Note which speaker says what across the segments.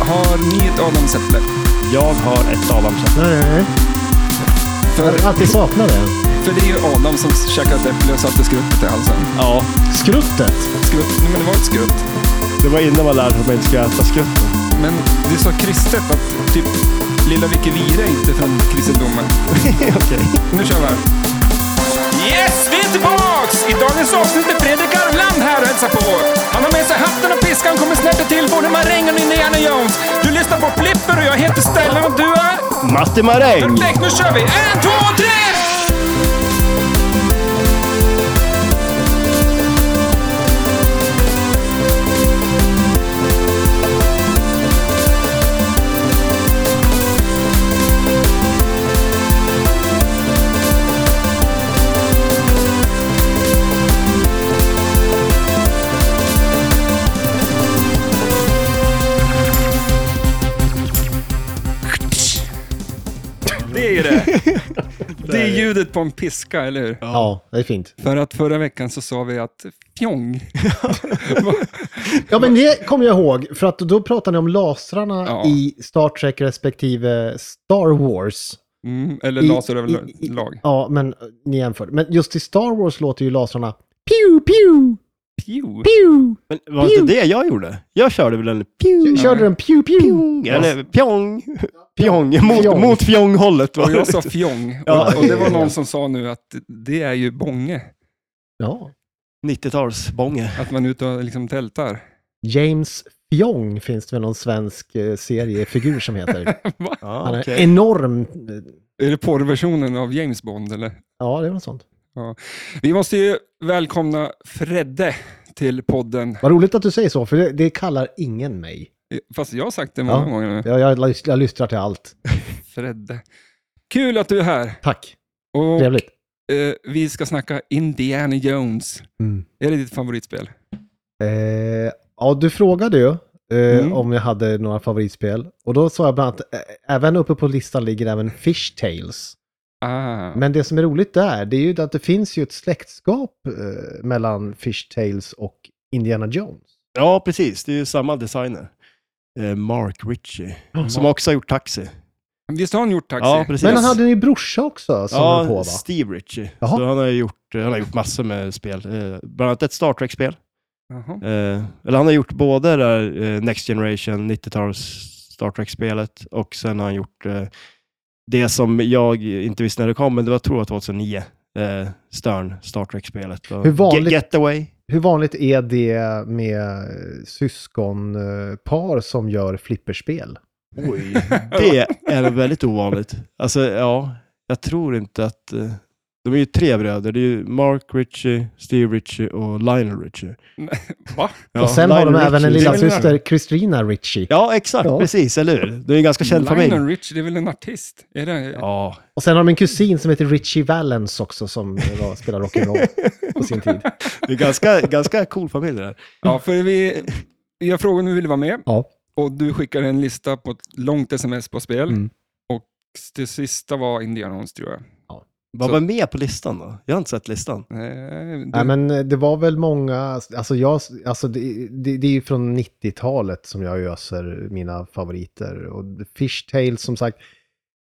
Speaker 1: Har ni ett adamsäpple?
Speaker 2: Jag har ett adamsäpple.
Speaker 3: Nej, nej, nej.
Speaker 1: För,
Speaker 3: Jag har alltid saknat det.
Speaker 1: för det är ju Adam som käkade ett äpple och satte skruttet i halsen.
Speaker 2: Ja,
Speaker 3: Skruttet.
Speaker 1: Skrutt, nej men det var ett skrutt.
Speaker 2: det var innan man lärde sig att man inte ska äta skrutt.
Speaker 1: Men det är så kristet att typ lilla Vicky Vira är inte från kristendomen.
Speaker 2: Okej.
Speaker 1: Nu kör vi här. Yes, vi är tillbaks! I dagens avsnitt är Fredrik Arvland här och hälsar på. Han har med sig hatten och piskan, kommer snart att till både marängen och Indiana Jones. Du lyssnar på Flipper och jag heter Stellan och du är...
Speaker 2: Matti Maräng!
Speaker 1: Perfekt, nu kör vi! En, två, tre! Det är ju det. Det är ljudet på en piska, eller hur?
Speaker 3: Ja, det är fint.
Speaker 1: För att förra veckan så sa vi att fjong.
Speaker 3: Ja, men det kommer jag ihåg. För att då pratade ni om lasrarna
Speaker 1: Ja.
Speaker 3: i Star Trek respektive Star Wars.
Speaker 1: Mm, eller
Speaker 3: I-
Speaker 1: laser
Speaker 3: i- i-
Speaker 1: överlag.
Speaker 3: Ja, men eh, ni jämförde. Men just i Star Wars låter ju lasrarna pew, pew,
Speaker 1: Pew.
Speaker 3: pew.
Speaker 2: Men var det inte det jag gjorde? Jag körde väl en pjong?
Speaker 3: Körde den pew, pew?
Speaker 2: pjong eller pjong. Pjong. Mot,
Speaker 3: Pjong.
Speaker 2: mot fjonghållet.
Speaker 1: Och
Speaker 2: Var
Speaker 1: jag
Speaker 2: det.
Speaker 1: sa fjong.
Speaker 2: Ja.
Speaker 1: Och, och det var någon som sa nu att det är ju bånge.
Speaker 3: Ja.
Speaker 2: 90-talsbånge.
Speaker 1: Att man är ute och liksom tältar.
Speaker 3: James Fjong finns det väl någon svensk eh, seriefigur som heter. Han
Speaker 2: Ja,
Speaker 3: är
Speaker 2: okej.
Speaker 3: enorm.
Speaker 1: Är det porrversionen av James Bond eller?
Speaker 3: Ja, det är något sånt.
Speaker 1: Vi måste ju välkomna Fredde till podden.
Speaker 3: Vad roligt att du säger så, för det, det kallar ingen mig.
Speaker 1: Fast jag har sagt det många
Speaker 3: Ja.
Speaker 1: gånger nu.
Speaker 3: Jag, jag, lys- jag lyssnar till allt.
Speaker 1: Fredde. Kul att du är här.
Speaker 3: Tack.
Speaker 1: Och
Speaker 3: Trevligt.
Speaker 1: eh, vi ska snacka Indiana Jones.
Speaker 3: Mm.
Speaker 1: Är det ditt favoritspel?
Speaker 3: Eh, ja, du frågade ju eh,
Speaker 1: Mm.
Speaker 3: om jag hade några favoritspel. Och då sa jag bland annat, eh, även uppe på listan ligger även Fish Tales.
Speaker 1: Ah.
Speaker 3: Men det som är roligt där, det är ju att det finns ju ett släktskap eh, mellan Fish Tales och Indiana Jones.
Speaker 2: Ja, precis. Det är ju samma designer. Eh, Mark Ritchie. Som också har gjort Taxi.
Speaker 1: Visst har han gjort Taxi?
Speaker 2: Ja, precis.
Speaker 3: Men han hade ju en brorsa också som höll på
Speaker 2: Ja,
Speaker 3: va?
Speaker 2: Steve Ritchie.
Speaker 3: Jaha.
Speaker 2: Så han har ju gjort, eh, han har gjort massor med spel. Eh, Bland annat ett Star Trek-spel.
Speaker 1: Jaha.
Speaker 2: Eh, Eller han har gjort både det där eh, Next Generation, 90-tals Star Trek-spelet och sen har han gjort eh, det som jag inte visste när det kom, men det var tror jag 2009. eh, Stern, Star Trek-spelet. Och
Speaker 3: Hur vanligt-
Speaker 2: Ge- Getaway.
Speaker 3: Hur vanligt är det med eh, syskonpar som gör flipperspel?
Speaker 2: Oj, det är väldigt ovanligt. Alltså, ja, jag tror inte att... eh, De är ju tre bröder. Det är ju Mark Ritchie, Steve Ritchie och Lionel Ritchie.
Speaker 1: Va?
Speaker 2: Ja,
Speaker 3: och sen har de
Speaker 2: Lionel
Speaker 3: även en
Speaker 2: Richie.
Speaker 3: lilla
Speaker 2: Det är väl
Speaker 3: syster, Christina Ritchie.
Speaker 2: Ja, exakt.
Speaker 3: Ja.
Speaker 2: Precis, eller hur? Det är en ganska känd familj.
Speaker 1: Lionel Rich, det är väl en artist? Är det?
Speaker 2: Ja,
Speaker 3: Och sen har de en kusin som heter Richie Valens också som var, spelade rock'n'roll på sin tid.
Speaker 2: det är ganska, ganska cool familj det där.
Speaker 1: Ja, för vi, jag frågade om du ville vara med
Speaker 3: Ja.
Speaker 1: och du skickade en lista på ett långt sms på spel.
Speaker 3: Mm.
Speaker 1: Och det sista var Indiana Jones tror jag.
Speaker 2: Vad
Speaker 1: Så-
Speaker 2: var med på listan då? Jag har inte sett listan.
Speaker 1: Eh, du,
Speaker 3: Nej, men det var väl många, alltså, jag, alltså det, det, det är ju från 90-talet som jag öser mina favoriter. Och Fish Tales som sagt.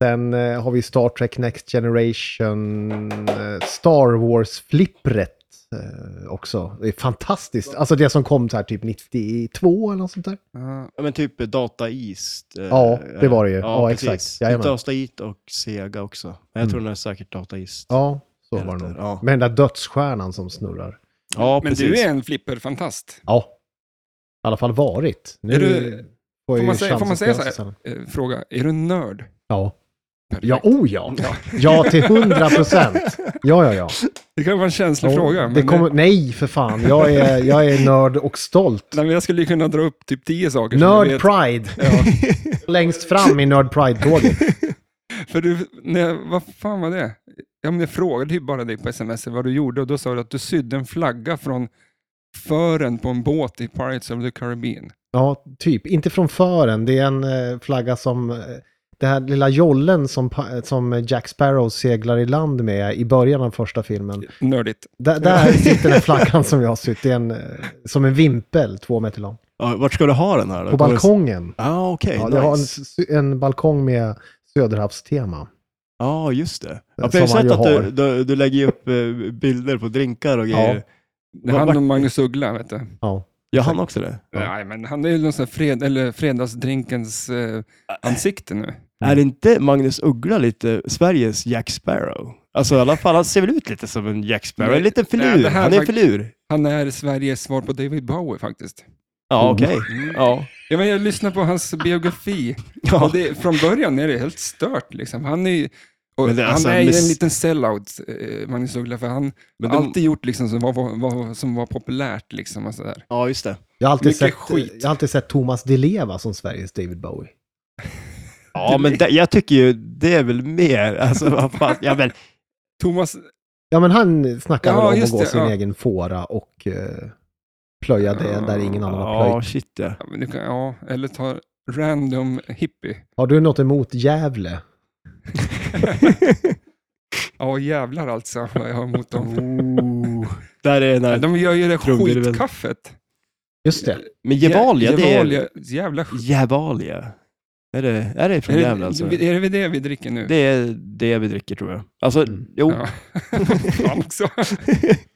Speaker 3: Sen eh, har vi Star Trek Next Generation, eh, Star Wars-flippret eh, också. Det är fantastiskt. Alltså det som kom så här typ 92 eller något sånt där.
Speaker 1: Ja,
Speaker 2: Ja, men typ Data East. eh,
Speaker 3: Ja, det var det ju. Ja,
Speaker 2: precis. Typ
Speaker 3: exakt. Jajamän. Mm.
Speaker 2: Data East och Sega också. Men jag tror det är säkert Data East.
Speaker 3: Ja, så
Speaker 2: Jag
Speaker 3: var
Speaker 2: vet
Speaker 3: det nog.
Speaker 2: inte, ja.
Speaker 3: Med den där dödsstjärnan som snurrar.
Speaker 2: Ja,
Speaker 1: men
Speaker 2: precis.
Speaker 1: du är en flipperfantast.
Speaker 3: Ja, i alla fall varit. Nu
Speaker 1: Är du-
Speaker 3: får, jag
Speaker 1: Får
Speaker 3: ju
Speaker 1: man, säga, får
Speaker 3: chansen
Speaker 1: man säga
Speaker 3: att
Speaker 1: så
Speaker 3: lösa
Speaker 1: här?
Speaker 3: den.
Speaker 1: Eh, fråga, är du en nörd?
Speaker 3: Ja.
Speaker 1: Perfekt.
Speaker 3: Ja, oh ja.
Speaker 1: Ja.
Speaker 3: Ja, till hundra procent. Ja, ja, ja.
Speaker 1: Det kan vara en känslig fråga. Men, eh,
Speaker 3: det kommer, nej, för fan. Jag är, jag är nörd och stolt.
Speaker 1: nej, men jag skulle ju kunna dra upp typ tio saker. som jag
Speaker 3: Nörd
Speaker 1: vet.
Speaker 3: Pride. Längst fram i Nörd Pride-tåget.
Speaker 1: För du, nej, vad fan var det? Ja, men jag frågade ju bara dig på sms vad du gjorde och då sa du att du sydde en flagga från fören på en båt i Pirates of the Caribbean.
Speaker 3: Ja, typ. Inte från fören. Det är en eh, flagga som... eh, Det här lilla jollen som, pa- som Jack Sparrow seglar i land med i början av första filmen.
Speaker 1: Nördigt.
Speaker 3: Där, där sitter den flaggan som jag har sytt. Det är en, eh, som en vimpel, två meter lång.
Speaker 2: Ja, vart ska du ha den här då?
Speaker 3: På
Speaker 2: Kommer-
Speaker 3: balkongen.
Speaker 2: Ah, okej.
Speaker 3: Ja,
Speaker 2: nice.
Speaker 3: jag har en, s- en balkong med Söderhavstema.
Speaker 2: Ja, just det. Ja, för
Speaker 3: Som
Speaker 2: jag har
Speaker 3: man
Speaker 2: ju
Speaker 3: ju
Speaker 2: sett att du,
Speaker 3: har.
Speaker 2: du, du lägger ju upp eh, bilder på drinkar och grejer.
Speaker 1: Det är
Speaker 2: Vart-
Speaker 1: han och Magnus Uggla, vet du.
Speaker 3: Ja.
Speaker 2: Jag hann också det.
Speaker 3: Ja.
Speaker 1: Nej, men han är ju någon sån här fred, eller fredagsdrinkens eh, ansikte nu.
Speaker 2: Är inte Magnus Uggla lite Sveriges Jack Sparrow? Alltså i alla fall, han ser väl ut lite som en Jack Sparrow.
Speaker 1: Nej,
Speaker 2: En liten filur.
Speaker 1: nej, det här
Speaker 2: han är en
Speaker 1: fakt-
Speaker 2: filur.
Speaker 1: Han är Sveriges svar på David Bowie faktiskt.
Speaker 2: Ja, okej.
Speaker 1: Mm.
Speaker 2: Ja.
Speaker 1: Ja, men jag lyssnar på hans biografi.
Speaker 2: Ja.
Speaker 1: Och det, från början är det helt stört. Liksom. Han är, ju- och
Speaker 2: Men det är alltså
Speaker 1: han är ju
Speaker 2: miss-
Speaker 1: en liten sellout, eh, Magnus Uggla, för han
Speaker 2: Men
Speaker 1: har
Speaker 2: de-
Speaker 1: alltid gjort liksom, som, var, var, var, som var populärt. Liksom, och sådär.
Speaker 2: ja, just det.
Speaker 3: Jag, har alltid
Speaker 1: Mycket
Speaker 3: sett,
Speaker 1: skit.
Speaker 3: jag har alltid sett Thomas Di Leva som Sveriges David Bowie.
Speaker 2: Ja, men det, jag tycker ju det är väl mer, alltså vad fan, ja men,
Speaker 1: Thomas,
Speaker 3: Ja, men han snackar
Speaker 1: Ja,
Speaker 3: väl om att
Speaker 1: just
Speaker 3: gå
Speaker 1: det,
Speaker 3: sin
Speaker 1: ja.
Speaker 3: egen fåra och eh, plöja det där ingen annan har
Speaker 2: ja
Speaker 3: plöjt.
Speaker 2: shit ja.
Speaker 1: ja, men du kan, ja, eller ta random hippie.
Speaker 3: Har du något emot Gävle?
Speaker 1: Ja, jävlar alltså vad jag har emot dem.
Speaker 2: Ooh. Där är den här,
Speaker 1: De gör ju det
Speaker 2: Trumvirvel.
Speaker 1: skitkaffet.
Speaker 3: Just det.
Speaker 2: men Gevalia, det är,
Speaker 1: Gevalia, jävla skit.
Speaker 2: Gevalia. Är det, är det från
Speaker 1: Är
Speaker 2: Gävle
Speaker 1: det,
Speaker 2: alltså?
Speaker 1: är det det vi dricker nu?
Speaker 2: Det är det vi dricker tror jag. Alltså,
Speaker 3: Mm.
Speaker 2: jo.
Speaker 1: Ja. Fan också.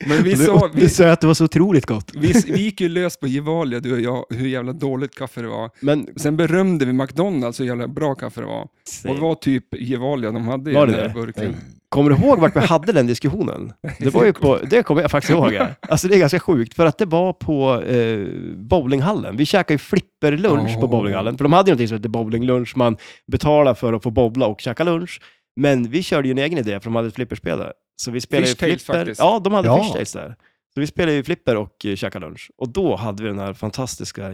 Speaker 1: Men vi sa,
Speaker 2: du
Speaker 1: vi,
Speaker 2: sa att det var så otroligt gott.
Speaker 1: vi, vi gick ju lös på Gevalia, du och jag, hur jävla dåligt kaffe det var.
Speaker 2: Men,
Speaker 1: Sen berömde vi McDonalds hur jävla bra kaffe det var. Och det var typ Gevalia de hade i
Speaker 2: Var
Speaker 1: den
Speaker 2: det
Speaker 1: där
Speaker 2: det?
Speaker 1: burken.
Speaker 2: kommer du ihåg vart vi hade den diskussionen? Det var ju på, det kommer jag faktiskt ihåg. ja. Alltså det är ganska sjukt, för att det var på eh, bowlinghallen. Vi käkade ju flipperlunch på
Speaker 1: Oh.
Speaker 2: bowlinghallen, för de hade ju någonting som hette bowlinglunch. Man betalar för att få bowla och käka lunch. Men vi körde ju en egen idé, för de hade ett flipperspel där. Så vi spelade ju
Speaker 1: Fishtails
Speaker 2: flipper.
Speaker 1: faktiskt.
Speaker 2: Ja, de hade
Speaker 3: Ja.
Speaker 2: fishtails där. Så vi spelade ju flipper och eh, käkade lunch. Och då hade vi den här fantastiska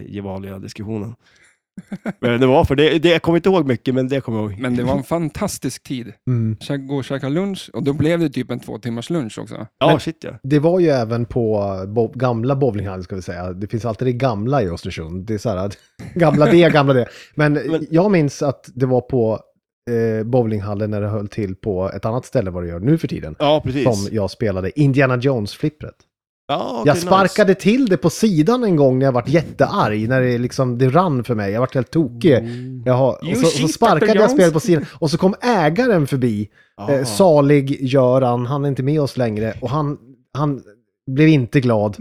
Speaker 2: Gevalia-diskussionen. Men det var för det, det, jag kommer inte ihåg mycket, men det kommer jag ihåg.
Speaker 1: Men det var en fantastisk tid.
Speaker 3: Mm.
Speaker 1: Käka- Gå och käka lunch och då blev det typ en två timmars lunch också.
Speaker 2: ja,
Speaker 3: men-
Speaker 2: shit ja.
Speaker 3: Det var ju även på bo- gamla bowlinghallen ska vi säga. Det finns alltid det gamla i Östersund. Det är så här, att- gamla det, gamla det. Men,
Speaker 2: Men-
Speaker 3: jag minns att det var på eh, bowlinghallen när det höll till på ett annat ställe vad det gör nu för tiden.
Speaker 2: Ja, precis.
Speaker 3: Som jag spelade Indiana Jones-flippret.
Speaker 2: ja, okej,
Speaker 3: Jag
Speaker 2: nice.
Speaker 3: sparkade till det på sidan en gång när jag vart jättearg, när det liksom, det rann för mig. Jag vart helt
Speaker 2: eh,
Speaker 3: tokig. Jaha,
Speaker 1: You
Speaker 3: och så, och så
Speaker 1: cheat,
Speaker 3: sparkade
Speaker 1: Dr.
Speaker 3: jag
Speaker 1: Jones.
Speaker 3: spelet på sidan och så kom ägaren förbi, eh,
Speaker 2: Ja.
Speaker 3: salig Göran, han är inte med oss längre och han, han blev inte glad.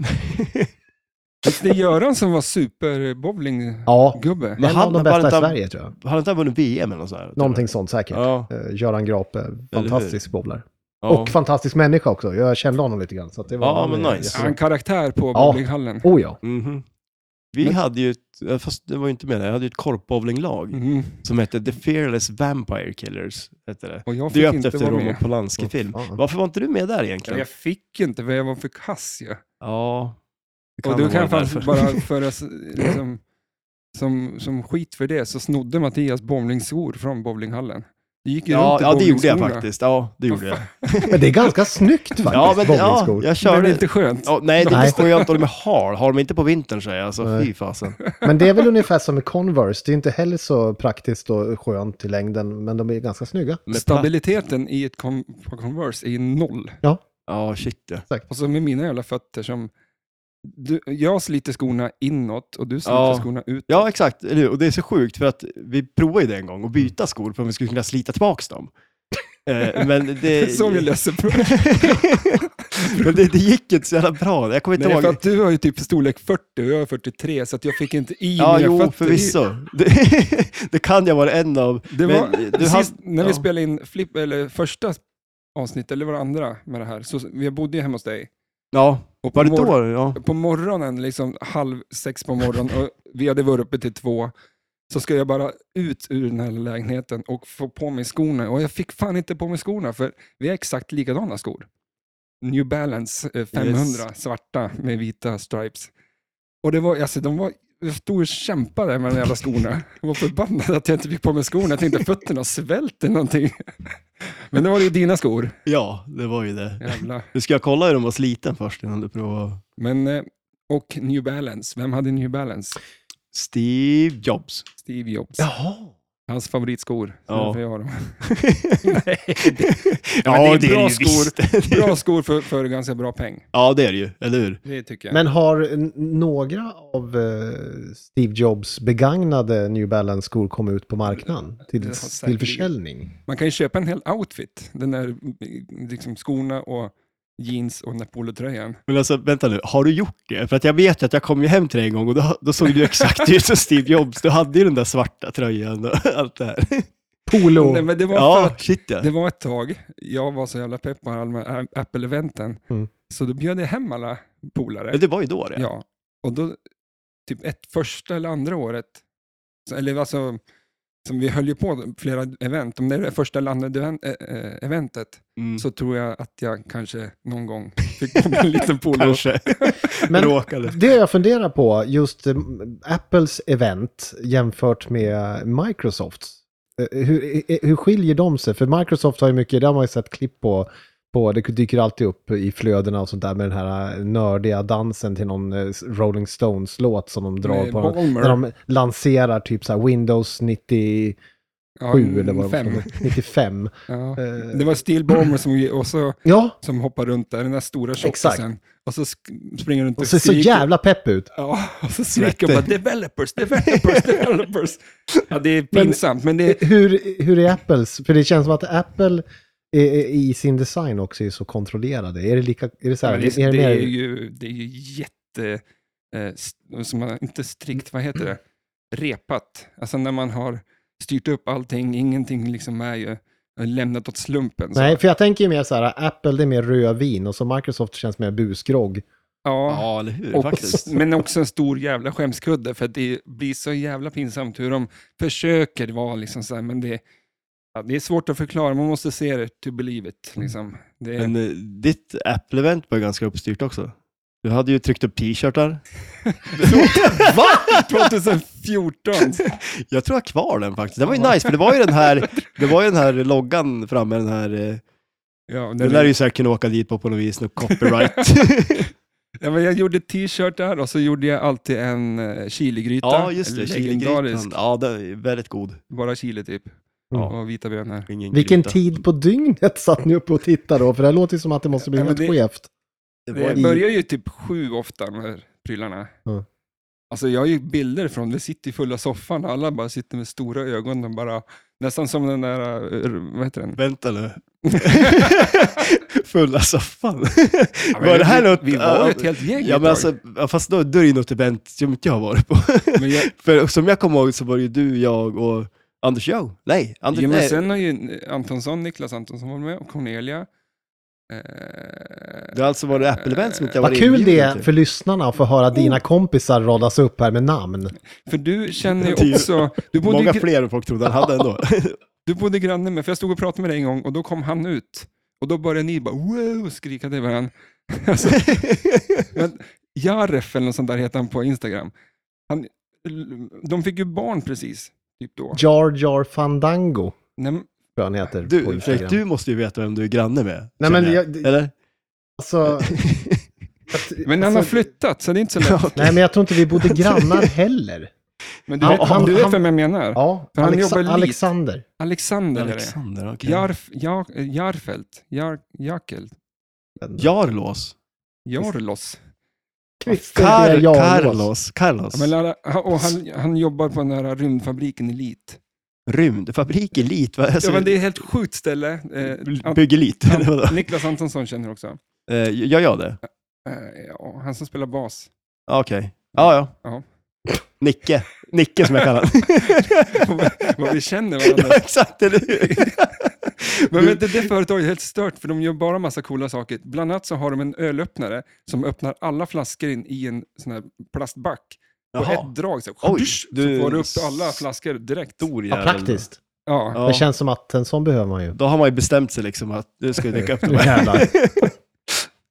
Speaker 1: Fast Det är Göran som var superbowlinggubbe.
Speaker 3: Ja,
Speaker 2: Men
Speaker 3: en
Speaker 2: han-
Speaker 3: av de
Speaker 2: han
Speaker 3: bästa i
Speaker 2: bara-
Speaker 3: Sverige tror jag.
Speaker 2: Har inte han vunnit VM eller något sånt? här?
Speaker 3: Någonting sånt säkert.
Speaker 2: Ja.
Speaker 3: Eh, Göran Grape, fantastisk bowlare.
Speaker 2: ja.
Speaker 3: Och fantastisk människa också, jag kände honom lite grann. Så att det var
Speaker 2: Ja, men
Speaker 3: eh,
Speaker 2: nice.
Speaker 1: Han
Speaker 3: jättebra.
Speaker 1: karaktär på
Speaker 3: Ja.
Speaker 1: bowlinghallen.
Speaker 3: Oh ja.
Speaker 2: Mhm. Vi
Speaker 1: Men-
Speaker 2: hade ju, ett, fast det var ju inte med det, jag hade ju ett korpbowlinglag
Speaker 3: Mm.
Speaker 1: Mhm.
Speaker 2: som hette The Fearless Vampire Killers. Hette det.
Speaker 1: Och jag fick
Speaker 2: Döpt
Speaker 1: inte
Speaker 2: efter
Speaker 1: vara
Speaker 2: Roman
Speaker 1: med.
Speaker 2: Polanski-film.
Speaker 3: Åh, fan.
Speaker 2: Varför var inte du med där egentligen?
Speaker 1: Jag fick inte för jag var för kass ju.
Speaker 2: Ja. det
Speaker 1: Och du
Speaker 2: ha
Speaker 1: kan
Speaker 2: varit
Speaker 1: faktiskt
Speaker 2: därför.
Speaker 1: bara föras liksom, som, som skit för det så snodde Mattias bowlingskor från bowlinghallen. Du gick ju
Speaker 2: Ja,
Speaker 1: runt i
Speaker 2: ja, det gjorde jag
Speaker 1: bowlingskorna.
Speaker 2: faktiskt. Ja, det gjorde jag.
Speaker 3: Men det är ganska snyggt faktiskt,
Speaker 2: Ja, men ja, jag
Speaker 3: bowlingskor.
Speaker 1: Men det är
Speaker 2: körde.
Speaker 1: inte skönt.
Speaker 2: Ja, nej, det är
Speaker 3: Nej.
Speaker 2: inte skönt och de är hal. Har de inte på vintern säger jag, alltså
Speaker 3: Nej.
Speaker 2: fy fasen.
Speaker 3: Men det är väl ungefär som med Converse. Det är inte heller så praktiskt och skönt till längden, men de är ganska snygga.
Speaker 2: Med platt-
Speaker 1: Stabiliteten i ett con på Converse är ju noll.
Speaker 2: Ja, shit ja.
Speaker 1: Och så Alltså, med mina jävla fötter som... Du, jag sliter skorna inåt och du sliter
Speaker 2: Ja.
Speaker 1: skorna ut.
Speaker 2: Ja, exakt. Eller hur? Och det är så sjukt för att vi provade ju det en gång och byta skor för att vi skulle kunna slita tillbaka dem. Eh, Men
Speaker 1: Det är
Speaker 2: det...
Speaker 1: så vi löser problemet.
Speaker 2: Men det, det gick inte så jävla bra. Jag kommer
Speaker 1: Men det
Speaker 2: inte
Speaker 1: är för
Speaker 2: ihåg.
Speaker 1: att du har ju typ storlek 40 och jag är 43 så att jag fick inte i
Speaker 2: Ja,
Speaker 1: mina
Speaker 2: jo,
Speaker 1: fötter.
Speaker 2: förvisso. Det, det kan jag vara en av.
Speaker 1: Det
Speaker 2: Men
Speaker 1: var,
Speaker 2: du
Speaker 1: sist,
Speaker 2: hade-
Speaker 1: när
Speaker 2: ja.
Speaker 1: vi spelade in flip, eller första avsnittet, eller var det andra med det här, så vi bodde ju hemma hos dig.
Speaker 2: Ja,
Speaker 1: Och på
Speaker 2: var det
Speaker 1: mor-
Speaker 2: då? Ja.
Speaker 1: På morgonen, liksom halv sex på morgonen, och vi hade varit uppe till två, så ska jag bara ut ur den här lägenheten och få på mig skorna. Och jag fick fan inte på mig skorna, för vi har exakt likadana skor. New Balance eh, 500, svarta med vita stripes. Och det var, alltså de var, jag stod och kämpade med de jävla skorna. Jag var förbannad att jag inte fick på mig skorna. Jag tänkte fötterna svälter någonting. Men det var ju dina skor.
Speaker 2: ja, det var ju det.
Speaker 1: Jävla.
Speaker 2: Du ska kolla hur de var sliten först innan du provar.
Speaker 1: Men, eh, och New Balance. Vem hade New Balance?
Speaker 2: Steve Jobs.
Speaker 1: Steve Jobs.
Speaker 3: Jaha.
Speaker 1: Hans favoritskor. Så
Speaker 2: Ja.
Speaker 1: därför jag har dem.
Speaker 2: ja,
Speaker 1: det är
Speaker 2: det är
Speaker 1: bra
Speaker 2: det ju visst.
Speaker 1: Bra skor för, för ganska bra peng.
Speaker 2: Ja, det är det ju, eller hur?
Speaker 1: Det tycker jag.
Speaker 3: Men har n- några av eh, Steve Jobs begagnade New Balance-skor kommit ut på marknaden
Speaker 1: Det
Speaker 3: till,
Speaker 1: har
Speaker 3: till
Speaker 1: säkerligen.
Speaker 3: försäljning?
Speaker 1: Man kan ju köpa en hel outfit. Den där mm, liksom, skorna och jeans och den där polotröjan.
Speaker 2: Men alltså, vänta nu, har du gjort det? För att jag vet ju att jag kom ju hem till dig en gång och då, då såg du ju exakt ut som Steve Jobs. Du hade ju den där svarta tröjan och allt det här.
Speaker 3: Polo!
Speaker 1: Nej, men det var för
Speaker 2: Ja,
Speaker 1: att
Speaker 2: shit ja.
Speaker 1: det var ett tag, jag var så jävla pepp på alla de här Apple-eventen,
Speaker 3: Mm.
Speaker 1: så då bjöd jag hem alla polare.
Speaker 2: Men Det var ju då det.
Speaker 1: Ja, och då, typ ett första eller andra året, så, eller alltså, som vi höll ju på flera event, om det är det första eller andra event, eh, eh, eventet,
Speaker 2: Mm.
Speaker 1: så tror jag att jag kanske någon gång fick på mig en liten polo.
Speaker 2: Kanske.
Speaker 3: Men-
Speaker 2: Råkade.
Speaker 3: Det jag funderar på, just eh, Apples event jämfört med Microsofts. Eh, Hur, eh, hur skiljer de sig? För Microsoft har ju mycket, det har man ju sett klipp på, på, det dyker alltid upp i flödena och sånt där med den här eh, nördiga dansen till någon eh, Rolling Stones-låt som de drar
Speaker 1: Med
Speaker 3: på.
Speaker 1: Ballmer.
Speaker 3: När de lanserar typ så här Windows 97
Speaker 1: Ja,
Speaker 3: eller vad de
Speaker 1: fem.
Speaker 3: kallar det. 95.
Speaker 1: Ja.
Speaker 3: Eh,
Speaker 1: Det var Steel Bomber som, ju- och så,
Speaker 3: ja,
Speaker 1: som hoppar runt där, den där stora
Speaker 3: Exakt.
Speaker 1: tjockisen. Och så sk- springer runt och,
Speaker 3: och ser så
Speaker 1: skriker.
Speaker 3: jävla pepp ut.
Speaker 1: Ja, och så skriker de bara developers, developers, developers. Ja, det är pinsamt, men det,
Speaker 3: Eh, Hur, hur är Apples? För det känns som att Apple är, är, i sin design också är så kontrollerade. Är det lika... Är det så här,
Speaker 1: men det,
Speaker 3: är det
Speaker 1: det, är
Speaker 3: mer,
Speaker 1: ju, det är ju jätte, eh, st- som man, inte strikt, vad heter det, repat. Alltså när man har styrt upp allting, ingenting liksom är ju är lämnat åt slumpen. så.
Speaker 3: nej, för jag tänker ju mer så här, Apple det är mer rödvin och så Microsoft känns mer busgrogg. Mm.
Speaker 1: Ja,
Speaker 2: Ja, eller hur?
Speaker 1: och,
Speaker 2: Faktiskt.
Speaker 1: men också en stor jävla skämskudde för att det blir så jävla pinsamt hur de försöker vara liksom så här, men det, ja, det är svårt att förklara, man måste se det to believe it. Liksom. Det,
Speaker 2: Mm. Men eh, ditt Apple-event var ganska uppstyrt också. Du hade ju tryckt upp t-shirtar. Va?
Speaker 1: 2014!
Speaker 2: Jag tror jag har kvar den faktiskt. Den var ju nice, för det var ju den här, det var ju den här loggan framme, den här... eh,
Speaker 1: Ja,
Speaker 2: Den lär ju säkert kunna åka dit på på något vis, något copyright.
Speaker 1: Ja, men jag gjorde t-shirtar och så gjorde jag alltid en eh, chiligryta.
Speaker 2: ja, just det.
Speaker 1: Legendarisk.
Speaker 2: Chiligrytan. Ja, den är väldigt god.
Speaker 1: Bara chili typ.
Speaker 3: Ja.
Speaker 1: Och vita bönor.
Speaker 2: Ingen
Speaker 3: Vilken
Speaker 2: gryta.
Speaker 3: tid på dygnet satt ni uppe och tittade då? För det här låter ju som att det måste bli
Speaker 1: Ja, men
Speaker 3: helt
Speaker 1: det-
Speaker 3: skevt.
Speaker 2: Det var
Speaker 1: Det
Speaker 2: i-
Speaker 1: börjar ju typ sju ofta med prylarna.
Speaker 3: Ja.
Speaker 1: Alltså jag har ju bilder från, vi sitter i fulla soffan och alla bara sitter med stora ögon och bara, nästan som den där, eh, vad heter den?
Speaker 2: Vänta nu. Fulla soffan.
Speaker 1: Ja, men
Speaker 2: var det här något?
Speaker 1: Vi var ett helt gäng
Speaker 2: Ja,
Speaker 1: ett
Speaker 2: men
Speaker 1: tag.
Speaker 2: alltså, ja, fast då, då är det ju något event som inte jag har varit på.
Speaker 1: Men jag,
Speaker 2: För som jag kommer ihåg så var det ju du, jag och Anders Joe. Nej, Anders...
Speaker 1: ja, men
Speaker 2: nej.
Speaker 1: sen har ju Antonsson, Niklas Antonsson varit med och Cornelia. Eh,
Speaker 2: Det har alltså varit Apple-event som inte jag
Speaker 3: Vad
Speaker 2: varit
Speaker 3: kul det är
Speaker 2: inbjuden
Speaker 3: för
Speaker 2: till.
Speaker 3: lyssnarna att få höra
Speaker 1: Mm.
Speaker 3: dina kompisar radas upp här med namn.
Speaker 1: för du känner
Speaker 2: Det är ju
Speaker 1: ju också, du bodde ju
Speaker 2: Många
Speaker 1: gr-
Speaker 2: fler än folk trodde han hade ändå.
Speaker 1: Du bodde granne med, för jag stod och pratade med dig en gång och då kom han ut. Och då började ni bara wow och skrika till varandra. Alltså, men Jaref eller något sånt där heter han på Instagram. Han, de fick ju barn precis, typ då.
Speaker 3: Jar Jar Fandango, tror
Speaker 1: Nej, men-
Speaker 3: jag han heter på
Speaker 2: Du,
Speaker 3: Instagram.
Speaker 2: Fredrik, du måste ju veta vem du är granne med.
Speaker 3: Nej, men
Speaker 2: känner
Speaker 3: jag-
Speaker 2: Eller?
Speaker 3: Alltså,
Speaker 1: men han har flyttat, så det är inte så lätt.
Speaker 3: Nej, men jag tror inte vi bodde grannar heller.
Speaker 1: Men du
Speaker 3: Han-
Speaker 1: vet,
Speaker 3: han-
Speaker 1: du vet
Speaker 3: han-
Speaker 1: vem jag menar?
Speaker 3: Ja,
Speaker 1: För han jobbar
Speaker 3: Alexa-
Speaker 1: lit.
Speaker 3: Alexander.
Speaker 1: Alexander är det.
Speaker 2: Alexander, okej.
Speaker 1: Jarf, ja, Jarfelt, Jar, Jakel,
Speaker 2: Jarlås.
Speaker 1: Jarlos.
Speaker 3: Christer
Speaker 2: Kar-
Speaker 3: Jarlås.
Speaker 2: Carlos. Carlos.
Speaker 1: Ja, men, alla- och han, han jobbar på den här rymdfabriken Elit.
Speaker 2: Rymdfabrik Elit. Vad- Alltså,
Speaker 1: Ja, men det är ett helt sjukt ställe. Eh, Ant-
Speaker 2: Bygg Elit. eller vadå?
Speaker 1: Ant- Niklas Antonsson känner också.
Speaker 2: Eh, Gör jag det?
Speaker 1: Eh, ja, han som spelar bas.
Speaker 2: Ja, Okej. Ja, ja.
Speaker 1: Ja.
Speaker 2: Nicke. Nicke som jag kallar honom.
Speaker 1: Vad vi känner
Speaker 2: ja,
Speaker 1: varandra.
Speaker 2: exakt. Eller hur?
Speaker 1: Men vet du, det företaget är helt stört för de gör bara massa coola saker. Bland annat så har de en ölöppnare som öppnar alla flaskor in i en sån här plastback. På
Speaker 2: Jaha.
Speaker 1: ett drag så,
Speaker 2: Oj,
Speaker 1: Dusch,
Speaker 2: du-
Speaker 1: så får du upp alla flaskor direkt.
Speaker 2: Stor
Speaker 3: Ja,
Speaker 2: jävel.
Speaker 3: praktiskt.
Speaker 1: Ja.
Speaker 2: Ja.
Speaker 3: Det känns som att en sån behöver man ju.
Speaker 2: Då har man ju bestämt sig liksom att nu ska vi dricka upp
Speaker 3: Nu
Speaker 2: det här.
Speaker 3: jävlar.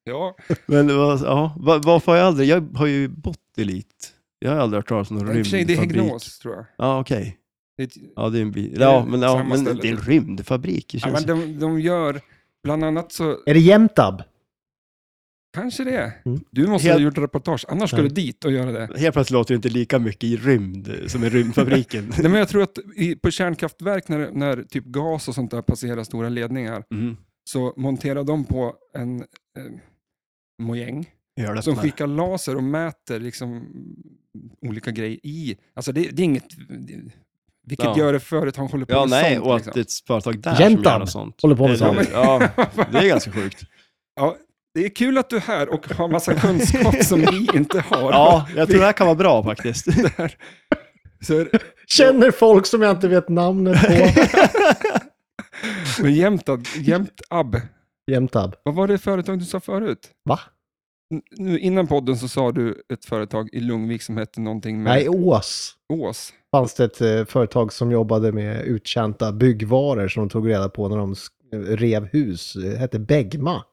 Speaker 1: ja.
Speaker 2: Men det var- ja, va- varför har jag aldrig, jag har ju bott i Lit. Jag har aldrig hört talas om någon
Speaker 1: I och för sig, det är
Speaker 2: rymdfabrik.
Speaker 1: Häggnås tror jag.
Speaker 2: Ja, okej.
Speaker 1: Det är ett,
Speaker 2: Ja, det är en bil.
Speaker 1: Det är
Speaker 2: Ja, men, ja,
Speaker 1: samma
Speaker 2: men
Speaker 1: ställe,
Speaker 2: det är en
Speaker 1: typ.
Speaker 2: rymdfabrik. Det
Speaker 1: ja,
Speaker 2: känns...
Speaker 1: men de, de gör, bland annat så,
Speaker 3: Är det Jämtab?
Speaker 1: Kanske det.
Speaker 3: Mm.
Speaker 1: Du måste
Speaker 4: Helt-
Speaker 1: ha gjort reportage, annars skulle du dit och göra det.
Speaker 4: Helt plötsligt låter det inte lika mycket i rymd eh, som i rymdfabriken.
Speaker 1: Nej, men jag tror att i, på kärnkraftverk när, när typ gas och sånt där passerar stora ledningar
Speaker 4: Mm.
Speaker 1: så monterar de på en eh, mojäng
Speaker 4: Gör det
Speaker 1: som
Speaker 4: på mig.
Speaker 1: Alltså, skickar laser och mäter liksom olika grejer i. Alltså det, det är inget, det, vilket
Speaker 4: Ja.
Speaker 1: gör det förut han håller på
Speaker 4: Ja,
Speaker 1: med
Speaker 4: nej,
Speaker 1: sånt.
Speaker 4: och
Speaker 1: liksom.
Speaker 4: att det är ett företag där som gör
Speaker 3: Jämtland
Speaker 4: något sånt.
Speaker 3: håller på med
Speaker 4: Eller-
Speaker 3: sånt.
Speaker 4: Ja, det är ganska sjukt.
Speaker 1: liksom. Det är kul att du är här och har massa kunskap som vi inte har.
Speaker 4: Ja, jag tror det här kan vara bra faktiskt.
Speaker 1: Så,
Speaker 3: Känner folk som jag inte vet namnet på.
Speaker 1: men jämt, jämt ab.
Speaker 3: Jämtab.
Speaker 1: Vad var det företag du sa förut?
Speaker 3: Va?
Speaker 1: N- Nu, innan podden så sa du ett företag i Lungvik som hette någonting med
Speaker 3: Nej, Ås.
Speaker 1: Ås.
Speaker 3: fanns det ett eh, företag som jobbade med uttjänta byggvaror som de tog reda på när de sk- rev hus. Det hette Begma.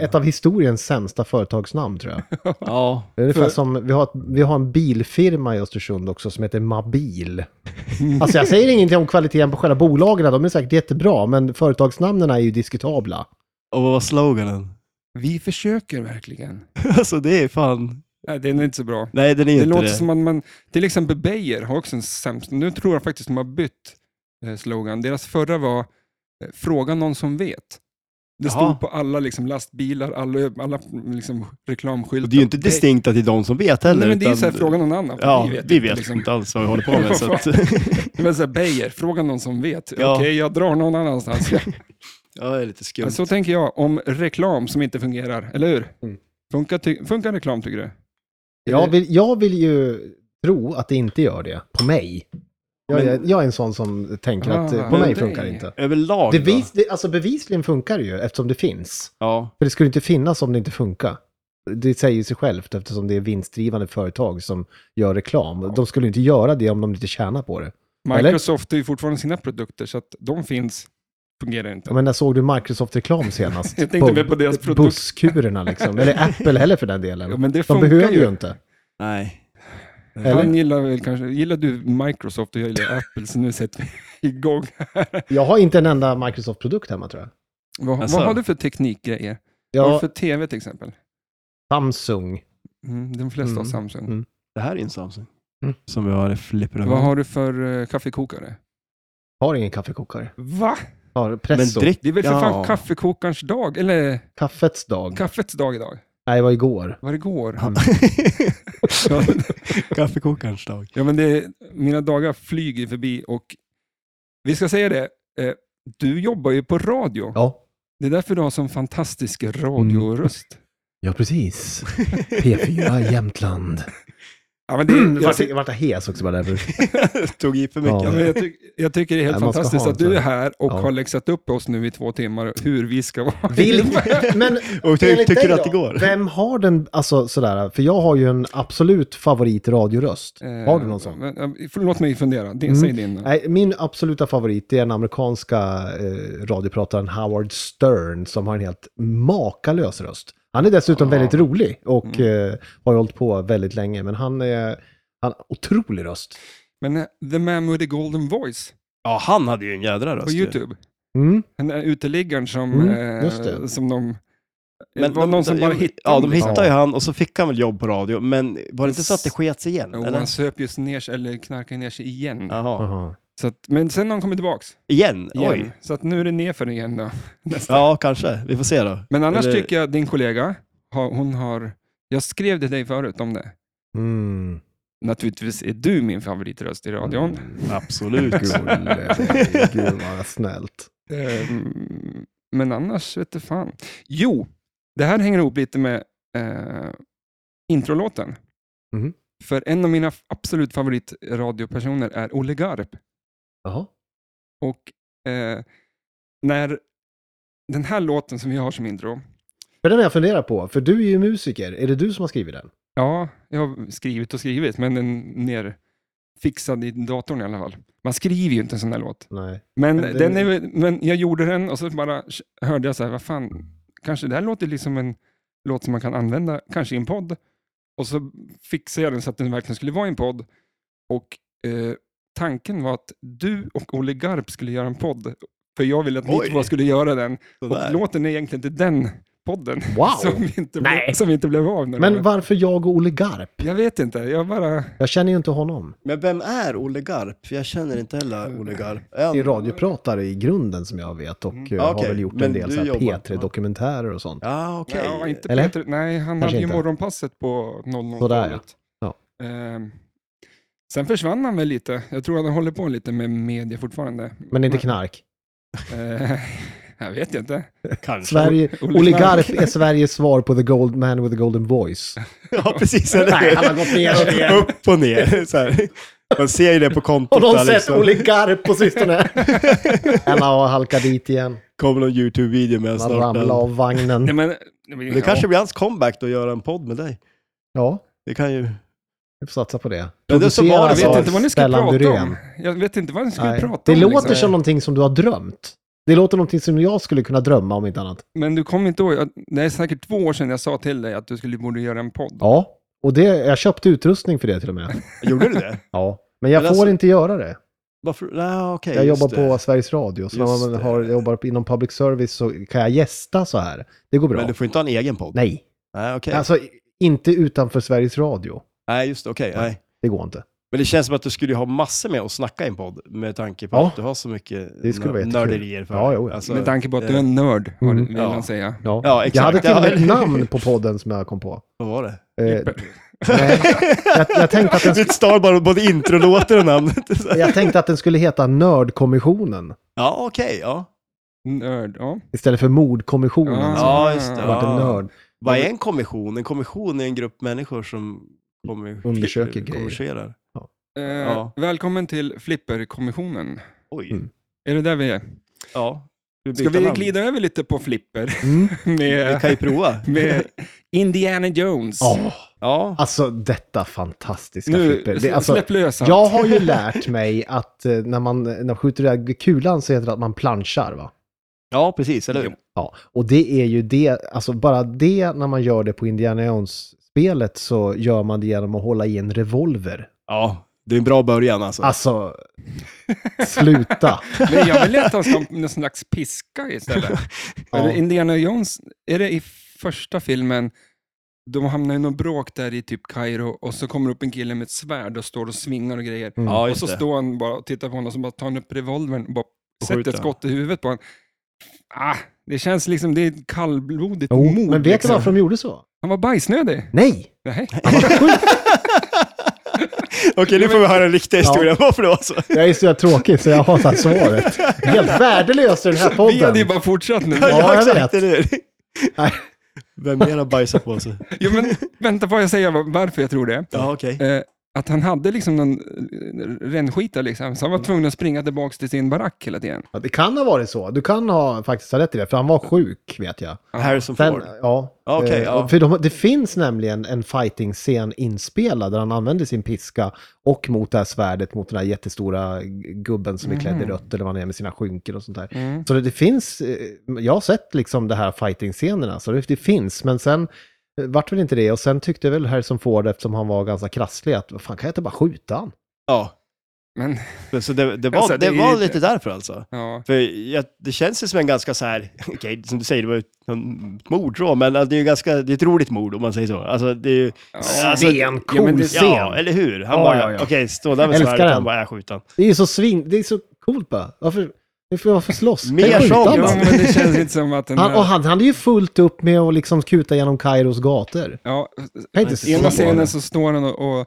Speaker 3: Ett av historiens sämsta företagsnamn tror jag.
Speaker 4: Ja,
Speaker 3: Det är ungefär
Speaker 1: För-
Speaker 3: som, vi har, ett- vi har en bilfirma i Östersund också som heter Mabil. Alltså jag säger ingenting om kvaliteten på själva bolagen, de är säkert jättebra, men företagsnamnen är ju diskutabla.
Speaker 4: och vad var sloganen?
Speaker 1: Vi försöker verkligen.
Speaker 4: Alltså det är fan...
Speaker 1: Nej, den är inte så bra.
Speaker 4: Nej, den är
Speaker 1: Det
Speaker 4: inte
Speaker 1: låter
Speaker 4: det.
Speaker 1: som att man, till exempel Beijer har också en sämst, nu tror jag faktiskt de har bytt eh, slogan. Deras förra var eh, Fråga någon som vet. Det
Speaker 4: Jaha.
Speaker 1: stod på alla liksom, lastbilar, alla, alla liksom, reklamskyltar.
Speaker 4: Och det är ju inte distinkt att det är de som vet heller.
Speaker 1: Nej, men det är ju
Speaker 4: utan-
Speaker 1: så här, fråga någon annan.
Speaker 4: Ja,
Speaker 1: vi vet,
Speaker 4: vi
Speaker 1: inte,
Speaker 4: vet
Speaker 1: liksom.
Speaker 4: inte alls vad vi håller på med. så att,
Speaker 1: Det var så här, Beijer, fråga någon som vet.
Speaker 4: Ja.
Speaker 1: Okej, jag drar någon annanstans.
Speaker 4: ja, det är lite skumt.
Speaker 1: Men Så tänker jag om reklam som inte fungerar, eller hur?
Speaker 3: Mm.
Speaker 1: Funkar, ty- funkar reklam tycker du?
Speaker 3: Jag vill, jag vill ju tro att det inte gör det, på mig. Jag, är- jag är en sån som tänker att eh,
Speaker 1: Ah,
Speaker 3: på
Speaker 4: men
Speaker 3: mig
Speaker 1: det-
Speaker 3: funkar det inte.
Speaker 4: Överlag
Speaker 3: Det
Speaker 4: då?
Speaker 3: vis, det, alltså bevisligen funkar det ju eftersom det finns.
Speaker 4: Ja,
Speaker 3: För det skulle inte finnas om det inte funkar. Det säger ju sig självt eftersom det är vinstdrivande företag som gör reklam. De skulle inte göra det om de inte tjänar på det. Eller?
Speaker 1: Microsoft har ju fortfarande sina produkter, så att de finns, fungerar inte.
Speaker 3: Ja, Men när såg du Microsoft-reklam senast?
Speaker 1: Jag tänkte väl på deras produkt.
Speaker 3: Busskurerna liksom. Eller Apple heller för den delen.
Speaker 1: Ja, men det
Speaker 3: de
Speaker 1: funkar
Speaker 3: behöver ju
Speaker 1: ju.
Speaker 3: inte.
Speaker 4: nej.
Speaker 1: Han
Speaker 3: Eller?
Speaker 1: gillar väl kanske, gillar du Microsoft och jag gillar Apple, så nu sätter vi igång.
Speaker 3: Jag har inte en enda Microsoft-produkt hemma tror jag.
Speaker 1: Vad,
Speaker 4: Alltså.
Speaker 1: vad har du för teknikgrejer?
Speaker 3: Jag
Speaker 1: Vad har du
Speaker 3: har
Speaker 1: för tv till exempel?
Speaker 3: Samsung.
Speaker 1: Mm, de flesta har
Speaker 3: Mm.
Speaker 1: Samsung.
Speaker 3: Mm.
Speaker 4: Det här är en Samsung.
Speaker 3: Mm.
Speaker 4: Som vi har i flipper
Speaker 1: Vad har du för eh, kaffekokare?
Speaker 3: Har ingen kaffekokare.
Speaker 1: Va?
Speaker 3: Har
Speaker 4: Men
Speaker 3: Presso.
Speaker 4: drick...
Speaker 1: Det är väl för
Speaker 4: ja.
Speaker 1: fan kaffekokarens dag, eller
Speaker 3: Kaffets dag.
Speaker 1: kaffets dag idag?
Speaker 3: Nej, det var igår.
Speaker 1: Var det går?
Speaker 4: Ja. Kaffekokarens dag.
Speaker 1: Ja, men det, mina dagar flyger förbi och vi ska säga det, eh, du jobbar ju på radio.
Speaker 3: Ja,
Speaker 1: Det är därför du har sån fantastisk radioröst.
Speaker 3: Mm. ja precis. P4 Jämtland.
Speaker 1: Ja, men det,
Speaker 3: Mm,
Speaker 1: jag,
Speaker 3: Vart
Speaker 1: ty-
Speaker 3: jag vart hes också bara därför.
Speaker 4: Tog i för mycket.
Speaker 1: ja, men jag, ty- jag tycker det är helt
Speaker 3: Ja, man ska
Speaker 1: fantastiskt
Speaker 3: ha
Speaker 1: att
Speaker 3: en
Speaker 1: du är
Speaker 3: sån.
Speaker 1: här och
Speaker 3: Ja.
Speaker 1: har läxat upp oss nu i två timmar hur vi ska vara.
Speaker 3: Vil- men
Speaker 4: Och ty-
Speaker 3: enligt
Speaker 4: tycker
Speaker 3: dig
Speaker 4: du att det
Speaker 3: då?
Speaker 4: går?
Speaker 3: Vem har den, alltså sådär, för jag har ju en absolut favorit radioröst.
Speaker 1: Eh,
Speaker 3: Har du någon sån?
Speaker 1: men, eh, för- Låt mig fundera. Din,
Speaker 3: Mm.
Speaker 1: Säg din.
Speaker 3: Nej, min absoluta favorit det är den amerikanska eh, radioprataren Howard Stern som har en helt makalös röst. Han är dessutom
Speaker 1: Ja.
Speaker 3: väldigt rolig och eh, har hållit på väldigt länge, men han är han, otrolig röst.
Speaker 1: Men eh, The Man with the Golden Voice
Speaker 4: Ja, han hade ju en jädra röst.
Speaker 1: på
Speaker 4: ju.
Speaker 1: YouTube.
Speaker 3: Mm.
Speaker 1: Den där uteliggaren som,
Speaker 3: Mm,
Speaker 1: eh,
Speaker 3: just det.
Speaker 1: som de...
Speaker 4: Men
Speaker 1: det var någon som bara hittade
Speaker 4: Ja, de
Speaker 1: honom, liksom.
Speaker 4: hittade ju han och så fick han väl jobb på radio. Men var det inte så att det sket sig igen?
Speaker 1: Jo,
Speaker 4: eller?
Speaker 1: han söp just ner sig, eller knarkade ner sig igen.
Speaker 4: Jaha.
Speaker 3: Aha.
Speaker 1: Så att, men sen har han kommit tillbaks.
Speaker 4: Igen?
Speaker 1: Igen.
Speaker 4: Oj.
Speaker 1: Så att nu är det nerför igen då. Nästa.
Speaker 4: Ja, kanske. Vi får se då.
Speaker 1: Men annars
Speaker 4: Eller-
Speaker 1: tycker jag din kollega, har, hon har... Jag skrev det till dig förut om det.
Speaker 3: Mm.
Speaker 1: Naturligtvis är du min favoritröst i radion.
Speaker 4: Absolut.
Speaker 3: Gulle, Gud vad snällt.
Speaker 1: Ehm, men annars vet du fan. Jo, det här hänger ihop lite med eh, introlåten.
Speaker 3: Mhm.
Speaker 1: För en av mina f- absolut favoritradiopersoner är Olle Garp.
Speaker 3: Jaha.
Speaker 1: Och eh, när den här låten som vi har som intro,
Speaker 3: För den har jag funderat på, för du är ju musiker. Är det du som har skrivit den?
Speaker 1: ja, jag har skrivit och skrivit, men den ner fixad i datorn i alla fall. Man skriver ju inte en sån här låt.
Speaker 3: Nej.
Speaker 1: Men,
Speaker 3: Men
Speaker 1: den
Speaker 3: den-
Speaker 1: är, väl- men jag gjorde den och så bara sh- hörde jag så här, vad fan, kanske det här låter liksom en låt som man kan använda, kanske i en podd. Och så fixade jag den så att den verkligen skulle vara i en podd. Och eh, tanken var att du och Olle Garp skulle göra en podd, för jag ville att ni
Speaker 4: Oj.
Speaker 1: två skulle göra den. Och
Speaker 4: Sådär.
Speaker 1: låten är egentligen inte den podden.
Speaker 3: Wow!
Speaker 1: Som vi inte, blev,
Speaker 3: Nej.
Speaker 1: som vi inte blev av med.
Speaker 3: Men varför jag och Olle Garp?
Speaker 1: Jag vet inte, jag bara...
Speaker 3: Jag känner ju inte honom.
Speaker 5: Men vem är Olle Garp? För jag känner inte
Speaker 1: Äh,
Speaker 5: heller Olle Garp. Är han-
Speaker 3: Det är radiopratare i grunden som jag vet och eh, har
Speaker 5: Okej,
Speaker 3: väl gjort en
Speaker 5: men
Speaker 3: del
Speaker 5: du
Speaker 3: så här
Speaker 5: jobbar-
Speaker 3: P3-dokumentärer och sånt.
Speaker 5: Ja, okej.
Speaker 1: Ja, inte
Speaker 3: Eller?
Speaker 1: Peter, nej, han
Speaker 3: Kanske
Speaker 1: hade ju
Speaker 3: inte.
Speaker 1: morgonpasset på 00
Speaker 3: Sådär, ja. Ja.
Speaker 1: Ehm, sen försvann han väl lite. Jag tror att han håller på lite med media fortfarande.
Speaker 3: Men inte Mm. knark.
Speaker 1: Eh, jag vet ju inte.
Speaker 2: Kanske.
Speaker 3: Sverige,
Speaker 1: Olle
Speaker 3: Olle
Speaker 1: Knark.
Speaker 3: Garp är Sveriges svar på The Gold Man with the Golden Voice.
Speaker 2: Ja, precis. Eller?
Speaker 3: Nej, han har gått ner sig igen.
Speaker 2: Upp och ner. Så här. Man ser ju det på kontot.
Speaker 3: Har
Speaker 2: där,
Speaker 3: någon sett
Speaker 2: liksom.
Speaker 3: Olle Garp på sistone? Han har halkat dit igen.
Speaker 2: Kommer någon YouTube-video med
Speaker 3: Han
Speaker 2: snart.
Speaker 3: ramlade
Speaker 2: men-
Speaker 3: av vagnen.
Speaker 1: Nej, men,
Speaker 2: Det kanske blir hans comeback då, att göra en podd med dig.
Speaker 3: Ja,
Speaker 2: Det kan ju...
Speaker 3: vi får satsa på det.
Speaker 2: Men det är så bara-
Speaker 1: jag vet
Speaker 2: alltså,
Speaker 1: inte vad ni ska
Speaker 3: Stellan
Speaker 1: prata om.
Speaker 3: Dyrén.
Speaker 1: Jag vet inte vad ni ska
Speaker 3: Nej.
Speaker 1: prata om.
Speaker 3: Det låter
Speaker 1: liksom.
Speaker 3: som någonting som du har drömt. Det låter någonting som jag skulle kunna drömma om inte annat.
Speaker 1: Men du kommer inte ihåg, jag- det är säkert två år sedan jag sa till dig att du skulle borde göra en podd.
Speaker 3: Ja, och det, jag köpte utrustning för det till och med.
Speaker 2: Gjorde du det?
Speaker 3: Ja. Men jag
Speaker 2: Men
Speaker 3: får
Speaker 2: alltså-
Speaker 3: inte göra det.
Speaker 2: Varför? Nej, okej.
Speaker 3: Jag
Speaker 2: just
Speaker 3: jobbar
Speaker 2: det.
Speaker 3: på Sveriges Radio, så när
Speaker 2: Just
Speaker 3: man har,
Speaker 2: det.
Speaker 3: jobbar inom public service så kan jag gästa så här. Det går bra.
Speaker 2: Men du får inte ha en egen podd?
Speaker 3: Nej,
Speaker 2: Nej, okej.
Speaker 3: alltså i- inte utanför Sveriges Radio.
Speaker 2: Nej, just det. Okej. Nej.
Speaker 3: Det går inte.
Speaker 2: Men det känns som att du skulle ju ha massor med att snacka i en podd med tanke på
Speaker 3: Ja.
Speaker 2: att du har så mycket
Speaker 3: Det skulle vara
Speaker 2: nö-
Speaker 3: jättekul.
Speaker 2: nörderier för
Speaker 3: Ja,
Speaker 2: dig.
Speaker 3: jo, ja.
Speaker 2: Alltså,
Speaker 1: Med tanke på att du är
Speaker 2: eh,
Speaker 1: en nörd, har-
Speaker 3: Mm.
Speaker 1: vill
Speaker 2: Ja.
Speaker 1: han säga.
Speaker 3: Ja.
Speaker 2: Ja, exakt.
Speaker 3: Jag hade till och med
Speaker 2: Ja.
Speaker 3: ett namn på podden som jag kom på.
Speaker 2: Vad var det?
Speaker 3: Eh, nej, jag, jag, tänkte att den,
Speaker 2: Ditt star bara både introlåter och namnet.
Speaker 3: jag tänkte att den skulle heta Nördkommissionen
Speaker 2: ja, okej. ja.
Speaker 1: Nörd, ja.
Speaker 3: istället för Mordkommissionen.
Speaker 1: Ja.
Speaker 3: som
Speaker 2: Ja, just det.
Speaker 3: Alltså, har varit en
Speaker 2: Ja.
Speaker 3: nörd.
Speaker 2: Vad är en kommission? En kommission är en grupp människor som kommer,
Speaker 3: Undersöker grejer.
Speaker 2: kommerserar.
Speaker 1: Eh,
Speaker 2: Ja.
Speaker 1: Välkommen till Flipperkommissionen.
Speaker 2: Oj.
Speaker 3: Mm.
Speaker 1: Är det där vi är?
Speaker 2: Ja.
Speaker 1: Ska
Speaker 2: byta
Speaker 1: vi
Speaker 2: namn?
Speaker 1: glida över lite på Flipper?
Speaker 3: Mm.
Speaker 2: Vi kan
Speaker 1: Med,
Speaker 2: ju prova.
Speaker 1: med Indiana Jones.
Speaker 3: Ja,
Speaker 2: Ja.
Speaker 3: Ah. alltså detta fantastiska
Speaker 1: nu,
Speaker 3: flipper. Det, alltså,
Speaker 1: släpp lös allt.
Speaker 3: jag har ju lärt mig att eh, när man, när man skjuter iväg kulan så heter det att man planschar va?
Speaker 2: ja, precis. Eller
Speaker 1: Jo.
Speaker 2: hur?
Speaker 3: Ja, och det är ju det, alltså bara det när man gör det på Indiana Jones-spelet så gör man det genom att hålla i en revolver.
Speaker 2: Ja, det är en bra början alltså.
Speaker 3: Alltså, sluta.
Speaker 1: Men jag vill att han ska ha någon slags piska istället.
Speaker 3: Ja.
Speaker 1: Är det Indiana Jones, är det i första filmen, de hamnar i något bråk där i typ Kairo och så kommer upp en kille med ett svärd och står och svingar och grejer.
Speaker 3: Mm.
Speaker 2: Ja,
Speaker 1: och
Speaker 2: just
Speaker 1: så
Speaker 2: det.
Speaker 1: står han bara och tittar på honom och så bara tar han upp revolvern och bara sätter
Speaker 2: skjuter.
Speaker 1: ett skott i huvudet på honom. Ah, det känns liksom, det är ett kallblodigt
Speaker 3: Jo,
Speaker 1: mord.
Speaker 3: men vet du
Speaker 1: liksom.
Speaker 3: varför de gjorde så?
Speaker 1: Han var bajsnödig.
Speaker 3: Nej!
Speaker 1: Nej.
Speaker 2: Okej, nu får vi höra en riktig historia varför det var alltså? så.
Speaker 3: Jag är så jävla tråkig så jag hatar svaret. Helt värdelös i den här
Speaker 1: Vi hade ju
Speaker 3: podden.
Speaker 1: bara fortsatt nu.
Speaker 3: Ja, jag vet.
Speaker 2: eller hur?
Speaker 3: Nej.
Speaker 2: Vem mer har bajsat på sig?
Speaker 1: Jo, men vänta, får jag säga varför jag tror det?
Speaker 2: Ja, okej.
Speaker 1: Eh, att han hade liksom någon eh, rännskita liksom, så han var tvungen att springa tillbaka till sin barack hela tiden.
Speaker 3: Ja, Det kan ha varit så. Du kan ha faktiskt ha rätt i det, för han var sjuk vet jag.
Speaker 2: Harrison
Speaker 3: Sen,
Speaker 2: Ford.
Speaker 3: ja.
Speaker 2: Ja, okej,
Speaker 3: eh,
Speaker 2: ja.
Speaker 3: För de, det finns nämligen en fighting-scen inspelad där han använder sin piska och mot det här svärdet mot den här jättestora gubben som är klädd i rött eller vad han är med sina skynken och sånt där.
Speaker 1: Mm.
Speaker 3: Så det, det finns, eh, jag har sett liksom det här fighting-scenerna, så det, det finns, men sen eh, vart väl inte det. Och sen tyckte väl Harrison Ford, eftersom han var ganska krasslig, att vad fan kan jag inte bara skjuta han?
Speaker 2: Ja.
Speaker 1: Men,
Speaker 2: Men Så det, det, var,
Speaker 1: Alltså,
Speaker 2: det,
Speaker 1: det är
Speaker 2: var
Speaker 1: ju-
Speaker 2: lite därför alltså.
Speaker 1: ja.
Speaker 2: För jag, det känns ju som en ganska så här, okej, som du säger, det var ju ett mord så, men alltså, det är ju ganska, det är ett roligt mord om man säger så. Alltså det är ju...
Speaker 1: Ja.
Speaker 2: Alltså,
Speaker 3: Stencool
Speaker 1: ja, men det-
Speaker 3: scen!
Speaker 2: Ja, eller hur? Han
Speaker 3: Ja,
Speaker 2: bara,
Speaker 3: ja, ja.
Speaker 2: okej, stå där med
Speaker 3: Älskar
Speaker 2: svärdet, han
Speaker 3: den.
Speaker 2: bara, jag skjuter han.
Speaker 3: Det är ju så svin, det är så coolt bara. Varför, varför, varför slåss? Kan jag
Speaker 2: Mer
Speaker 3: skjuta
Speaker 2: sånt.
Speaker 3: han
Speaker 1: Jo,
Speaker 3: bara?
Speaker 1: men det känns inte som att den
Speaker 3: Han, och
Speaker 1: här...
Speaker 3: han hade ju fullt upp med att liksom kuta genom Kairos gator.
Speaker 1: Ja,
Speaker 3: Kan inte slå
Speaker 1: ena
Speaker 3: på
Speaker 1: scenen
Speaker 3: det.
Speaker 1: så står han och, och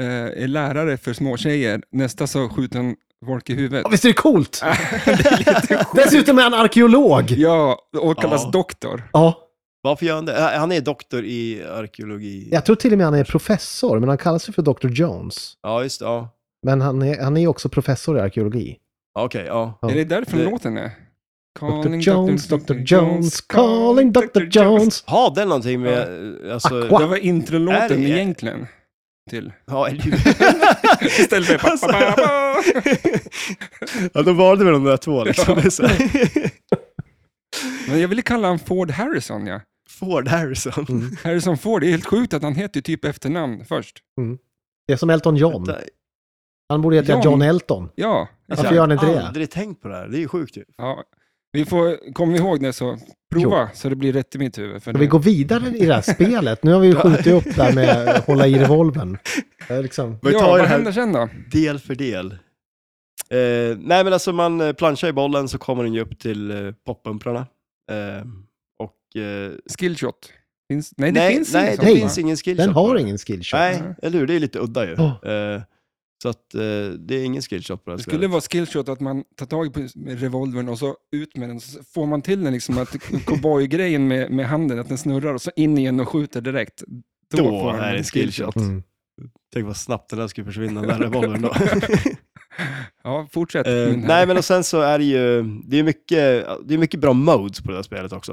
Speaker 1: eh, är lärare för småtjejer, nästa så skjuter han folk i huvudet.
Speaker 3: Ja, visst är det coolt? Dessutom är han arkeolog!
Speaker 1: Ja, och kallas
Speaker 2: Ja.
Speaker 1: doktor.
Speaker 3: Ja,
Speaker 2: Varför gör han det? Äh, Han är doktor i arkeologi. Ja,
Speaker 3: jag tror till och med han är professor, men han kallas ju för Dr. Jones.
Speaker 2: just det. Ja.
Speaker 3: Men han är, han är också professor i arkeologi.
Speaker 2: Ja, Okej, ja.
Speaker 3: Ja.
Speaker 1: Är det därifrån
Speaker 2: Det-
Speaker 1: låten är?
Speaker 3: Dr.
Speaker 1: Calling
Speaker 3: Jones, Dr. Jones, calling Dr. Jones.
Speaker 2: Har den någonting med, eh, alltså...
Speaker 3: Aqua.
Speaker 1: Det var
Speaker 2: Är det-
Speaker 1: introlåten egentligen. Till.
Speaker 2: Ja, eller hur?
Speaker 1: Istället för...
Speaker 2: Alltså. ja, de valde väl de där två liksom. Det är så här.
Speaker 1: Men jag ville kalla han Ford Harrison, ja.
Speaker 2: Ford Harrison.
Speaker 1: Harrison Ford, det är helt sjukt att han heter ju typ efternamn först.
Speaker 3: Det är som Elton John.
Speaker 2: Vänta,
Speaker 3: Han borde heta
Speaker 1: John.
Speaker 3: John Elton.
Speaker 1: Ja,
Speaker 3: Varför gör han inte
Speaker 2: Jag har
Speaker 3: det?
Speaker 2: aldrig tänkt på det här. Det är ju sjukt ju.
Speaker 1: ja. Vi får, kom ihåg det så prova så det blir rätt i mitt huvud. För
Speaker 3: Ska vi
Speaker 1: nu.
Speaker 3: gå vidare i det här spelet? Nu har vi ju skjutit upp det här med att hålla i revolvern. Det är Liksom,
Speaker 1: ja,
Speaker 6: Men ta det
Speaker 1: vad
Speaker 6: här
Speaker 1: händer sen då?
Speaker 6: del för del.
Speaker 2: Eh, nej men alltså man eh, planchar i bollen så kommer den ju upp till eh, poppumprarna. Eh, och... Eh,
Speaker 1: Skillshot? Finns, nej, det
Speaker 2: nej,
Speaker 1: finns
Speaker 2: nej,
Speaker 1: ingen
Speaker 2: det
Speaker 1: sån, va?
Speaker 2: finns ingen skillshot.
Speaker 3: den har
Speaker 2: bara.
Speaker 3: ingen skillshot.
Speaker 2: Nej,
Speaker 1: Nej.
Speaker 2: eller hur? Det är lite udda ju.
Speaker 3: Ja.
Speaker 2: Eh, så att eh, det är ingen skillshot på det här
Speaker 1: Det skulle
Speaker 2: spelet.
Speaker 1: vara skillshot att man tar tag på med revolvern och så ut med den. Så får man till den liksom att cowboygrejen med, med handen, att den snurrar och så in igen och skjuter direkt.
Speaker 2: Då
Speaker 1: får man
Speaker 2: är det skillshot.
Speaker 3: Mm.
Speaker 2: Tänk vad snabbt den där skulle försvinna, den där revolvern då.
Speaker 1: Ja, fortsätt.
Speaker 2: Eh,
Speaker 1: min
Speaker 2: nej
Speaker 1: herre.
Speaker 2: men och sen så är det ju, det är mycket, det är mycket bra modes på det här spelet också.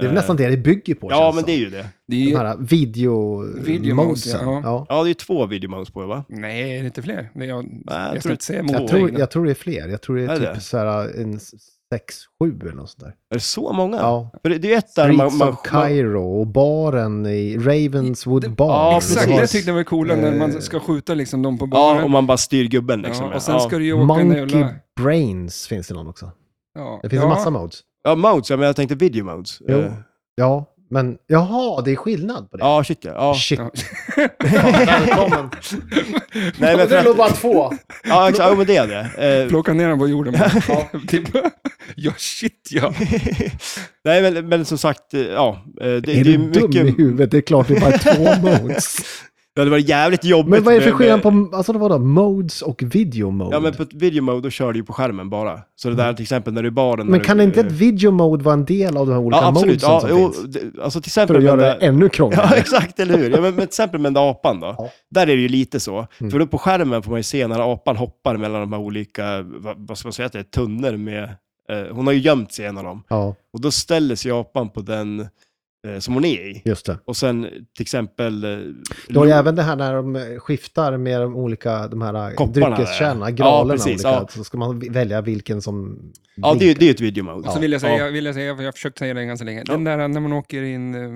Speaker 3: Det är väl
Speaker 2: Eh,
Speaker 3: nästan det det bygger på.
Speaker 2: Ja
Speaker 3: känns
Speaker 2: men det är
Speaker 3: som.
Speaker 2: ju det.
Speaker 1: det är ju,
Speaker 3: De här video
Speaker 1: Video modes,
Speaker 3: modesen.
Speaker 1: ja.
Speaker 3: Ja.
Speaker 2: Ja det är ju två video modes på det va?
Speaker 1: Nej, det är inte fler. Det är jag, jag,
Speaker 2: jag
Speaker 1: ska
Speaker 2: tror
Speaker 1: inte säga
Speaker 2: två.
Speaker 1: mot
Speaker 3: Jag, tror, jag tror det är fler. Jag tror det är,
Speaker 2: Är
Speaker 3: typ
Speaker 2: det?
Speaker 3: så här en 6-7 eller något sånt där.
Speaker 2: Är det så många?
Speaker 3: Ja.
Speaker 2: För det, det är ju ett där man...
Speaker 3: Streets
Speaker 2: man,
Speaker 3: of Cairo och baren i Ravenswood Bar.
Speaker 2: Ja,
Speaker 1: Exakt,
Speaker 2: precis.
Speaker 1: det tyckte jag var coola när man ska skjuta liksom dem på
Speaker 2: Eh, ja, och
Speaker 1: baren.
Speaker 2: man bara styr gubben liksom.
Speaker 1: Ja,
Speaker 2: Ja,
Speaker 1: och sen ska du ju åka en
Speaker 3: Monkey
Speaker 1: jävla...
Speaker 3: Brains finns det någon också.
Speaker 1: Ja.
Speaker 3: Det finns en
Speaker 1: ja.
Speaker 3: massa modes.
Speaker 2: ja modes, ja, men jag tänkte video modes.
Speaker 3: Jo.
Speaker 2: Eh,
Speaker 3: Ja, men jaha, det är skillnad på det.
Speaker 2: Ja, shit ja. ja.
Speaker 3: Shit.
Speaker 1: Ja.
Speaker 3: Välkommen.
Speaker 2: Nej, men för att,
Speaker 3: bara två.
Speaker 2: ja, exakt, ja, men det är det. Eh,
Speaker 1: Plocka ner den på jorden. Ja, typ. ja shit ja.
Speaker 2: Nej, men, men som sagt, eh, ja. eh, Det, det
Speaker 3: Är
Speaker 2: är
Speaker 3: du
Speaker 2: ju
Speaker 3: dum i
Speaker 2: mycket...
Speaker 3: huvudet? Det är klart det är bara två modes.
Speaker 2: Ja, det var jävligt jobbigt.
Speaker 3: Men vad är det för
Speaker 2: med-
Speaker 3: skillnad
Speaker 2: med-
Speaker 3: på, alltså det var då modes och video mode?
Speaker 2: Ja, men
Speaker 3: men,
Speaker 2: på ett video mode då kör du ju på skärmen bara. Så det där till exempel när du är i baren... när
Speaker 3: Mm. kan
Speaker 2: du,
Speaker 3: inte
Speaker 2: eh,
Speaker 3: ett video mode vara en del av de här olika
Speaker 2: Ja, absolut.
Speaker 3: modesen
Speaker 2: Ja,
Speaker 3: som
Speaker 2: jo,
Speaker 3: finns?
Speaker 2: det, alltså till
Speaker 3: För
Speaker 2: exempel...
Speaker 3: att göra
Speaker 2: den
Speaker 3: det
Speaker 2: där-
Speaker 3: ännu krångligare.
Speaker 2: Ja, exakt, eller hur? Ja, men, men till exempel med den där apan då.
Speaker 3: Ja.
Speaker 2: Där är det ju lite så.
Speaker 3: Mm.
Speaker 2: För då på skärmen får man ju se när apan hoppar mellan de här olika, vad, vad ska man säga att det är, tunnor med... Eh, hon har ju gömt sig i en av dem.
Speaker 3: Ja,
Speaker 2: Och då ställer sig apan på den eh, som hon är i.
Speaker 3: just det.
Speaker 2: Och sen till exempel... eh,
Speaker 3: Du har ju även det här när de eh, skiftar med de olika de här eh,
Speaker 2: Kopparna,
Speaker 3: dryckeskärnorna,
Speaker 2: ja.
Speaker 3: gralerna.
Speaker 2: Ja, precis,
Speaker 3: olika,
Speaker 2: ja.
Speaker 3: Så ska man välja vilken som...
Speaker 2: Ja, det är ju det är ju ett video mode.
Speaker 1: Och så vill jag säga, vill jag säga, för jag har försökt säga det ganska länge. Den där när man åker in... eh,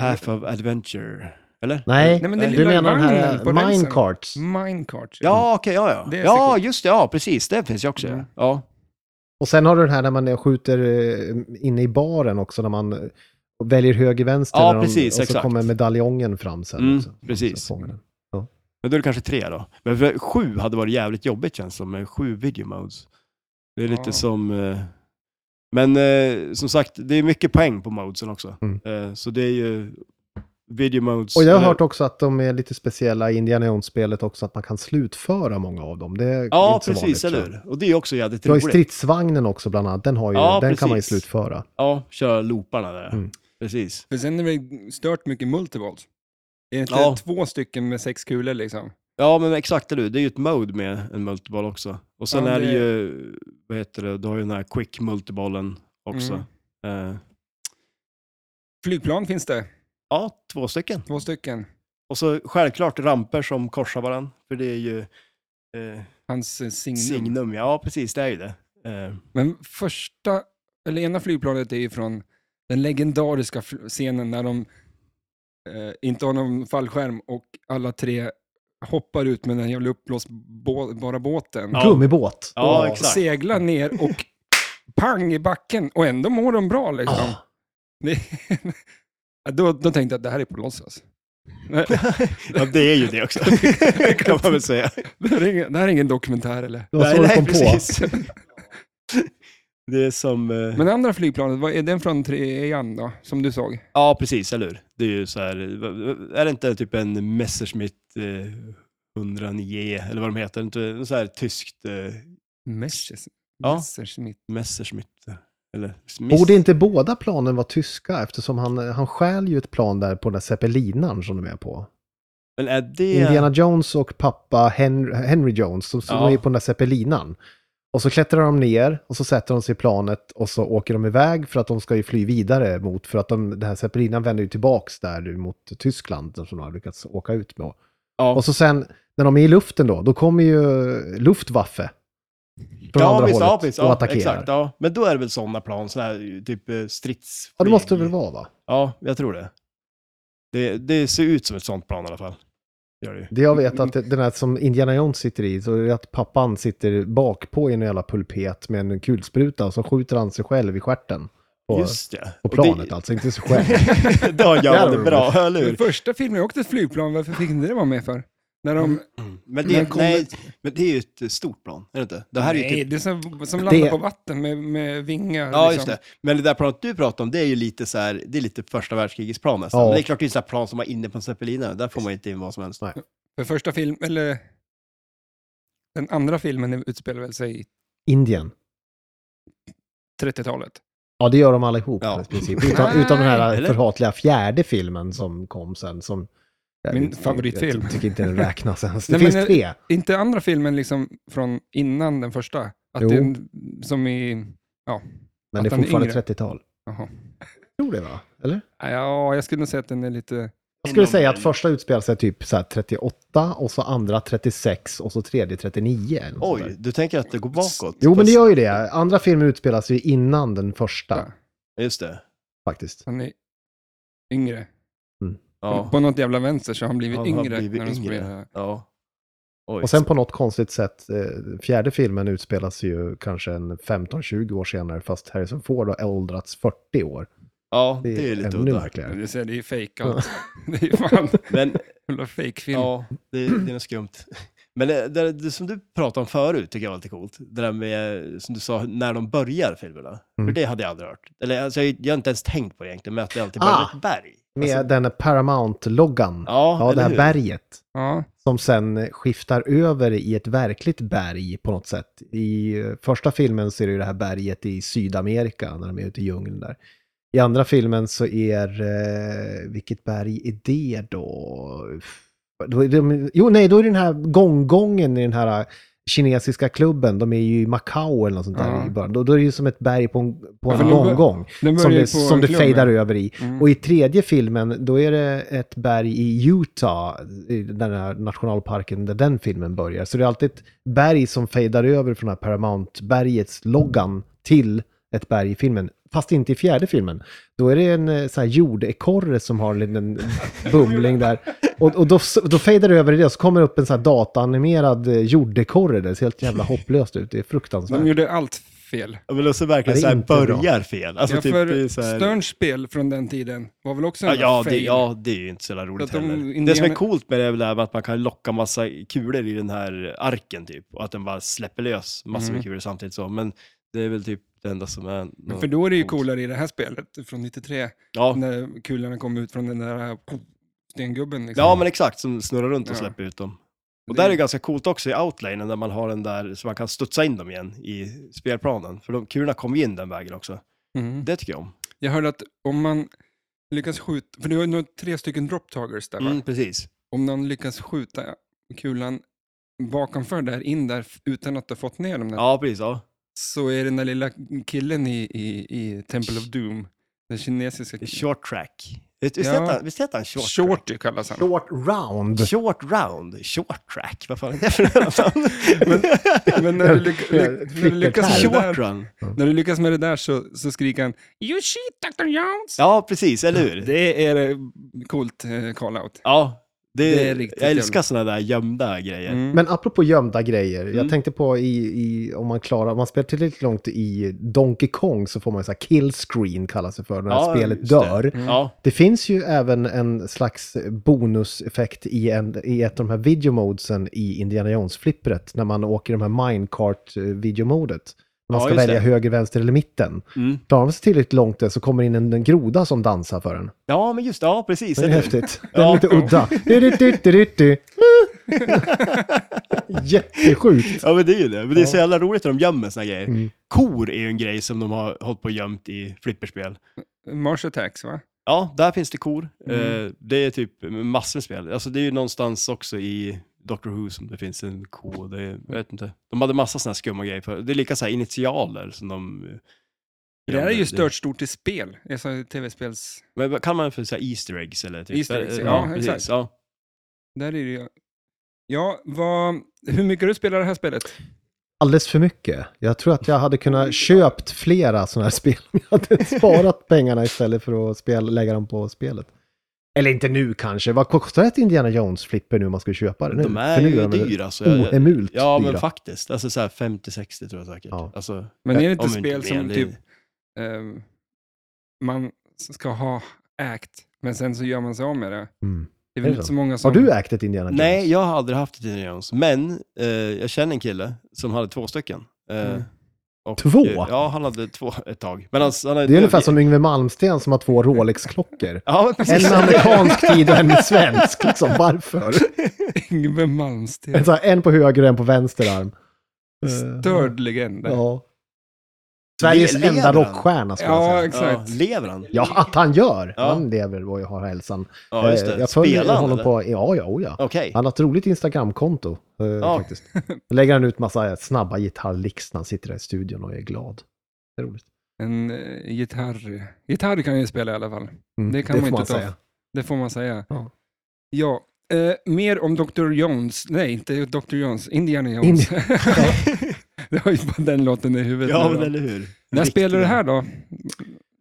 Speaker 2: Path of Adventure. Eller?
Speaker 3: Nej,
Speaker 1: Nej, men det
Speaker 2: Nej.
Speaker 1: lilla
Speaker 3: du menar den
Speaker 1: vagnen på Mm.
Speaker 3: här
Speaker 1: rälsen.
Speaker 3: minecarts.
Speaker 1: Minecart.
Speaker 2: Ja, okej, ja,
Speaker 1: Det
Speaker 2: ja.
Speaker 1: är
Speaker 2: Ja,
Speaker 1: säkert.
Speaker 2: just det. Ja, precis. Det finns ju också.
Speaker 1: Mm.
Speaker 2: Ja.
Speaker 3: Och sen har du den här när man skjuter eh, inne i baren också, när man eh, väljer höger, vänster.
Speaker 2: Ja,
Speaker 3: när
Speaker 2: precis,
Speaker 3: de, och så
Speaker 2: exakt.
Speaker 3: kommer medaljongen fram sen.
Speaker 2: Mm,
Speaker 3: också.
Speaker 2: precis.
Speaker 3: Så fångar den.
Speaker 2: Men då är det kanske tre då. Men för sju hade varit jävligt jobbigt känns som, med sju video modes. Det är lite
Speaker 1: Ja.
Speaker 2: som... eh, Men eh, som sagt, det är mycket poäng på modesen också.
Speaker 3: Mm.
Speaker 2: Eh, så det är ju video modes... eh,
Speaker 3: Och jag har
Speaker 2: eller-
Speaker 3: hört också att de är lite speciella i Indiana Jones-spelet också, att man kan slutföra många av dem. Det är
Speaker 2: Ja,
Speaker 3: inte så
Speaker 2: precis,
Speaker 3: vanligt,
Speaker 2: eller
Speaker 3: tror jag.
Speaker 2: hur? Och det är också jävligt
Speaker 3: Du har ju
Speaker 2: roligt.
Speaker 3: stridsvagnen också bland annat, den, har ju,
Speaker 2: Ja,
Speaker 3: den kan man ju
Speaker 2: precis.
Speaker 3: slutföra.
Speaker 2: Ja, köra looparna där.
Speaker 3: Mm.
Speaker 2: Precis.
Speaker 1: För sen är det stört mycket multivolt. Är det inte
Speaker 2: Ja.
Speaker 1: två stycken med sex kulor liksom?
Speaker 2: Ja, men exakt, eller hur? Det är ju ett mode med en multiball också. Och sen
Speaker 1: Ja,
Speaker 2: är det
Speaker 1: det-
Speaker 2: ju, vad heter det, du har ju den här quick multiballen också. Eh,
Speaker 1: Mm. Flygplan finns det,
Speaker 2: ja, två stycken.
Speaker 1: två stycken.
Speaker 2: Och så självklart ramper som korsar varandra, för det är ju eh,
Speaker 1: Hans eh, signum.
Speaker 2: signum. Ja, precis, det är ju det. Eh,
Speaker 1: Men första, eller ena flygplanet är ju från den legendariska fl- scenen när de eh, inte har någon fallskärm och alla tre hoppar ut med den jävla uppblåsbara båten.
Speaker 2: Ja.
Speaker 3: Gummibåt.
Speaker 2: Ja,
Speaker 3: Åh.
Speaker 2: exakt.
Speaker 1: Seglar ner och pang i backen och ändå mår de bra liksom.
Speaker 3: Ah.
Speaker 1: Det, då, då tänkte jag att det här är på låtsas. Nej,
Speaker 2: ja, det är ju det också, kan man väl säga.
Speaker 1: Det här är ingen, det här är ingen dokumentär eller?
Speaker 3: Det var så
Speaker 2: Nej,
Speaker 3: du kom
Speaker 2: nej,
Speaker 3: på.
Speaker 2: precis. Det är som... eh,
Speaker 1: Men det andra flygplanet, vad är den från trean då, som du såg?
Speaker 2: Ja, precis, eller hur? Det är ju så här, eh, är det inte typ en Messerschmitt eh, 109 eller vad de heter? Inte en så här tyskt eh,
Speaker 1: Messerschmitt.
Speaker 2: Ja.
Speaker 1: Messerschmitt.
Speaker 2: Messerschmitt? Eller Smith?
Speaker 3: Borde inte båda planen vara tyska eftersom han, han stjäl ju ett plan där på den där zeppelinaren som de är på.
Speaker 2: Men är det...
Speaker 3: Indiana Jones och pappa Henry, Henry Jones som som
Speaker 2: Ja.
Speaker 3: är på den där zeppelinan. Och så klättrar de ner och så sätter de sig i planet och så åker de iväg för att de ska ju fly vidare mot, för att de, den här zeppelinan vänder ju tillbaks där mot Tyskland som de har lyckats åka ut med.
Speaker 2: Ja.
Speaker 3: Och så sen när de är i luften då, då kommer ju Luftwaffe från
Speaker 2: ja,
Speaker 3: andra
Speaker 2: visst, ja,
Speaker 3: hållet
Speaker 2: visst,
Speaker 3: och
Speaker 2: ja,
Speaker 3: attackerar.
Speaker 2: exakt, ja. Men då är det väl sådana plan, sådana här typ eh, stridsflyg.
Speaker 3: Ja, det måste det väl vara va?
Speaker 2: Ja, jag tror det. det. Det ser ut som ett sånt plan i alla fall.
Speaker 4: Gör det ju.
Speaker 3: Det jag vet att det- den här som Indiana Jones sitter i, så är det att pappan sitter bak på i en jävla pulpet med en kulspruta och så skjuter han sig själv i stjärten. På,
Speaker 2: Just det.
Speaker 3: på
Speaker 2: Och
Speaker 3: planet alltså, inte sig själv.
Speaker 2: Det, det har
Speaker 3: Där har
Speaker 2: jag
Speaker 3: du
Speaker 2: det bra, eller hur?
Speaker 1: Den första filmen jag åkte ett flygplan, varför fick inte det vara med för? När de,
Speaker 2: Men
Speaker 1: Men
Speaker 2: det,
Speaker 1: kommer-
Speaker 2: nej, men det är ju ett eh, stort plan, är det inte? Det här är ju
Speaker 1: nej,
Speaker 2: typ...
Speaker 1: det är som, som landar
Speaker 3: Det-
Speaker 1: på vatten med, med vingar.
Speaker 2: Ja, just
Speaker 1: liksom.
Speaker 2: det. Men det där planet du pratar om, det är ju lite så här, det är lite första världskrigets plan nästan.
Speaker 3: Ja.
Speaker 2: Men det är klart, det är så här plan som var inne på en zeppelinare, där får man ju inte in vad som helst.
Speaker 3: Nej.
Speaker 1: För första film, eller den andra filmen utspelar väl sig i
Speaker 3: Indien.
Speaker 1: 30-talet.
Speaker 3: Ja, det gör de allihop
Speaker 2: Ja.
Speaker 3: i princip. Utan, utan den här
Speaker 2: Eller?
Speaker 3: förhatliga fjärde filmen som kom sen. Som, jag
Speaker 1: Min
Speaker 3: vet inte,
Speaker 1: favoritfilm.
Speaker 3: Jag tycker inte den räknas ens. Det
Speaker 1: Nej, men
Speaker 3: finns
Speaker 1: jag-
Speaker 3: tre.
Speaker 1: Inte andra filmen liksom från innan den första? Att
Speaker 3: Jo.
Speaker 1: det är en, som i, ja,
Speaker 3: Men det är
Speaker 1: att han är
Speaker 3: fortfarande
Speaker 1: yngre.
Speaker 3: 30-tal.
Speaker 1: jaha.
Speaker 3: Tror det va? Eller?
Speaker 1: Ah, Ja, jag skulle nog säga att den är lite...
Speaker 3: Jag skulle
Speaker 2: Inom
Speaker 3: säga att
Speaker 2: en-
Speaker 3: första utspelar sig typ så här 38 och så andra 36 och så tredje 39. eller något sånt
Speaker 2: Oj,
Speaker 3: där.
Speaker 2: du tänker att det går bakåt?
Speaker 3: Jo, men det
Speaker 2: Fast-
Speaker 3: gör ju det. Andra filmen utspelas ju innan den första
Speaker 1: Ja.
Speaker 2: Just det.
Speaker 3: faktiskt.
Speaker 1: Han är yngre.
Speaker 2: Ja.
Speaker 3: Mm.
Speaker 1: På något jävla vänster så har han blivit
Speaker 2: Han har
Speaker 1: yngre
Speaker 2: blivit
Speaker 1: när de
Speaker 2: yngre.
Speaker 1: spelar.
Speaker 2: ja. Oj,
Speaker 3: Och sen på något konstigt sätt, eh, fjärde filmen utspelas ju kanske en 15-20 år senare, fast Harrison Ford har åldrats 40 år.
Speaker 2: Ja,
Speaker 3: Det är,
Speaker 2: lite
Speaker 3: ännu
Speaker 2: udda.
Speaker 3: märkligare.
Speaker 1: Det är, det är fake allt. det är fan
Speaker 2: Men
Speaker 1: jävla fake-film.
Speaker 2: ja, det, det är något skumt. Men det, det, det som du pratade om förut tycker jag var lite coolt. Det där med, som du sa, när de börjar filmerna.
Speaker 3: Mm.
Speaker 2: För det hade jag aldrig hört. Eller alltså, jag, jag har inte ens tänkt på det egentligen, men att det alltid börjar med
Speaker 3: Ah.
Speaker 2: ett berg.
Speaker 3: Med
Speaker 2: Alltså,
Speaker 3: den här Paramount-loggan.
Speaker 2: ja,
Speaker 3: Ja, det
Speaker 2: eller
Speaker 3: här
Speaker 2: hur?
Speaker 3: berget.
Speaker 1: Ja.
Speaker 3: Som sen skiftar över i ett verkligt berg på något sätt. I eh, första filmen ser du det här berget i Sydamerika när de är ute i djungeln där. I andra filmen så är, eh, vilket berg är det då? F- då är de, jo, nej, då är det den här gonggången i den här eh, kinesiska klubben. De är ju i Macau eller något sånt där
Speaker 1: Ja.
Speaker 3: i början. Då, då är det ju som ett berg på en, på
Speaker 1: Ja,
Speaker 3: en
Speaker 1: för de bör-
Speaker 3: gonggång.
Speaker 1: Den
Speaker 3: Som
Speaker 1: börjar ju
Speaker 3: det,
Speaker 1: på
Speaker 3: som
Speaker 1: en
Speaker 3: det
Speaker 1: klubb,
Speaker 3: fejdar
Speaker 1: ja.
Speaker 3: över i.
Speaker 1: Mm.
Speaker 3: Och i tredje filmen, då är det ett berg i Utah, i den här nationalparken där den filmen börjar. Så det är alltid ett berg som fejdar över från den här Paramount-bergets loggan till ett berg i filmen. Fast inte i fjärde filmen. Då är det en eh, så här jordekorre som har en liten bumling där. Och, och då, då fejdar det över i det och så kommer det upp en så här dataanimerad eh, jordekorre. där. Det ser helt jävla hopplöst ut. Det är fruktansvärt.
Speaker 1: De gjorde allt fel.
Speaker 2: Ja, men också verkligen
Speaker 3: Ja, det
Speaker 2: så
Speaker 3: är
Speaker 2: här
Speaker 3: inte bra.
Speaker 2: börjar fel. Alltså
Speaker 1: ja,
Speaker 2: typ det
Speaker 1: för
Speaker 2: är så här...
Speaker 1: Sterns spel från den tiden var väl också en
Speaker 2: Ja, ja, det,
Speaker 1: fail?
Speaker 2: ja, det är ju inte så jävla roligt
Speaker 1: Att de
Speaker 2: heller.
Speaker 1: indianer-
Speaker 2: Det som är coolt med det är väl det här med att man kan locka massa kulor i den här arken typ. Och att den bara släpper lös massor
Speaker 1: Mm.
Speaker 2: med kulor samtidigt så. Men det är väl typ det enda som är... något-
Speaker 1: För då är det ju coolare i det här spelet från 93,
Speaker 2: Ja.
Speaker 1: när kulorna kom ut från den där äh, stengubben. Liksom.
Speaker 2: ja, men exakt. Som snurrar runt och
Speaker 1: Ja.
Speaker 2: släpper ut dem. Och
Speaker 1: Det-
Speaker 2: där är det ganska coolt också i outlanen där man har den där så man kan studsa in dem igen i spelplanen. För de kulorna kommer ju in den vägen också.
Speaker 1: Mm.
Speaker 2: Det tycker jag om.
Speaker 1: Jag hörde att om man lyckas skjuta, för det var ju nog tre stycken drop targets där va?
Speaker 2: Mm, precis.
Speaker 1: Om någon lyckas skjuta kulan bakomför där, in där, f- utan att ha fått ner dem där,
Speaker 2: Ja, precis. Ja.
Speaker 1: så är den där lilla killen i, i, i Temple of Doom, den kinesiska
Speaker 2: Short track. Visst
Speaker 1: Ja.
Speaker 2: visst heter han- visst heter han short, track?
Speaker 1: Shorty kallas han.
Speaker 3: Short round.
Speaker 2: Short round, short track, vad fan är det för namn? Men,
Speaker 1: Men när du, lyck,
Speaker 3: Ja,
Speaker 1: lyck, när du lyckas med det
Speaker 2: short
Speaker 1: där,
Speaker 2: run.
Speaker 1: när du lyckas med det där så, så skriker han You shit Dr. Jones!
Speaker 2: Ja, precis, eller hur?
Speaker 1: Det är eh, coolt eh, call-out.
Speaker 2: Ja, det,
Speaker 1: Det är riktigt
Speaker 2: jag älskar
Speaker 1: jävligt.
Speaker 2: sådana där gömda grejer.
Speaker 1: Mm.
Speaker 3: Men apropå gömda grejer,
Speaker 2: Mm.
Speaker 3: jag tänkte på i, i, om man klarar, om man spelar tillräckligt långt i Donkey Kong så får man ju så här kill screen kallas det för, när
Speaker 2: Ja,
Speaker 3: spelet
Speaker 2: just det.
Speaker 3: dör. Det.
Speaker 1: Mm.
Speaker 2: Ja,
Speaker 3: finns ju även en slags bonuseffekt i, en, i ett av de här videomodesen i Indiana Jones-flippret, när man åker i de här minecart-videomodet. Man
Speaker 2: Ja,
Speaker 3: ska
Speaker 2: just
Speaker 3: välja
Speaker 2: det.
Speaker 3: höger, vänster eller mitten.
Speaker 2: mm.
Speaker 3: Klarar man sig tillräckligt långt där så kommer in en, en groda som dansar för en.
Speaker 2: ja men just det, ja precis.
Speaker 3: Det är
Speaker 2: Eller hur?
Speaker 3: häftigt. Den är
Speaker 2: Ja.
Speaker 3: lite udda. Du, du, du, du, du, du. Jättesjukt.
Speaker 2: Ja, men det är ju det. Men det är så jävla roligt när de gömmer såna grejer.
Speaker 3: Mm.
Speaker 2: Kor är ju en grej som de har hållit på och gömt i flipperspel.
Speaker 1: Mars Attacks va?
Speaker 2: Ja, där finns det kor.
Speaker 1: Mm.
Speaker 2: Eh, det är typ massor med spel. Alltså det är ju någonstans också i Doctor Who som det finns en ko. och Det är, jag vet inte. De hade massa sådana skumma grejer. För, det är lika så här initialer som de... eh,
Speaker 1: det här är
Speaker 2: gömmer.
Speaker 1: ju stört stort i spel, alltså tv-spels...
Speaker 2: Men vad kallar man det för så här Easter eggs eller? Typ?
Speaker 1: Easter eggs, ja,
Speaker 2: precis,
Speaker 1: exakt.
Speaker 2: Ja.
Speaker 1: Där är det ju... Ja, vad... hur mycket har du spelat det här spelet?
Speaker 3: Alldeles för mycket. Jag tror att jag hade kunnat köpt flera sådana här spel om jag hade sparat pengarna istället för att spel, lägga dem på spelet. Eller inte nu kanske. Vad kostar ett Indiana Jones-flipper nu om man ska köpa det nu?
Speaker 2: De är
Speaker 3: För nu
Speaker 2: ju
Speaker 3: de väl
Speaker 2: dyra. Alltså, Jag- jag-
Speaker 3: Ohemult
Speaker 2: ja,
Speaker 3: dyra.
Speaker 2: men faktiskt. Alltså så här 50-60 tror jag säkert.
Speaker 3: Ja.
Speaker 2: Alltså,
Speaker 1: Men är det inte
Speaker 2: om inte
Speaker 1: spel som
Speaker 2: mer,
Speaker 1: typ
Speaker 2: det-
Speaker 1: eh, man ska ha ägt, men sen så gör man sig av med det?
Speaker 3: mm.
Speaker 1: Det är
Speaker 3: Är
Speaker 1: väl
Speaker 3: det
Speaker 1: inte
Speaker 3: så?
Speaker 1: så många som...
Speaker 3: Har du ägt ett Indiana Jones?
Speaker 2: Nej, jag har aldrig haft ett Indiana Jones. Men eh, jag känner en kille som hade två stycken. Eh,
Speaker 1: Mm.
Speaker 2: och,
Speaker 3: Två?
Speaker 2: eh, Ja, han hade två ett tag. Men han, han hade,
Speaker 3: Det är ungefär som Yngwie Malmsteen som har två Rolex-klockor.
Speaker 2: Ja, men precis.
Speaker 3: En amerikansk tid och en svensk. Liksom, varför?
Speaker 1: Yngve
Speaker 3: En,
Speaker 1: Malmsteen.
Speaker 3: så här, en på höger och en på vänster arm. Eh,
Speaker 1: Störd legend.
Speaker 3: Ja. Sveriges
Speaker 2: Le- lever
Speaker 3: enda
Speaker 2: han?
Speaker 3: rockstjärna skulle
Speaker 1: Ja,
Speaker 3: jag säga.
Speaker 2: Ja,
Speaker 1: exakt.
Speaker 2: lever han?
Speaker 3: Ja, att han gör.
Speaker 2: Ja.
Speaker 3: Han lever och har hälsan.
Speaker 2: Ja, just
Speaker 3: Eh,
Speaker 2: det.
Speaker 3: Jag följer
Speaker 2: Spelar han,
Speaker 3: honom
Speaker 2: eller?
Speaker 3: på... Ja, ja, oh, ja.
Speaker 2: Okej.
Speaker 3: Han har ett roligt Instagramkonto. Eh,
Speaker 2: Ja.
Speaker 3: faktiskt. Då lägger han ut massa snabba gitarrlicks när han sitter där i studion och är glad. Det är roligt.
Speaker 1: En eh, gitarr. Gitarr kan jag ju spela i alla fall.
Speaker 3: Mm,
Speaker 1: Det kan man
Speaker 3: får
Speaker 1: inte ta.
Speaker 3: säga.
Speaker 1: Det får man säga.
Speaker 3: Ja.
Speaker 1: Ja, eh, mer om Dr. Jones. Nej, inte Dr. Jones. Indiana Jones. det har ju bara den låten i huvudet.
Speaker 2: Ja,
Speaker 1: nu
Speaker 2: men
Speaker 1: då.
Speaker 2: eller hur?
Speaker 1: När spelar du det här då?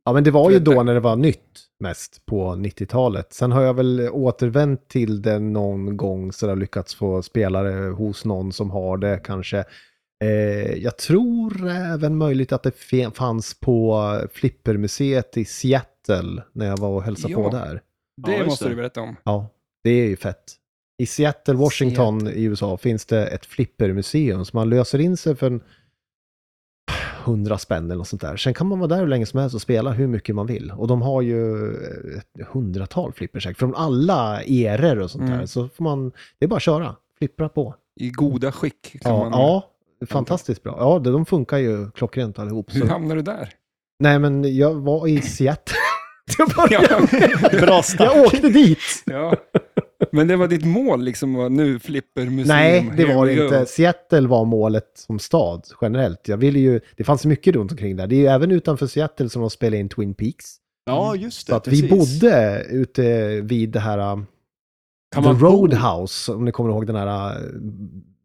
Speaker 3: Ja, men det var ju då när det var nytt mest på 90-talet. Sen har jag väl återvänt till det någon gång så jag har lyckats få spelare hos någon som har det kanske. Eh, jag tror även möjligt att det fe- fanns på Flippermuseet i Seattle när jag var och hälsade
Speaker 1: Ja.
Speaker 3: på där.
Speaker 1: Det
Speaker 2: Ja, just
Speaker 1: måste
Speaker 2: det.
Speaker 1: du berätta om.
Speaker 3: Ja, det är ju fett. I Seattle, Washington i USA finns det ett flippermuseum som man löser in sig för en 100 spänn eller något sånt där. Sen kan man vara där hur länge som helst och spela hur mycket man vill. Och de har ju ett hundratal flippers säkert, från alla eror och sånt
Speaker 1: Mm.
Speaker 3: där. Så får man, det är bara att köra, flippra på.
Speaker 1: I goda skick. Kan
Speaker 3: Ja,
Speaker 1: man...
Speaker 3: ja, fantastiskt bra. Ja, de de funkar ju klockrent allihop.
Speaker 1: Hur
Speaker 3: Så.
Speaker 1: hamnar du där?
Speaker 3: Nej, men jag var i Seattle. till att börja
Speaker 1: Ja.
Speaker 3: med.
Speaker 2: Bra start.
Speaker 3: jag åkte dit.
Speaker 1: Ja. Men det var ditt mål liksom, var nu flipper museum.
Speaker 3: Nej, det
Speaker 1: here
Speaker 3: var det
Speaker 1: we go.
Speaker 3: inte. Seattle var målet som stad generellt. Jag ville ju, det fanns mycket runt omkring där. Det är ju även utanför Seattle som de spelade in Twin Peaks.
Speaker 2: Ja, just det.
Speaker 3: Så att vi
Speaker 2: precis.
Speaker 3: bodde ute vid det här um,
Speaker 2: Kan
Speaker 3: The
Speaker 2: man bo-
Speaker 3: Roadhouse, om ni kommer ihåg den här uh,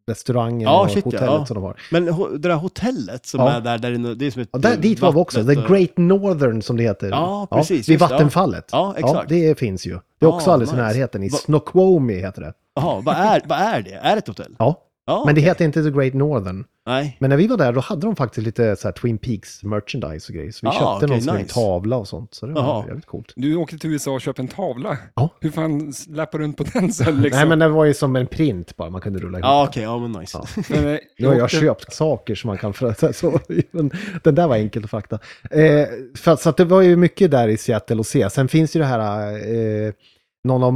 Speaker 3: restaurangen
Speaker 2: Ja,
Speaker 3: och
Speaker 2: shit, ja,
Speaker 3: hotellet
Speaker 2: ja.
Speaker 3: som de har.
Speaker 2: Men ho- det där hotellet som
Speaker 3: Ja.
Speaker 2: är där, där inne, det är som ett...
Speaker 3: Ja, där, dit var vi också, The
Speaker 2: vattnet eh, och-
Speaker 3: Great Northern som det heter.
Speaker 2: Ja, precis,
Speaker 3: vid
Speaker 2: just det, ja.
Speaker 3: vattenfallet.
Speaker 2: Ja, exakt.
Speaker 3: det finns ju. Det är också
Speaker 2: Ja,
Speaker 3: alldeles i
Speaker 2: nice.
Speaker 3: närheten, i
Speaker 2: Va-
Speaker 3: Snoqualmie heter det.
Speaker 2: Jaha, vad är, vad är det? Är det ett hotell?
Speaker 3: Ja,
Speaker 2: Ja,
Speaker 3: men det heter inte The Great Northern.
Speaker 2: nej.
Speaker 3: Men när vi var där då hade de faktiskt lite så här Twin Peaks merchandise och grejer. Så vi
Speaker 2: Ah,
Speaker 3: köpte
Speaker 2: okej,
Speaker 3: någon snygg
Speaker 2: nice.
Speaker 3: tavla och sånt. Så det var
Speaker 2: Jaha.
Speaker 3: jävligt coolt.
Speaker 1: Du åkte till USA och köpte en tavla.
Speaker 3: Ja.
Speaker 1: Hur fan lappar du runt på den sen liksom?
Speaker 3: Nej men det var ju som en print bara, man kunde rulla ihop.
Speaker 2: Ja, okej, ja men nice.
Speaker 3: Ja.
Speaker 1: Men, eh,
Speaker 3: Nu har jag
Speaker 1: åkte-
Speaker 3: köpt saker som man kan fröta. Så, men den där var enkel att frakta. Eh, för, att- så att det var ju mycket där i Seattle att se. Sen finns ju det här, eh, någon av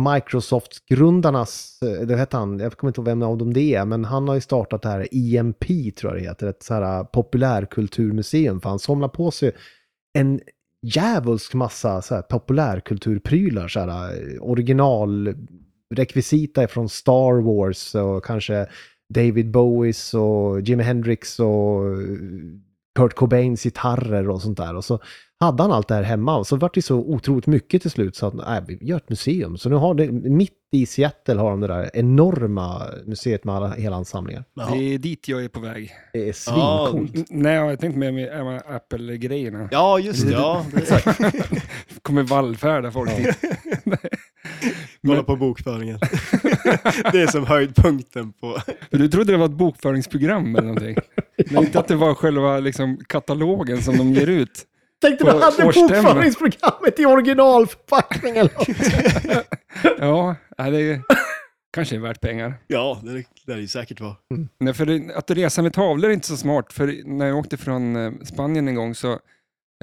Speaker 3: Microsoft-grundarnas, eh, det hette han, jag kommer inte ihåg vem av dem det är, men han har ju startat det här EMP tror jag det heter, ett så här eh, populärkulturmuseum, för han samlar på sig en djävulsk massa så här, populärkulturprylar, så här, eh, originalrekvisita från Star Wars och kanske David Bowies och Jimi Hendrix och eh, Kurt Cobains gitarrer och sånt där. Och så hade han allt det här hemma och så vart det så otroligt mycket till slut så att nej, vi gör ett museum. Så nu har det, mitt i Seattle har de det där enorma museet med alla, hela hans samlingar.
Speaker 2: Jaha.
Speaker 1: Det är dit jag är på väg.
Speaker 3: Det är svincoolt.
Speaker 1: N- Nej, jag tänkte med mig äh, Apple-grejerna.
Speaker 2: Ja, just det. Ja, exakt.
Speaker 1: kommer vallfärda folk dit.
Speaker 2: Kolla på bokföringen. det är som höjdpunkten på...
Speaker 1: För du trodde det var ett bokföringsprogram eller någonting. Men inte att det var själva liksom, katalogen som de ger ut.
Speaker 3: Tänkte
Speaker 1: På
Speaker 3: du hade
Speaker 1: årsstämman.
Speaker 3: bokföringsprogrammet i originalförpackning eller något?
Speaker 1: Ja, nej, det är, kanske är värt pengar.
Speaker 2: Ja, det är- det är ju säkert vad.
Speaker 1: Nej, för det, att resa med tavlor är inte så smart. För när jag åkte från eh, Spanien en gång så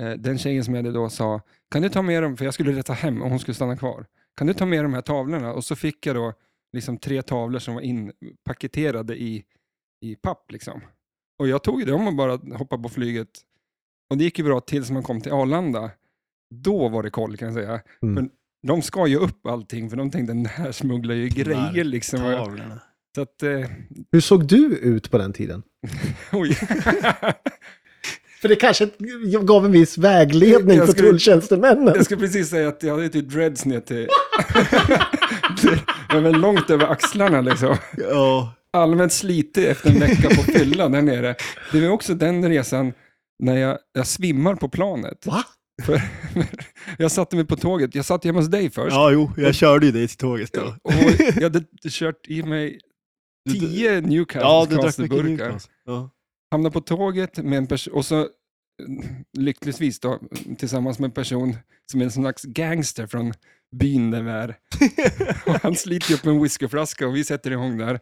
Speaker 1: eh, den tjejen som jag hade då sa, kan du ta med dem, för jag skulle resa hem och hon skulle stanna kvar. Kan du ta med de här tavlorna? Och så fick jag då liksom tre tavlor som var inpaketerade i, i papp. Liksom. Och jag tog ju dem och bara hoppade på flyget. Och det gick ju bra tills man kom till Arlanda. Då var det koll kan jag säga.
Speaker 3: Mm.
Speaker 1: Men de skar ju upp allting för de tänkte den här smugglar ju grejer. Liksom.
Speaker 2: Tavlorna.
Speaker 1: Så att, eh,
Speaker 3: Hur såg du ut på den tiden?
Speaker 1: oj.
Speaker 3: För det kanske gav en viss vägledning
Speaker 1: Jag
Speaker 3: för
Speaker 1: skulle-
Speaker 3: tulltjänstemännen.
Speaker 1: Jag skulle precis säga att jag hade typ dreads ner till... Ja, men långt över axlarna liksom.
Speaker 2: Ja.
Speaker 1: Allmänt slitig efter en vecka på fyllan där nere. Det var också den resan när jag, jag svimmar på planet.
Speaker 3: Va?
Speaker 1: För, jag satte mig på tåget, jag satt hemma hos dig först.
Speaker 2: Ja, jo, jag körde ju dig till tåget då.
Speaker 1: Och jag hade kört i mig
Speaker 2: Du-
Speaker 1: tio
Speaker 2: Ja, du drack mycket
Speaker 1: Newcastle-burkar.
Speaker 2: Newcastle. Ja.
Speaker 1: Hamnade på tåget med en person, och så eh, lyckligtvis då, tillsammans med en person som är en slags gangster från byn där vi är. Och han sliter upp en whiskyflaska och vi sätter igång där.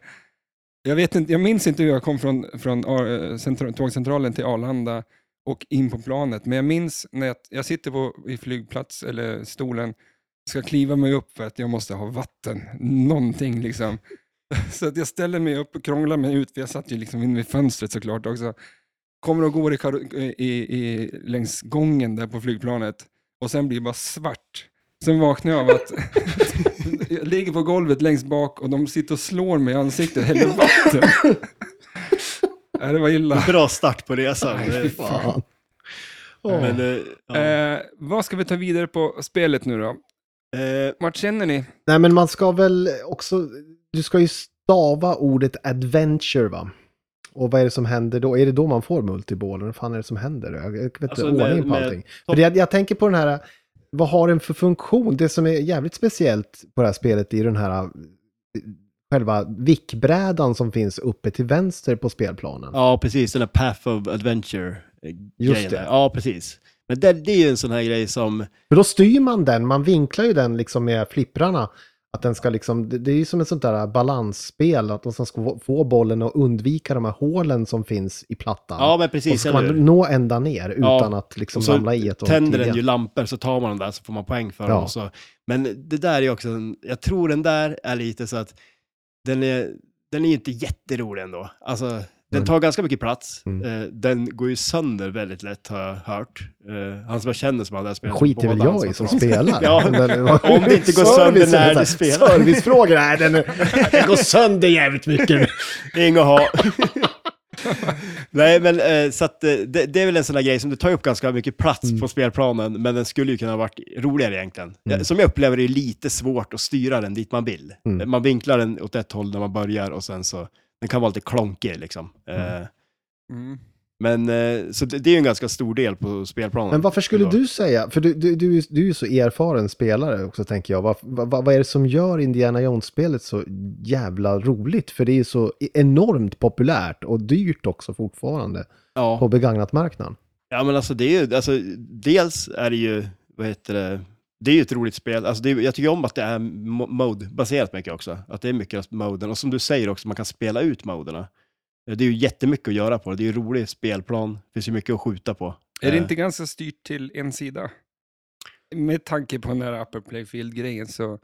Speaker 1: Jag, vet inte, jag minns inte hur jag kom från, från eh, centra- tågcentralen till Arlanda och in på planet, men jag minns när jag, jag sitter på, i flygplats eller stolen, ska kliva mig upp för att jag måste ha vatten, någonting liksom. Så att jag ställer mig upp och krånglar mig ut, för jag satt ju liksom inne vid fönstret såklart också. Kommer och går i, karo- i, i, längs gången där på flygplanet och sen blir det bara svart. Sen vaknar jag av att jag ligger på golvet längst bak och de sitter och slår mig i ansiktet, häller vatten. Nej, det var illa.
Speaker 2: Bra start på resan.
Speaker 1: Nej, fy
Speaker 3: Fan. Åh.
Speaker 2: Men, eh, ja.
Speaker 1: Eh, vad ska vi ta vidare på spelet nu då?
Speaker 2: Eh,
Speaker 1: Vart känner ni?
Speaker 3: Nej, men man ska väl också... Du ska ju stava ordet adventure, va? Och vad är det som händer då? Är det då man får multiballen? Vad fan är det som händer? Jag jag vet inte,
Speaker 2: Alltså, med-
Speaker 3: ordning på
Speaker 2: med-
Speaker 3: allting. För jag, jag tänker på den här... Vad har den för funktion? Det som är jävligt speciellt på det här spelet är den här... eh, Själva vickbrädan som finns uppe till vänster på spelplanen.
Speaker 2: ja, precis. Den där Path of Adventure-grejen.
Speaker 3: Just det.
Speaker 2: där. Ja, precis. Men det, det är ju en sån här grej som...
Speaker 3: För då styr man den, man vinklar ju den liksom med flipprarna. Att den ska liksom, det det är ju som ett sånt där balansspel, att de ska få- få bollen och undvika de här hålen som finns i plattan.
Speaker 2: Ja, men
Speaker 3: och
Speaker 2: precis.
Speaker 3: så ska
Speaker 2: Eller hur?
Speaker 3: man nå ända ner utan att liksom
Speaker 2: Och så
Speaker 3: ramla i ett och
Speaker 2: tänder den
Speaker 3: tidigare.
Speaker 2: ju lampor, så tar man den där så får man poäng för
Speaker 3: Ja.
Speaker 2: dem. och Så. Men det där är också, en, jag tror den där är lite så att den är, den är inte jätterolig ändå. Alltså, den
Speaker 3: Mm.
Speaker 2: tar ganska mycket plats.
Speaker 3: Mm.
Speaker 2: Eh, den går ju sönder väldigt lätt har jag hört. Eh, han som jag känner som hade det här spelet.
Speaker 3: Skiter väl
Speaker 2: båda hans
Speaker 3: jag i
Speaker 2: var bra.
Speaker 3: som spelar.
Speaker 2: Ja,
Speaker 3: Den-
Speaker 2: om det inte går sönder
Speaker 3: Service
Speaker 2: när
Speaker 3: är så här,
Speaker 2: du spelar.
Speaker 3: Servicefrågor, nej den, den går sönder jävligt mycket.
Speaker 2: Det är inget att ha. Nej, men eh, så att, eh, det, det är väl en sån där grej som det tar upp ganska mycket plats
Speaker 3: Mm.
Speaker 2: på spelplanen, men den skulle ju kunna ha varit roligare egentligen. Eh, Som jag upplever det är lite svårt att styra den dit man vill.
Speaker 3: Mm.
Speaker 2: Eh, Man vinklar den åt ett håll när man börjar och sen så, den kan vara lite klonkig liksom. Eh,
Speaker 1: Mm.
Speaker 2: Men eh, så det, det är ju en ganska stor del på spelplanen.
Speaker 3: Men varför skulle
Speaker 2: Då.
Speaker 3: du säga, för du, du, du, är ju- du är ju så erfaren spelare också tänker jag, vad, vad, vad är det som gör Indiana Jones-spelet så jävla roligt? För det är ju så e-, enormt populärt och dyrt också fortfarande
Speaker 2: Ja.
Speaker 3: på begagnat marknaden.
Speaker 2: Ja, men alltså det är ju, alltså, dels är det ju, vad heter det, det är ju ett roligt spel. Alltså det är, jag tycker om att det är mo- mode-baserat mycket också. Att det är mycket av moden. Och som du säger också, man kan spela ut moderna. Eh, Det är ju jättemycket att göra på det. Det är ju rolig spelplan. Det finns ju mycket att skjuta på.
Speaker 1: Är det
Speaker 2: Eh,
Speaker 1: inte ganska styrt till en sida? Med tanke på den där upper playfield-grejen så...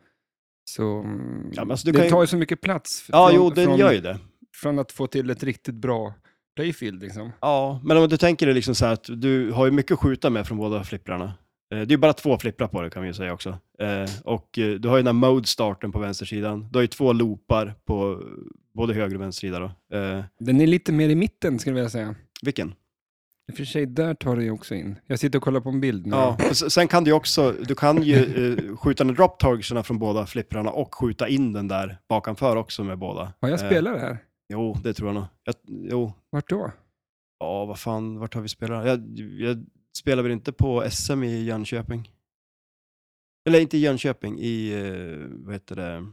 Speaker 1: så mm,
Speaker 2: Ja, men alltså du
Speaker 1: det
Speaker 2: kan ju-
Speaker 1: tar ju så mycket plats.
Speaker 2: Ja,
Speaker 1: från-
Speaker 2: jo, den
Speaker 1: från,
Speaker 2: gör ju det.
Speaker 1: Från att få till ett riktigt bra playfield liksom.
Speaker 2: Ja, men om du tänker dig liksom så här att du har ju mycket att skjuta med från båda flipprarna. Eh, Det är ju bara två flipprar på det kan vi ju säga också. Eh, Och eh, du har ju den här mode-starten på vänstersidan. Du har ju två loopar på både höger och vänster sida då. Eh,
Speaker 1: Den är lite mer i mitten skulle jag vilja säga.
Speaker 2: Vilken?
Speaker 1: I och för sig, där tar det ju också in. Jag sitter och kollar på en bild nu.
Speaker 2: Ja, och s- sen kan du ju också, du kan ju eh, skjuta ner drop targetsarna från båda flipprarna och skjuta in den där bakanför också med båda.
Speaker 1: Har jag
Speaker 2: Eh,
Speaker 1: spelat det här?
Speaker 2: Jo, det tror jag nog. Jag, jo,
Speaker 1: Vart då?
Speaker 2: ja vad fan, vart har vi spelat? Jag, jag spelar väl inte på SM i Jönköping? Eller inte i Jönköping, i, eh, vad heter det,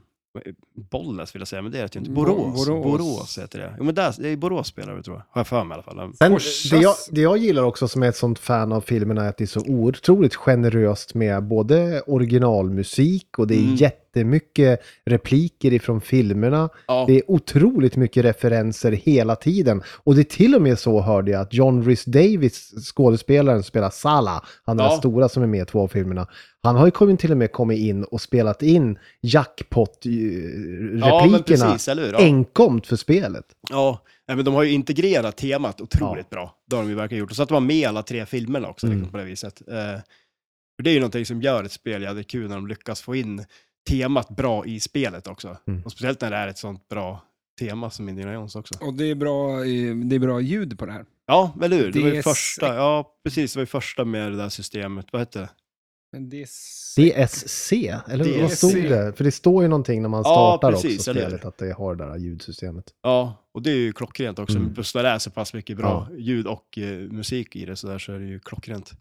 Speaker 2: Bollnäs vill jag säga, men det är det ju inte.
Speaker 1: Bo-
Speaker 2: Borås,
Speaker 1: Borås.
Speaker 2: Borås. heter det. Jo men där, det är i Borås spelar vi tror jag, har jag för mig i alla fall.
Speaker 3: Sen,
Speaker 1: Forsas.
Speaker 3: det, jag, det jag gillar också som är ett sånt fan av filmerna är att det är så otroligt generöst med både originalmusik och det är
Speaker 2: Mm.
Speaker 3: jättemycket repliker ifrån filmerna.
Speaker 2: Ja.
Speaker 3: Det är otroligt mycket referenser hela tiden. Och det är till och med så hörde jag att John Rhys Davis, skådespelaren som spelar Salah, han den
Speaker 2: Ja.
Speaker 3: där stora som är med i två av filmerna, han har ju kommit, till och med kommit in och spelat in
Speaker 2: Ja, men
Speaker 3: jackpot-replikerna
Speaker 2: precis, eller hur? Ja.
Speaker 3: enkom för spelet.
Speaker 2: Ja, nej, men de har ju integrerat temat otroligt bra. Det har de ju verkligen gjort. Och så att de var med i alla tre filmerna också
Speaker 3: Mm.
Speaker 2: liksom, på det viset. Eh, för det är ju någonting som gör ett spel jävligt kul när de lyckas få in temat bra i spelet också.
Speaker 3: Mm.
Speaker 2: Och speciellt när det är ett sånt bra tema som Indiana Jones också.
Speaker 1: Och det är, bra, eh, det är bra ljud på det här.
Speaker 2: Ja, eller hur? Det var ju
Speaker 1: DS.
Speaker 2: första, ja precis, det var ju första med det där systemet, vad hette det?
Speaker 1: Men det är... s-
Speaker 3: DSC, eller vad
Speaker 2: DSC.
Speaker 3: stod det? För det står ju någonting när man
Speaker 2: Ja,
Speaker 3: startar
Speaker 2: precis,
Speaker 3: också
Speaker 2: eller hur?
Speaker 3: spelet, att det har det där ljudsystemet.
Speaker 2: Ja, och det är ju klockrent också,
Speaker 3: Mm.
Speaker 2: just när det är så pass mycket bra ljud och eh, musik i det så där så är det ju klockrent.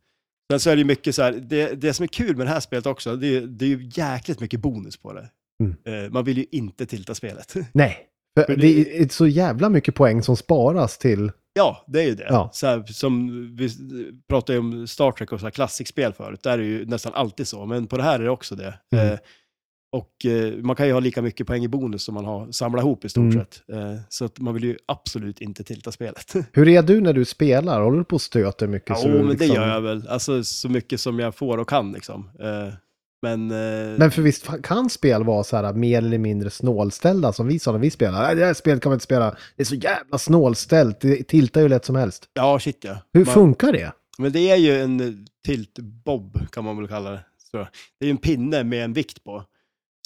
Speaker 2: Sen så är det ju mycket så här, det, det som är kul med det här spelet också, det, är- det är ju jäkligt mycket bonus på det.
Speaker 3: Mm.
Speaker 2: Eh, Man vill ju inte tilta spelet.
Speaker 3: Nej. För
Speaker 2: Men
Speaker 3: det är så jävla mycket poäng som sparas till...
Speaker 2: Ja, det är ju det.
Speaker 3: Ja.
Speaker 2: Så här, som vi pratade ju om Star Trek och så här klassikspel förut, där är det ju nästan alltid så, men på det här är det också det.
Speaker 3: Mm.
Speaker 2: Eh, och eh, man kan ju ha lika mycket poäng i bonus som man har samlat ihop i stort
Speaker 3: Mm.
Speaker 2: sett. Eh, så att man vill ju absolut inte tilta spelet.
Speaker 3: Hur är du när du spelar? Håller du på och stöter mycket?
Speaker 2: Jo,
Speaker 3: så du
Speaker 2: oh, men det
Speaker 3: liksom-
Speaker 2: gör jag väl. Alltså så mycket som jag får och kan liksom. Eh, men... Eh,
Speaker 3: Men för visst fa- kan spel vara så här mer eller mindre snålställda som vi sa när vi spelade. Nej, det här spelet kan man inte spela. Det är så jävla snålställt. Det tiltar ju lätt som helst.
Speaker 2: Ja, shit ja.
Speaker 3: Hur
Speaker 2: Man-
Speaker 3: funkar det?
Speaker 2: Men det är ju en eh, tiltbob kan man väl kalla det. tror jag. Det är ju en pinne med en vikt på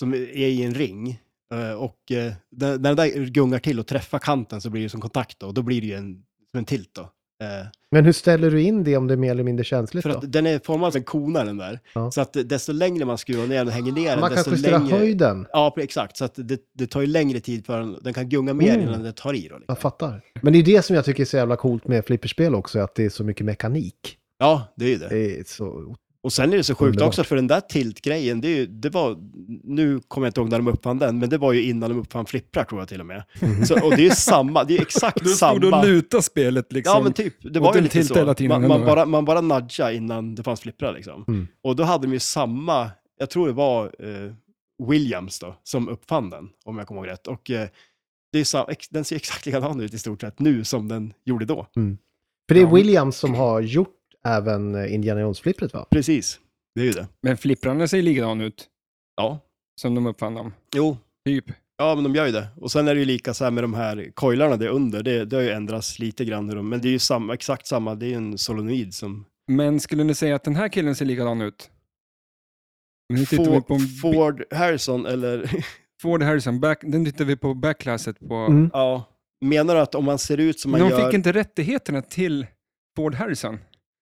Speaker 2: som är i en ring. Eh, Och eh, när när den där gungar till och träffar kanten så blir det som kontakt då. Då blir det ju en, som en tilt då. Eh,
Speaker 3: Men hur ställer du in det om det är mer eller mindre känsligt
Speaker 2: För
Speaker 3: då?
Speaker 2: att den är formad som en kona den där.
Speaker 3: Ja.
Speaker 2: Så att eh, desto längre man skruvar ner den och hänger ner den,
Speaker 3: Man kan
Speaker 2: desto
Speaker 3: justera
Speaker 2: längre...
Speaker 3: höjden.
Speaker 2: Ja, pre- exakt. Så att det, det tar ju längre tid för den. Den kan gunga mer
Speaker 3: Mm.
Speaker 2: innan den tar i då. Liksom.
Speaker 3: Jag fattar. Men det är det som jag tycker är så jävla coolt med flipperspel också, att det är så mycket mekanik.
Speaker 2: Ja, det är ju det.
Speaker 3: Det är så...
Speaker 2: Och sen är det så sjukt
Speaker 3: Underbart.
Speaker 2: också, för den där tiltgrejen, det, är ju- det var, nu kommer jag inte ihåg när de uppfann den, men det var ju innan de uppfann flipprar tror jag till och med.
Speaker 3: Mm.
Speaker 2: Så, och det är ju samma, det är ju exakt
Speaker 1: Du stod och
Speaker 2: samma.
Speaker 1: lutade spelet liksom.
Speaker 2: Ja men typ, det
Speaker 1: Och
Speaker 2: var ju
Speaker 1: den
Speaker 2: lite
Speaker 1: tiltade hela
Speaker 2: så.
Speaker 1: tiden
Speaker 2: Man,
Speaker 1: ändå,
Speaker 2: man,
Speaker 1: va?
Speaker 2: bara, man bara nudgade innan det fanns flipprar liksom.
Speaker 3: Mm.
Speaker 2: Och då hade de ju samma, jag tror det var eh, Williams då, som uppfann den, om jag kommer ihåg rätt. Och eh, det är sa, ex, den ser exakt likadan ut i stort sett nu som den gjorde då.
Speaker 3: För det är
Speaker 1: Ja.
Speaker 3: Williams som har gjort även eh, Indiana Jones-flippret va?
Speaker 2: Precis, det är ju det.
Speaker 1: Men flipprarna ser likadan ut
Speaker 2: Ja,
Speaker 1: som de uppfann dem.
Speaker 2: jo,
Speaker 1: Typ.
Speaker 2: Ja, men de gör ju det. Och sen är det ju lika så här med de här coilarna där under. Det, det har ju ändrats lite grann. Hur de, men det är ju samma, exakt samma. Det är ju en solenoid som...
Speaker 1: Men skulle ni säga att den här killen ser likadan ut? Nu tittar vi
Speaker 2: Ford,
Speaker 1: på en bi-
Speaker 2: Ford Harrison eller...
Speaker 1: Ford Harrison, back, den tittar vi på backlasset på.
Speaker 3: Mm.
Speaker 2: ja. Menar du att om man ser ut som
Speaker 1: Men
Speaker 2: man
Speaker 1: de
Speaker 2: gör...
Speaker 1: fick inte rättigheterna till Ford Harrison,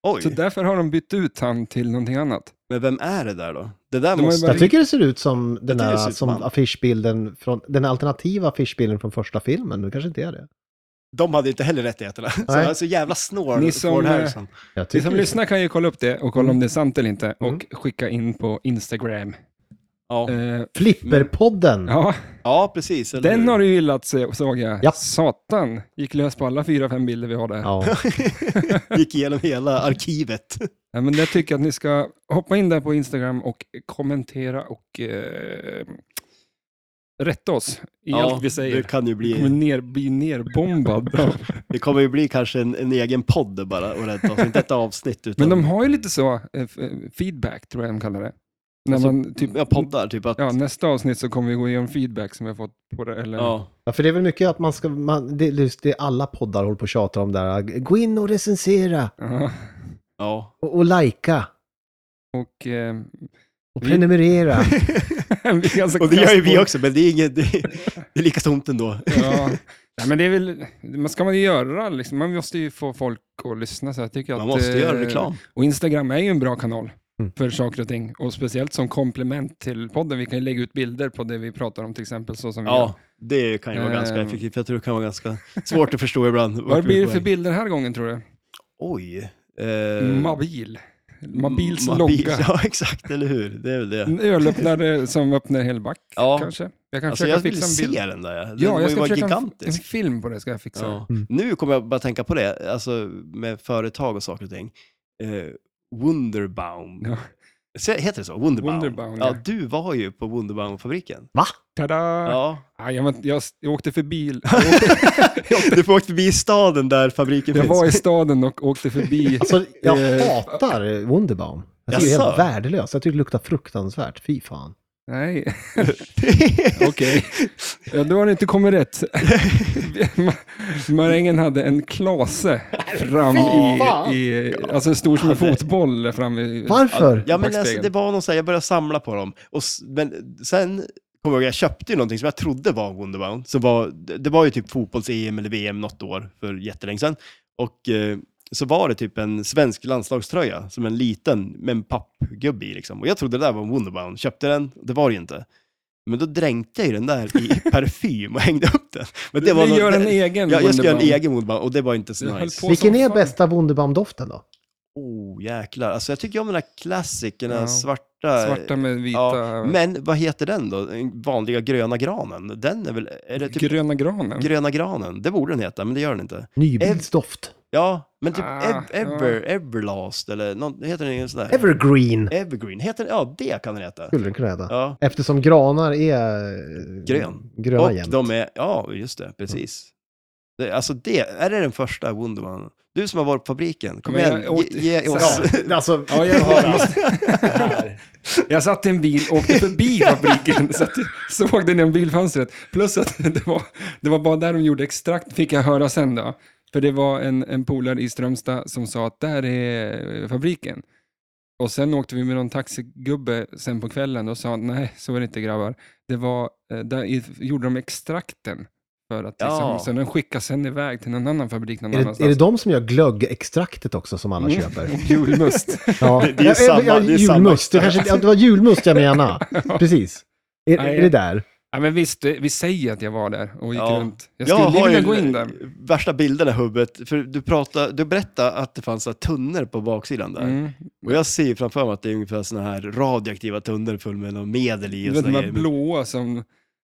Speaker 2: Oj,
Speaker 1: så därför har de bytt ut han till någonting annat.
Speaker 2: men vem är det där då? Det där
Speaker 1: De har ju
Speaker 2: måste...
Speaker 1: bara-
Speaker 3: Jag tycker det ser ut som den
Speaker 2: tycker det ser ut
Speaker 3: där som
Speaker 2: som han.
Speaker 3: affischbilden från, den alternativa affischbilden från första filmen. Det kanske inte är det.
Speaker 2: De hade ju inte heller rättigheterna. Så
Speaker 3: Nej.
Speaker 2: han är så jävla snål,
Speaker 1: Ni som,
Speaker 2: Ford
Speaker 1: eh,
Speaker 2: Harrison.
Speaker 3: Jag
Speaker 1: Ni
Speaker 3: tycker
Speaker 1: som
Speaker 3: det.
Speaker 1: lyssnar kan ju kolla upp det och kolla om det är sant eller inte och
Speaker 3: Mm.
Speaker 1: skicka in på Instagram.
Speaker 2: Ja.
Speaker 1: Eh,
Speaker 3: Flipperpodden!
Speaker 1: ja,
Speaker 2: ja, precis. Eller
Speaker 1: den
Speaker 2: hur?
Speaker 1: har du gillat så- såg jag.
Speaker 3: Ja.
Speaker 1: Satan, gick lös på alla fyra, fem bilder vi har där.
Speaker 3: Ja.
Speaker 2: Gick igenom hela arkivet.
Speaker 1: Ja, men jag tycker att ni ska hoppa in där på Instagram och kommentera och eh, rätta oss i allt vi
Speaker 2: det
Speaker 1: säger.
Speaker 2: kan ju
Speaker 1: Vi kommer
Speaker 2: bli...
Speaker 1: ner, bli nerbombad. av-
Speaker 2: Det kommer ju bli kanske en, en egen podd där bara och rädda oss. Inte ett avsnitt utan...
Speaker 1: Men de har ju lite så, eh, f- feedback tror jag de kallar det. När
Speaker 2: Alltså,
Speaker 1: man, typ,
Speaker 2: ja, poddar, typ att...
Speaker 1: ja, nästa avsnitt så kommer vi gå igenom feedback som vi har fått på det. Eller,
Speaker 2: Ja.
Speaker 3: Ja, för det är väl mycket att man ska, man, det, det det alla poddar håller på och tjatar om där. Gå in och recensera
Speaker 1: Ja,
Speaker 2: ja.
Speaker 3: och, och likea
Speaker 1: och, eh,
Speaker 3: och
Speaker 1: Vi-
Speaker 3: prenumerera.
Speaker 1: vi är ganska
Speaker 2: Och det gör ju
Speaker 1: kast på-
Speaker 2: vi också, men det är, inget, det är, det är lika tomt ändå.
Speaker 1: Ja. Nej, men det är väl, man ska man ju göra, liksom, man måste ju få folk att lyssna. Så jag tycker
Speaker 2: Man
Speaker 1: att,
Speaker 2: måste
Speaker 1: eh,
Speaker 2: göra reklam.
Speaker 1: Och Instagram är ju en bra kanal
Speaker 3: Mm.
Speaker 1: för saker och ting. Och speciellt som komplement till podden. Vi kan ju lägga ut bilder på det vi pratar om till exempel. Så som vi gör.
Speaker 2: Ja, det kan ju vara ganska
Speaker 1: Ehm.
Speaker 2: effektivt. Jag tror det kan vara ganska svårt att förstå ibland. vart
Speaker 1: Vad
Speaker 2: vi
Speaker 1: blir
Speaker 2: är
Speaker 1: det
Speaker 2: på
Speaker 1: för
Speaker 2: väg.
Speaker 1: bilder den här gången tror du?
Speaker 2: Oj. Eh,
Speaker 1: Mobil. Mobils
Speaker 2: Mobil,
Speaker 1: logga.
Speaker 2: Ja, exakt, eller hur? Det är väl det.
Speaker 1: En ölöppnare som öppnar hela back
Speaker 2: Ja.
Speaker 1: kanske. Jag kan
Speaker 2: Alltså
Speaker 1: försöka
Speaker 2: jag vill
Speaker 1: fixa en bild.
Speaker 2: se den där. ja. Den
Speaker 1: Ja, jag
Speaker 2: måste ju
Speaker 1: ska
Speaker 2: vara
Speaker 1: försöka en, en
Speaker 2: gigantisk.
Speaker 1: film på det ska jag fixa.
Speaker 2: Ja.
Speaker 3: Mm.
Speaker 2: Nu kommer jag bara tänka på det, alltså med företag och saker och ting. Eh, Wunderbaum.
Speaker 1: Ja.
Speaker 2: Se- Heter det så? Wunderbaum?
Speaker 1: Wunderbaum,
Speaker 2: ja.
Speaker 1: ja.
Speaker 2: du var ju på Wunderbaum-fabriken.
Speaker 3: Va?
Speaker 1: Tada!
Speaker 2: Ja.
Speaker 1: Ah, jag, var- jag, jag åkte förbi... Jag, åkte,
Speaker 2: Du får åkt förbi staden där fabriken
Speaker 1: jag
Speaker 2: finns.
Speaker 1: var i staden och åkte förbi...
Speaker 3: Alltså, jag
Speaker 1: Eh,
Speaker 3: hatar Wunderbaum. Jag tycker det är helt
Speaker 2: Jaså?
Speaker 3: värdelöst. Jag tycker det luktar fruktansvärt. Fy fan.
Speaker 1: Nej. Okej, ja, då har du inte kommit rätt. Ma- Marängen hade en klase fram i, i alltså en stor som en fotboll fram i...
Speaker 3: Varför?
Speaker 2: Ja, men alltså,
Speaker 1: Backspegeln.
Speaker 2: det var någon så här, jag började samla på dem. Och, s- men sen kommer jag ihåg, jag köpte ju någonting som jag trodde var Wunderbaum. Som var, det det var ju typ fotbolls-EM eller VM något år för jättelänge sedan. Och eh, så var det typ en svensk landslagströja, som en liten med en pappgubbe i liksom. Och jag trodde det där var en Wunderbaum. Köpte den, det var det ju inte. Men då dränkte jag ju den där i parfym och hängde upp den. Men det var
Speaker 1: Vi
Speaker 2: någon-
Speaker 1: gör en
Speaker 2: det-
Speaker 1: egen
Speaker 2: Ja, jag ska göra en
Speaker 1: Wunderbaum.
Speaker 2: egen Wunderbaum och det var inte så
Speaker 1: Jag höll
Speaker 2: nice.
Speaker 1: på
Speaker 3: Vilken
Speaker 1: som
Speaker 3: är
Speaker 1: fan.
Speaker 3: bästa Wunderbaum-doften då?
Speaker 2: Oh, jäklar. Alltså jag tycker om de där klassikerna,
Speaker 1: Ja.
Speaker 2: svarta.
Speaker 1: Svarta med vita...
Speaker 2: Ja, Men vad heter den då? Den Vanliga gröna granen? Den är väl... Är det typ
Speaker 1: Gröna granen.
Speaker 2: gröna granen? Det borde den heta, men det gör den inte.
Speaker 3: Nybilsdoft.
Speaker 2: Ja, men typ
Speaker 1: Ah,
Speaker 2: ev, ever, Everlast eller något, heter den ingen sån där?
Speaker 3: Evergreen
Speaker 2: Evergreen, heter den? Ja, det kan den heta.
Speaker 3: skulle den kunna heta.
Speaker 2: Eh, Ja,
Speaker 3: Eftersom granar är eh,
Speaker 2: Grön.
Speaker 3: gröna
Speaker 2: och
Speaker 3: jämt.
Speaker 2: de är, ja just det, precis. Det, alltså det, är det den första Wonderman? Du som har varit på fabriken, kom
Speaker 1: Men jag
Speaker 2: igen,
Speaker 1: åkte-
Speaker 2: ge, ge
Speaker 1: så
Speaker 2: oss.
Speaker 1: här.
Speaker 3: Ja, alltså,
Speaker 1: Ja, jag har haft det här. Jag satt i en bil och åkte förbi fabriken så att jag såg den genom bilfönstret. Plus att det var, det var bara där de gjorde extrakt, fick jag höra sen då. För det var en, en polare i Strömstad som sa att där är eh, fabriken. Och sen åkte vi med någon taxigubbe sen på kvällen och sa nej, så är det inte grabbar. Det var, eh, där i- gjorde de extrakten. För att liksom,
Speaker 2: Ja.
Speaker 1: så den skickas sen iväg till någon annan fabrik någon
Speaker 3: Är det, är det
Speaker 1: annanstans.
Speaker 3: de som gör glöggextraktet också som alla
Speaker 1: Mm.
Speaker 3: köper?
Speaker 1: Julmust.
Speaker 3: Ja.
Speaker 2: Det- det är samma- det är samma
Speaker 3: julmust. Det,
Speaker 2: extrakt.
Speaker 3: kanske, ja, det var julmust jag menade. Precis. Är,
Speaker 1: Nej.
Speaker 3: är det där?
Speaker 1: Ja, men visst, det- vi säger att jag var där och gick
Speaker 2: Ja.
Speaker 1: runt. Jag skulle vilja gå in där.
Speaker 2: värsta bilderna i huvudet, för du, pratade, du berättade att det fanns så här tunnor på baksidan där.
Speaker 1: Mm.
Speaker 2: Och jag ser ju framför mig att det är ungefär såna här radioaktiva tunnor full med någon medel i.
Speaker 1: Du
Speaker 2: Och
Speaker 1: vet
Speaker 2: såna
Speaker 1: de här
Speaker 2: grejer. Men-
Speaker 1: blåa som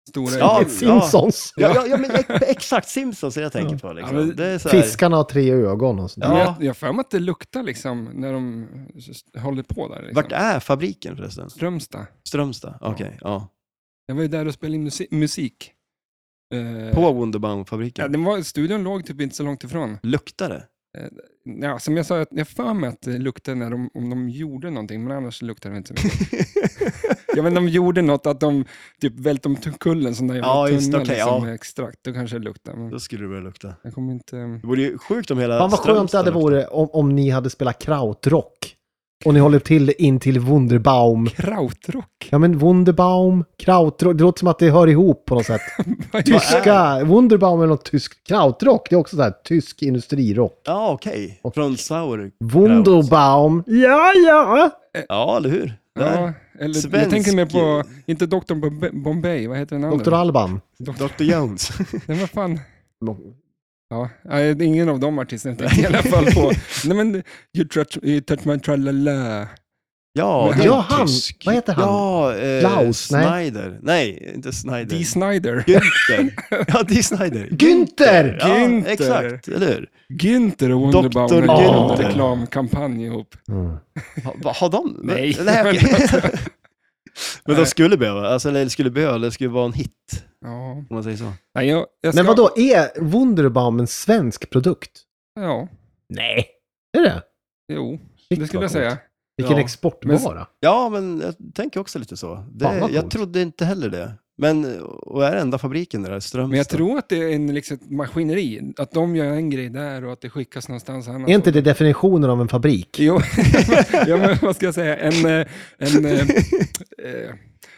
Speaker 1: stora...
Speaker 2: Ja,
Speaker 3: Ett Simpsons.
Speaker 2: Ja, ja, ja, men ex- exakt Simpsons är jag tänker på. Liksom.
Speaker 1: Ja, men-
Speaker 2: det är så här,
Speaker 3: Fiskarna har tre ögon och sånt
Speaker 1: Men
Speaker 3: där.
Speaker 2: Ja.
Speaker 1: Jag, jag har för mig att det luktar liksom när de s- håller på där. Liksom.
Speaker 2: Vart är fabriken förresten?
Speaker 1: Strömstad.
Speaker 2: Strömstad? Okej, ja.
Speaker 1: Jag var ju där och spelade in musi- musik. Eh,
Speaker 2: På
Speaker 1: Ja,
Speaker 2: Wonderbaum-fabriken?
Speaker 1: den var, studion låg typ inte så långt ifrån.
Speaker 2: Luktar det?
Speaker 1: Ja, som jag sa, jag jag har för mig att det luktade när de, om de gjorde någonting, men annars luktade det inte så mycket. ja, men de gjorde något, att de typ välte omkull en sån där jävla
Speaker 2: Ja,
Speaker 1: tunna
Speaker 2: just det, okej,
Speaker 1: liksom,
Speaker 2: ja.
Speaker 1: med extrakt. Då kanske det luktade, men
Speaker 2: Då skulle det börja lukta.
Speaker 1: jag kommer inte...
Speaker 2: Det vore ju sjukt om hela
Speaker 3: Fan vad skönt det
Speaker 2: Strömstad
Speaker 3: hade
Speaker 2: luktade.
Speaker 3: vore om, om ni hade spelat krautrock. Och ni håller till in till Wunderbaum.
Speaker 1: Krautrock?
Speaker 3: Ja men Wunderbaum, krautrock, det låter som att det hör ihop på något sätt.
Speaker 1: Vad är-
Speaker 3: Tyska, Wunderbaum är något tyskt. Krautrock, det är också så här tysk industrirock.
Speaker 2: Ja, okej.
Speaker 3: Och-
Speaker 2: Från Sauer.
Speaker 3: Wunderbaum, ja ja!
Speaker 2: Ja, eller hur? Där.
Speaker 1: Ja, eller jag
Speaker 2: Svensk-
Speaker 1: tänker mer på, inte doktorn på Be- Bombay, vad heter den andra?
Speaker 3: Dr. Alban.
Speaker 1: Doktor,
Speaker 2: Dr. Jones.
Speaker 1: nej, vad fan. Ja, nej, det är ingen av de artisterna tänker jag i alla fall på. nej men, you touch, you touch my tralala.
Speaker 2: Ja,
Speaker 1: Men-
Speaker 2: en
Speaker 3: Ja, han.
Speaker 2: tysk.
Speaker 3: Vad heter han?
Speaker 2: Ja, eh,
Speaker 3: Klaus, nej.
Speaker 2: Snyder. Nej, inte Snyder.
Speaker 1: Dee Snyder.
Speaker 2: Günther. Ja, Dee Snyder.
Speaker 3: Günther!
Speaker 2: Ja,
Speaker 1: Günther.
Speaker 2: exakt. Eller hur?
Speaker 1: Günther och Wunderbaum
Speaker 2: Dr.
Speaker 1: har gjort
Speaker 3: Günther.
Speaker 1: en reklamkampanj ihop.
Speaker 3: Mm.
Speaker 2: Ha- va- Har de?
Speaker 1: Nej.
Speaker 2: okej. Men de
Speaker 1: Nej.
Speaker 2: skulle behöva, alltså, eller skulle behöva, det skulle vara en hit,
Speaker 1: Ja.
Speaker 2: om man säger så.
Speaker 1: Nej, jag, jag ska,
Speaker 3: Men vadå, är Wunderbaum en svensk produkt?
Speaker 1: Ja,
Speaker 3: Nej. Är det?
Speaker 1: jo,
Speaker 3: Shit,
Speaker 1: det skulle
Speaker 3: vad
Speaker 1: jag säga.
Speaker 3: coolt. Vilken
Speaker 2: Ja.
Speaker 3: exportvara.
Speaker 2: Ja, men jag tänker också lite så.
Speaker 3: Fan,
Speaker 2: Det,
Speaker 3: vad
Speaker 2: jag
Speaker 3: coolt.
Speaker 2: trodde inte heller det. Men, och är det enda fabriken där, Strömstad?
Speaker 1: Men jag tror att det är en liksom, maskineri, att de gör en grej där och att det skickas någonstans annars.
Speaker 3: Är inte det definitionen av en fabrik?
Speaker 1: Jo, ja, men vad ska jag säga? En, eh, en, eh, eh,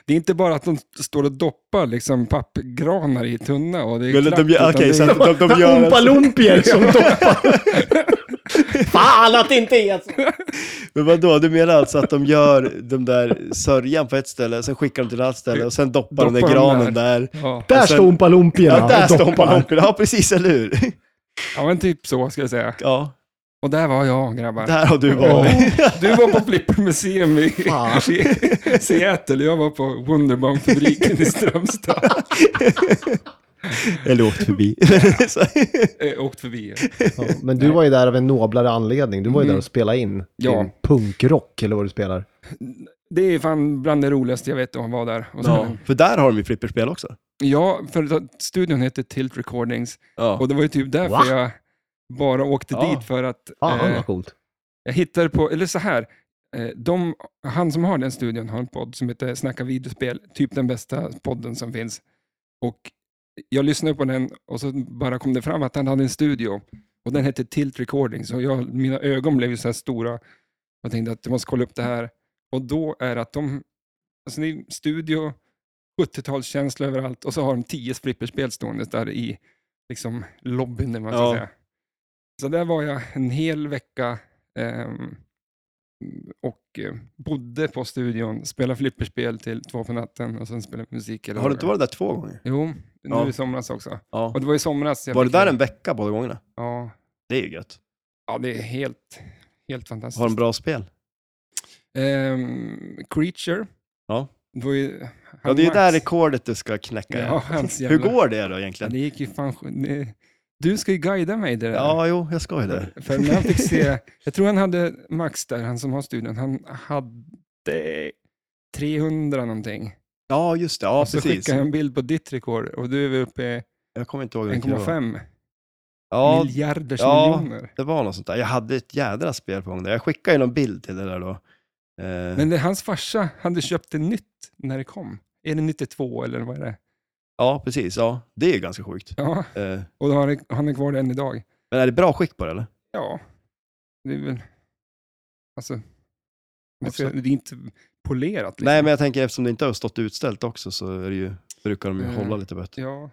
Speaker 1: det är inte bara att de står och doppar liksom, pappgranar i tunna. Och det är
Speaker 2: Eller
Speaker 1: klart,
Speaker 2: de gör-
Speaker 1: utan
Speaker 2: Okej,
Speaker 1: det-
Speaker 2: så att de, de gör...
Speaker 3: Oompa Loompier som doppar. Fan att det inte är så.
Speaker 2: Men vadå, du menar alltså att de gör den där sörjan på ett ställe, sen skickar de till ett annat ställe och sen doppar de ner
Speaker 1: Doppar de
Speaker 2: granen där.
Speaker 1: Ja.
Speaker 3: Där
Speaker 2: Och sen-
Speaker 3: står Oompa Loompierna
Speaker 2: Alltså, Ja, där
Speaker 3: och
Speaker 2: står
Speaker 3: doppar.
Speaker 2: man Ja, precis, eller hur?
Speaker 1: ja, men typ så ska jag säga.
Speaker 2: Ja,
Speaker 1: Och där var jag, grabbar.
Speaker 2: där har du varit.
Speaker 1: Du var på Flippermuseum i,
Speaker 3: Fan.
Speaker 1: i Seattle, jag var på Wunderbaum-fabriken i Strömstad.
Speaker 2: Eller åkt förbi. Så-
Speaker 1: Eh, åkt förbi.
Speaker 3: Ja, Men du var ju där av en noblare anledning. Du var ju där och spelade in
Speaker 1: Ja.
Speaker 3: din punkrock eller vad du spelar.
Speaker 1: Det är fan bland det roligaste jag vet om att vara där. Och
Speaker 2: ja,
Speaker 1: sen,
Speaker 2: för där har de ju flipperspel också.
Speaker 1: ja. för att studion heter Tilt Recordings.
Speaker 2: Ja.
Speaker 1: Och det var ju typ därför
Speaker 3: Va?
Speaker 1: jag bara åkte
Speaker 2: Ja.
Speaker 1: dit för att
Speaker 3: Fan
Speaker 1: eh,
Speaker 3: vad coolt.
Speaker 1: jag hittade på, eller så här, eh, de, han som har den studion har en podd som heter Snacka videospel, typ den bästa podden som finns. Och jag lyssnade på den och så bara kom det fram att han hade en studio och den hette Tilt Recordings och jag, mina ögon blev ju så här stora. Jag tänkte att jag måste kolla upp det här och då är att de, alltså det är studio, 70-talskänsla överallt och så har de 10 flipperspel stående där i liksom lobbyn eller vad man ska
Speaker 2: Ja.
Speaker 1: säga. Så där var jag en hel vecka ehm, och eh, bodde på studion, spelade flipperspel till två på natten och sen spelade musik. Eller
Speaker 2: Har du inte varit där två gånger?
Speaker 1: Jo, nu
Speaker 2: Ja.
Speaker 1: i somras också.
Speaker 2: Ja.
Speaker 1: Och det var i somras jag
Speaker 2: Var du
Speaker 1: fick
Speaker 2: där
Speaker 1: det.
Speaker 2: en vecka båda gångerna?
Speaker 1: Ja,
Speaker 2: Det är ju gött.
Speaker 1: ja det är helt, Helt fantastiskt.
Speaker 2: Har en bra spel.
Speaker 1: Ehm, Creature.
Speaker 2: Ja.
Speaker 1: Det var ju...
Speaker 2: Ja, det är ju
Speaker 1: Max-
Speaker 2: där rekordet du ska knäcka.
Speaker 1: Ja, hans jävla...
Speaker 2: Hur går det då
Speaker 1: Ja,
Speaker 2: egentligen?
Speaker 1: det gick ju fan... det- Du ska ju guida mig i det där.
Speaker 2: Ja, jo, jag ska ju det.
Speaker 1: För- För när han fick se, jag tror han hade Max där, han som har studion, han hade 300 någonting.
Speaker 2: Ja, just det. Ja,
Speaker 1: och så
Speaker 2: precis.
Speaker 1: skickade han en bild på ditt rekord och du är väl uppe i
Speaker 2: Jag kommer inte ihåg vilken det var.
Speaker 1: 1,5
Speaker 2: Ja,
Speaker 1: miljarders
Speaker 2: ja.
Speaker 1: miljoner.
Speaker 2: det var något sånt där. Jag hade ett jädra spel på gång där. Jag skickade ju någon bild till det där då. Eh,
Speaker 1: Men det, hans farsa hade köpt det nytt när det kom. Är det 92 eller vad är det?
Speaker 2: Ja, precis. Ja, det är ju ganska sjukt.
Speaker 1: Ja,
Speaker 2: Eh,
Speaker 1: och då har det, han är kvar det än idag.
Speaker 2: men är det bra skick på det eller?
Speaker 1: Ja, det är väl, alltså, man ska,
Speaker 2: Absolut.
Speaker 1: det är inte polerat. Liksom.
Speaker 2: Nej, men jag tänker eftersom det inte har stått utställt också så är det ju, brukar de ju
Speaker 1: Mm.
Speaker 2: hålla lite bättre.
Speaker 1: Ja,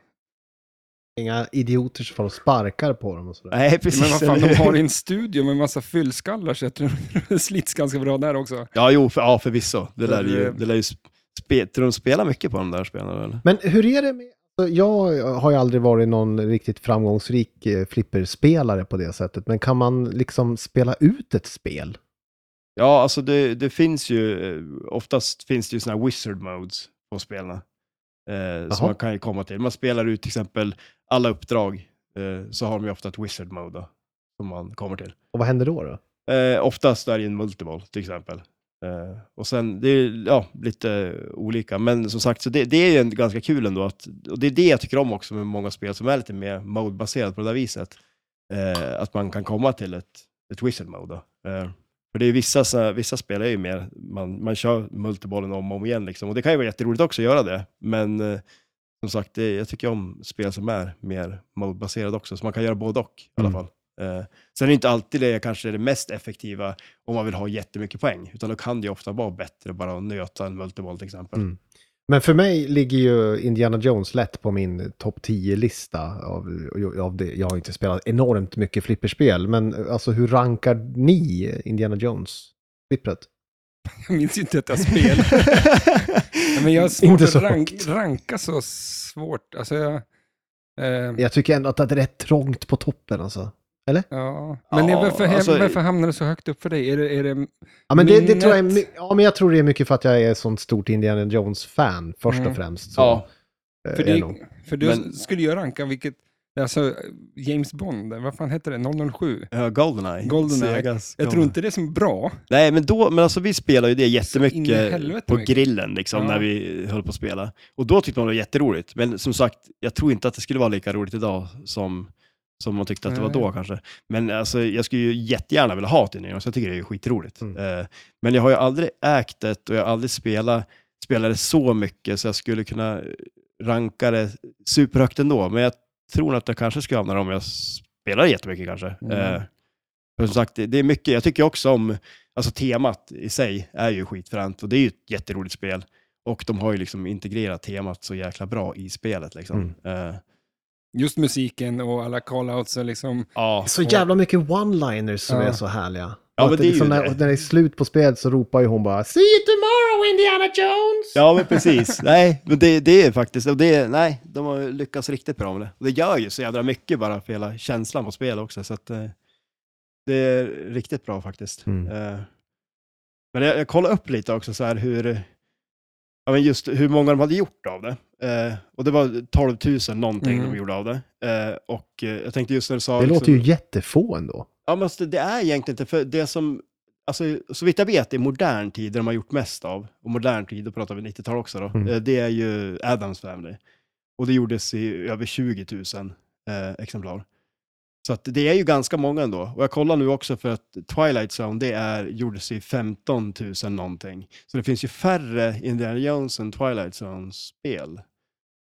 Speaker 3: Inga idioter som får och sparkar på dem och sådär.
Speaker 2: Nej, precis.
Speaker 1: men vad fan,
Speaker 2: eller
Speaker 1: de
Speaker 2: hur?
Speaker 1: har ju en studio med massa fyllskallar så jag tror det slits ganska bra där också.
Speaker 2: Ja, jo, för, ja, förvisso. Det
Speaker 1: Så
Speaker 2: lär ju,
Speaker 1: det-
Speaker 2: det lär ju sp- spe, tror de spelar mycket på de där spelarna eller?
Speaker 3: Men hur är det med... alltså, Jag har ju aldrig varit någon riktigt framgångsrik eh, flipperspelare på det sättet. Men kan man liksom spela ut ett spel?
Speaker 2: Ja, alltså det, det finns ju, eh, oftast finns det ju sådana här wizard modes på spelarna. Eh, som
Speaker 3: Jaha.
Speaker 2: man kan ju komma till. Man spelar ut till exempel alla uppdrag, eh, så har de ju ofta ett wizard mode då, som man kommer till.
Speaker 3: Och vad händer då? då?
Speaker 2: Eh, oftast är det ju en multiball till exempel. Eh, och sen, det är ja, lite olika, men som sagt, så det, det är ju en, ganska kul ändå. Att, och det är det jag tycker om också med många spel som är lite mer mode-baserat på det där viset. Eh, att man kan komma till ett, ett wizard mode. Då. Eh, för det är ju vissa, så- vissa spel är ju mer, man, man kör multibollen om och om igen liksom. Och det kan ju vara jätteroligt också att göra det, men eh, som sagt, det, jag tycker om spel som är mer mode-baserade också, så man kan göra både och i alla
Speaker 3: Mm.
Speaker 2: fall. Eh, Sen är det inte alltid det kanske är det mest effektiva om man vill ha jättemycket poäng, utan då kan det ju ofta vara bättre bara att nöta en multiboll till exempel.
Speaker 3: Mm. Men för mig ligger ju Indiana Jones lätt på min topp 10-lista. Av, av det. Jag har inte spelat enormt mycket flipperspel, men eh, alltså hur rankar ni Indiana Jones-flippret?
Speaker 1: Jag minns ju inte att jag spelade. Men jag har svårt
Speaker 3: Inte
Speaker 1: att
Speaker 3: så
Speaker 1: rank,
Speaker 3: högt.
Speaker 1: ranka så svårt. Alltså jag, eh, ja.
Speaker 3: Jag tycker ändå att det är rätt trångt på toppen alltså.
Speaker 1: Men
Speaker 2: Ja,
Speaker 1: varför,
Speaker 2: alltså-
Speaker 1: varför hamnar det så högt upp för dig? Är det, är det,
Speaker 3: Ja, men det, det tror jag är,
Speaker 1: Minnet-
Speaker 3: my- ja, men jag tror det är mycket för att jag är ett sånt stort Indiana Jones-fan först
Speaker 1: Mm.
Speaker 3: och främst. Så,
Speaker 2: Ja,
Speaker 3: eh,
Speaker 1: för,
Speaker 3: är det
Speaker 1: det,
Speaker 3: nog.
Speaker 1: för du
Speaker 2: Men-
Speaker 1: skulle ju ranka vilket, alltså James Bond, vad fan hette det, 007?
Speaker 2: ja, eh, Goldeneye.
Speaker 1: Goldeneye.
Speaker 2: Segas
Speaker 1: Jag tror
Speaker 2: Goldeneye.
Speaker 1: inte det är så bra.
Speaker 2: Nej, men, då, men alltså, vi spelar ju det
Speaker 1: Så in i
Speaker 2: jättemycket
Speaker 1: helvete
Speaker 2: på
Speaker 1: mycket.
Speaker 2: grillen liksom,
Speaker 1: Ja.
Speaker 2: när vi höll på att spela. Och då tyckte man det var jätteroligt. Men som sagt, jag tror inte att det skulle vara lika roligt idag som, som man tyckte att det var
Speaker 1: Nej.
Speaker 2: då kanske. Men alltså, jag skulle ju jättegärna vilja ha ett Indiana Jones, jag tycker det är skitroligt.
Speaker 3: Mm.
Speaker 2: Eh, men jag har ju aldrig ägt det och jag har aldrig spelat, spelat det så mycket så jag skulle kunna ranka det superhögt ändå. Men jag tror att jag kanske skulle hamna där om jag spelar jättemycket kanske.
Speaker 1: Mm.
Speaker 2: Eh, för som sagt, det, det är mycket, jag tycker också om, alltså temat i sig är ju skitfränt och det är ju ett jätteroligt spel. Och de har ju liksom integrerat temat så jäkla bra i spelet liksom. Eh,
Speaker 1: Just musiken och alla call-outs och liksom,
Speaker 2: ja,
Speaker 3: Så jävla mycket one-liners som
Speaker 1: Ja.
Speaker 3: är så härliga.
Speaker 2: Ja,
Speaker 3: Och
Speaker 2: men
Speaker 3: att
Speaker 2: det är ju
Speaker 3: liksom
Speaker 2: det.
Speaker 3: När, och när det är slut på spelet så ropar ju hon bara “See you tomorrow Indiana Jones!”
Speaker 2: ja men precis. nej, men det, det är faktiskt, och det, nej, de har lyckats riktigt bra med det. Och det gör ju så jävla mycket bara för hela känslan på spel också. Så att, eh, det är riktigt bra faktiskt.
Speaker 3: Mm.
Speaker 2: Eh, Men jag, jag kollade upp lite också så här hur, ja, men just hur många de hade gjort av det. Eh, och det var 12 000 någonting
Speaker 1: Mm.
Speaker 2: de gjorde av det. Eh, och eh, jag tänkte just när du sa...
Speaker 3: Det
Speaker 2: liksom-
Speaker 3: låter ju jättefå ändå.
Speaker 2: Ja, men alltså, det är egentligen inte, för det som, alltså, så vitt jag vet i modern tid, det de har gjort mest av, och modern tid, då pratar vi 90-tal också då,
Speaker 3: Mm.
Speaker 2: eh, det är ju Addams Family. Och det gjordes i över 20 000 eh, exemplar. Så att det är ju ganska många ändå. Och jag kollar nu också för att Twilight Zone, det är, gjordes i 15 000 någonting. Så det finns ju färre Indiana Jones än Twilight Zone-spel.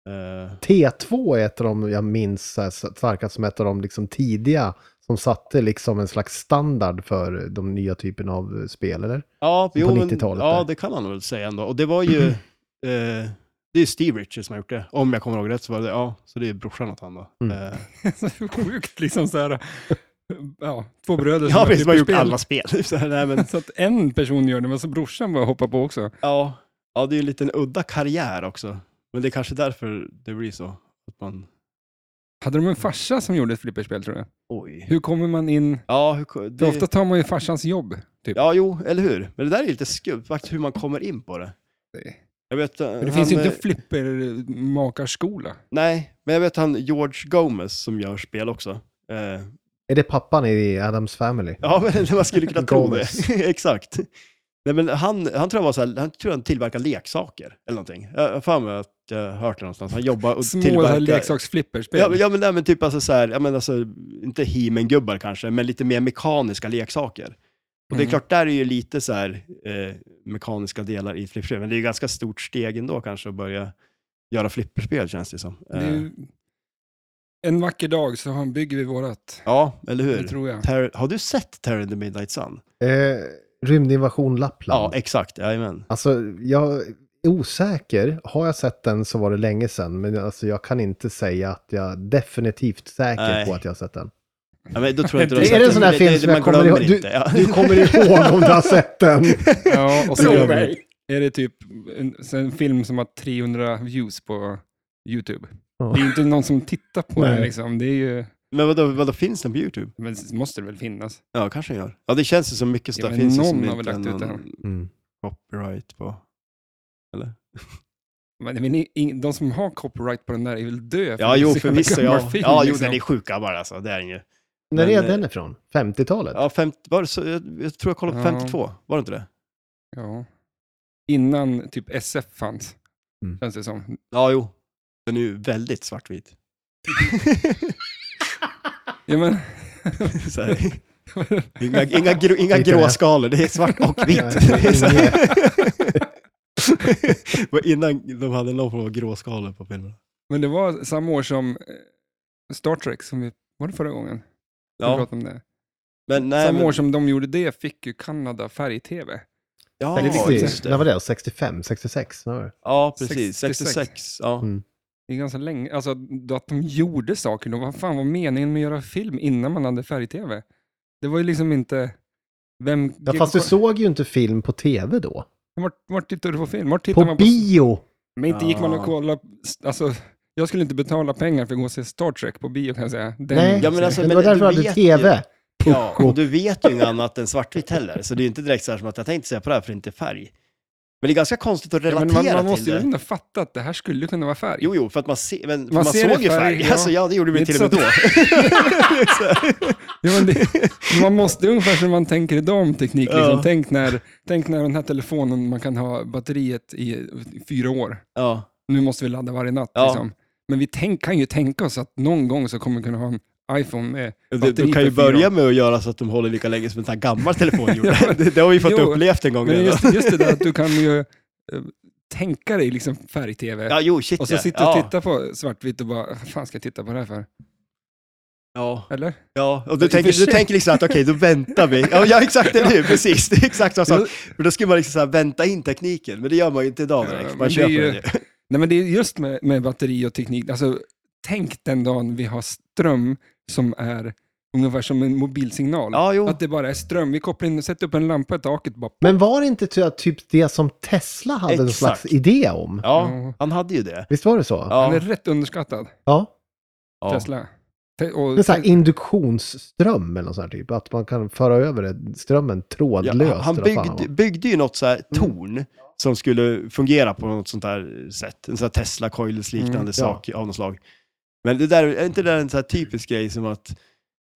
Speaker 2: Eh,
Speaker 3: T2 är ett av de jag minns så här starkast som ett av de liksom tidiga som satte liksom en slags standard för de nya typerna av eh, spel, eller?
Speaker 2: Ja,
Speaker 3: På
Speaker 2: jo, men-
Speaker 3: 90-talet
Speaker 2: Ja,
Speaker 3: där.
Speaker 2: det kan man väl säga ändå. Och det var ju, eh, det är Steve Richards som har gjort det. Om jag kommer ihåg rätt så var det, ja, så det är brorsan åt han då.
Speaker 3: Mm.
Speaker 2: Eh,
Speaker 1: så sjukt liksom så här, ja, två bröder
Speaker 2: ja, precis,
Speaker 1: typ
Speaker 2: de har
Speaker 1: i
Speaker 2: gjort
Speaker 1: spel.
Speaker 2: alla spel. så, här, nej, men,
Speaker 1: Så att en person gör det, men så brorsan bara hoppar på också.
Speaker 2: ja, ja, det är ju en liten udda karriär också. Men det är kanske därför det blir så. Att man
Speaker 1: Hade de en farsa som gjorde ett flipperspel tror jag?
Speaker 2: Oj.
Speaker 1: Hur kommer man in?
Speaker 2: Ja, hur,
Speaker 1: För
Speaker 2: det,
Speaker 1: ofta tar man ju farsans jobb. Typ.
Speaker 2: ja, jo, eller hur? Men det där är ju lite skumt faktiskt, hur man kommer in på det.
Speaker 1: Det-
Speaker 2: Jag vet, eh,
Speaker 1: Men det finns ju inte flippermakarskola.
Speaker 2: Nej, men jag vet han George Gomez som gör spel också. Eh,
Speaker 3: Är det pappan i Adams Family?
Speaker 2: ja, men man skulle kunna tro
Speaker 3: Gomez.
Speaker 2: det. Exakt. Nej, men han, han tror jag var så här, han tror han tillverkar leksaker eller någonting. Jag har för mig att jag har hört det någonstans. Han jobbar och
Speaker 1: Små
Speaker 2: tillverkar...
Speaker 1: leksaksflipperspel.
Speaker 2: Ja, men- ja, men, nej, men typ alltså så här, ja, men alltså, inte He-Man-gubbar kanske, men lite mer mekaniska leksaker. Och det är
Speaker 1: Mm.
Speaker 2: klart, där är ju lite så här eh, mekaniska delar i flipperspel, men det är ju ganska stort steg ändå kanske att börja göra flipperspel känns det som.
Speaker 1: Det är
Speaker 2: Eh,
Speaker 1: ju- En vacker dag så har- bygger vi vårat.
Speaker 2: ja, eller hur?
Speaker 1: Det tror jag.
Speaker 2: Terror, har du sett Terror in the Midnight Sun?
Speaker 3: Eh, rymdinvasion Lappland.
Speaker 2: Ja, exakt. Jajamän.
Speaker 3: Alltså, jag är osäker. Har jag sett den så var det länge sedan, men alltså, jag kan inte säga att jag är definitivt säker
Speaker 2: Nej.
Speaker 3: på att jag har sett den.
Speaker 2: Ja, men då tror jag inte
Speaker 1: Är
Speaker 2: du har
Speaker 1: det
Speaker 2: sett
Speaker 1: en sån
Speaker 3: här
Speaker 2: men
Speaker 3: film som
Speaker 2: man
Speaker 3: jag kommer
Speaker 2: glömmer
Speaker 3: ihåg?
Speaker 2: inte, ja.
Speaker 3: Du kommer ihåg om du har sett den.
Speaker 1: Ja, och
Speaker 3: Tro
Speaker 1: så
Speaker 3: mig.
Speaker 1: är det typ en, så en film som har 300 views på YouTube.
Speaker 3: Ja.
Speaker 1: Det är ju inte någon som tittar på den
Speaker 3: Nej.
Speaker 1: liksom. Det är ju,
Speaker 2: Men vadå, vadå, finns den på YouTube?
Speaker 1: men det måste det väl finnas.
Speaker 2: Ja, kanske den gör. Ja, det känns ju som mycket
Speaker 1: Ja,
Speaker 2: stuff
Speaker 1: men
Speaker 2: finns ju
Speaker 1: någon
Speaker 2: som
Speaker 1: har väl
Speaker 2: inte
Speaker 1: lagt ut
Speaker 2: någon
Speaker 1: den.
Speaker 3: Mm.
Speaker 2: copyright på. Eller?
Speaker 1: Men det är väl i- ing- de som har copyright på den där är väl dö?
Speaker 2: Ja,
Speaker 1: det är
Speaker 2: jo,
Speaker 1: så jävla
Speaker 2: förvisso.
Speaker 1: gammal
Speaker 2: Ja,
Speaker 1: film,
Speaker 2: ja jo,
Speaker 1: liksom.
Speaker 2: den är sjuk gammal alltså. Det är den ju.
Speaker 3: När
Speaker 2: Men,
Speaker 3: är
Speaker 2: eh,
Speaker 3: den ifrån? 50-talet?
Speaker 2: Ja, 50, var det så, jag, jag tror jag kollade på
Speaker 1: Ja.
Speaker 2: 52. Var det inte det?
Speaker 1: Ja. Innan typ SF fanns,
Speaker 3: Mm.
Speaker 1: känns det som.
Speaker 2: Ja, jo. Den är ju väldigt svartvit.
Speaker 1: Ja, men,
Speaker 2: Så här, inga inga, grå, inga
Speaker 3: Lite det.
Speaker 2: gråskalor, det är svart och vitt. Det är så här. Var Innan de hade någon form av gråskalor på filmerna.
Speaker 1: men det var samma år som eh, Star Trek, som vi, var det förra gången? Vi
Speaker 2: Ja,
Speaker 1: pratade om det.
Speaker 2: men nej.
Speaker 1: samma
Speaker 2: men,
Speaker 1: år som de gjorde det fick ju Kanada färg-tv.
Speaker 2: ja,
Speaker 3: 60,
Speaker 2: just
Speaker 3: När
Speaker 2: det.
Speaker 3: var det? 65? 66? När var det?
Speaker 2: Ja, precis.
Speaker 1: 66.
Speaker 2: 66.
Speaker 1: Mm.
Speaker 2: Ja.
Speaker 1: Det är ganska länge, alltså att de gjorde saker då. Vad fan var meningen med att göra film innan man hade färg-tv? Det var ju liksom inte... Vem...
Speaker 3: Ja, fast du såg ju inte film på tv då.
Speaker 1: Vart, vart tittar du på film? Vart tittar
Speaker 3: På
Speaker 1: man på...
Speaker 3: bio!
Speaker 2: Alltså,
Speaker 1: Men inte gick man och
Speaker 2: Ja.
Speaker 1: kollade... Alltså, jag skulle inte betala pengar för att gå och se Star Trek på bio kan jag säga. Den,
Speaker 3: Nej,
Speaker 2: Ja, men alltså,
Speaker 3: det var
Speaker 2: men
Speaker 3: därför
Speaker 2: du
Speaker 3: jag hade
Speaker 2: vet
Speaker 3: tv.
Speaker 2: ju- Ja, och du vet ju inget annat än svartvitt heller, så det är ju inte direkt så här som att jag tänkte säga på det här för det är inte färg. Men det är ganska konstigt att
Speaker 1: Ja,
Speaker 2: relatera
Speaker 1: men man, man
Speaker 2: till
Speaker 1: måste
Speaker 2: det.
Speaker 1: ju ändå fatta att det här skulle kunna vara färg.
Speaker 2: Jo, jo, för att man, ser, men, för
Speaker 1: Man
Speaker 2: man,
Speaker 1: ser
Speaker 2: såg
Speaker 1: i
Speaker 2: ju
Speaker 1: färg,
Speaker 2: färg.
Speaker 1: ja. typ.
Speaker 2: Alltså, ja, det gjorde
Speaker 1: Det är
Speaker 2: vi till och med
Speaker 1: inte
Speaker 2: då.
Speaker 1: Ja, men det, man måste ungefär som man tänker idag om teknik. Liksom.
Speaker 2: Ja.
Speaker 1: Tänk, när, tänk när den här telefonen, man kan ha batteriet i, i fyra år.
Speaker 2: ja,
Speaker 1: nu måste vi ladda varje natt.
Speaker 2: Ja.
Speaker 1: Liksom. Men vi tänk, kan ju tänka oss att någon gång så kommer vi kunna ha en iPhone med
Speaker 2: du,
Speaker 1: batteri
Speaker 2: du kan ju
Speaker 1: för fyra år.
Speaker 2: börja med att göra så att de håller lika länge som en sån här gammal telefon gjorde. det, det har vi fått
Speaker 1: Jo,
Speaker 2: upplevt en gång
Speaker 1: Men
Speaker 2: redan.
Speaker 1: just, just det där att du kan ju eh, tänka dig liksom färg-tv.
Speaker 2: Ja, jo, shit
Speaker 1: och så
Speaker 2: ja.
Speaker 1: sitta och
Speaker 2: ja.
Speaker 1: titta på svartvitt och bara, vad fan ska jag titta på det här för?
Speaker 2: Ja,
Speaker 1: Eller?
Speaker 2: ja. och
Speaker 1: I
Speaker 2: du
Speaker 1: och för
Speaker 2: tänker, du
Speaker 1: sig.
Speaker 2: tänker liksom att okej, då väntar vi. Ja, ja exakt, det är nu, precis. Det är exakt så.
Speaker 1: Jo.
Speaker 2: så. Men då skulle man liksom så här vänta in tekniken, men det gör man ju inte idag
Speaker 1: Ja,
Speaker 2: direkt.
Speaker 1: men
Speaker 2: Man
Speaker 1: det
Speaker 2: köper
Speaker 1: är ju-
Speaker 2: den ju.
Speaker 1: Nej men det är just med, med batteri och teknik, alltså tänk den dagen vi har ström som är ungefär som en mobilsignal.
Speaker 2: Ja, jo.
Speaker 1: Att det bara är ström, vi kopplar in och sätter upp en lampa i taket bara.
Speaker 3: Men var det inte ty- typ det som Tesla hade en
Speaker 2: Exakt.
Speaker 3: slags idé om?
Speaker 1: Ja.
Speaker 2: Ja, han hade ju det.
Speaker 3: Visst var det så?
Speaker 1: Den
Speaker 2: Ja,
Speaker 1: är rätt underskattad,
Speaker 3: Ja.
Speaker 2: ja.
Speaker 1: Tesla. Te- och-
Speaker 3: En sån här induktionsström eller något sånt här typ. Att man kan föra över det- strömmen
Speaker 2: Ja,
Speaker 3: trådlöst.
Speaker 2: han- han
Speaker 3: eller vad fan
Speaker 2: byggde, typ-
Speaker 3: var.
Speaker 2: byggde ju något så
Speaker 3: Mm.
Speaker 2: här torn som skulle fungera på något sånt här sätt. En sån här Tesla coils liknande
Speaker 1: Mm, ja.
Speaker 2: sak av något slag. Men det där, är inte det där en sån här typisk grej som att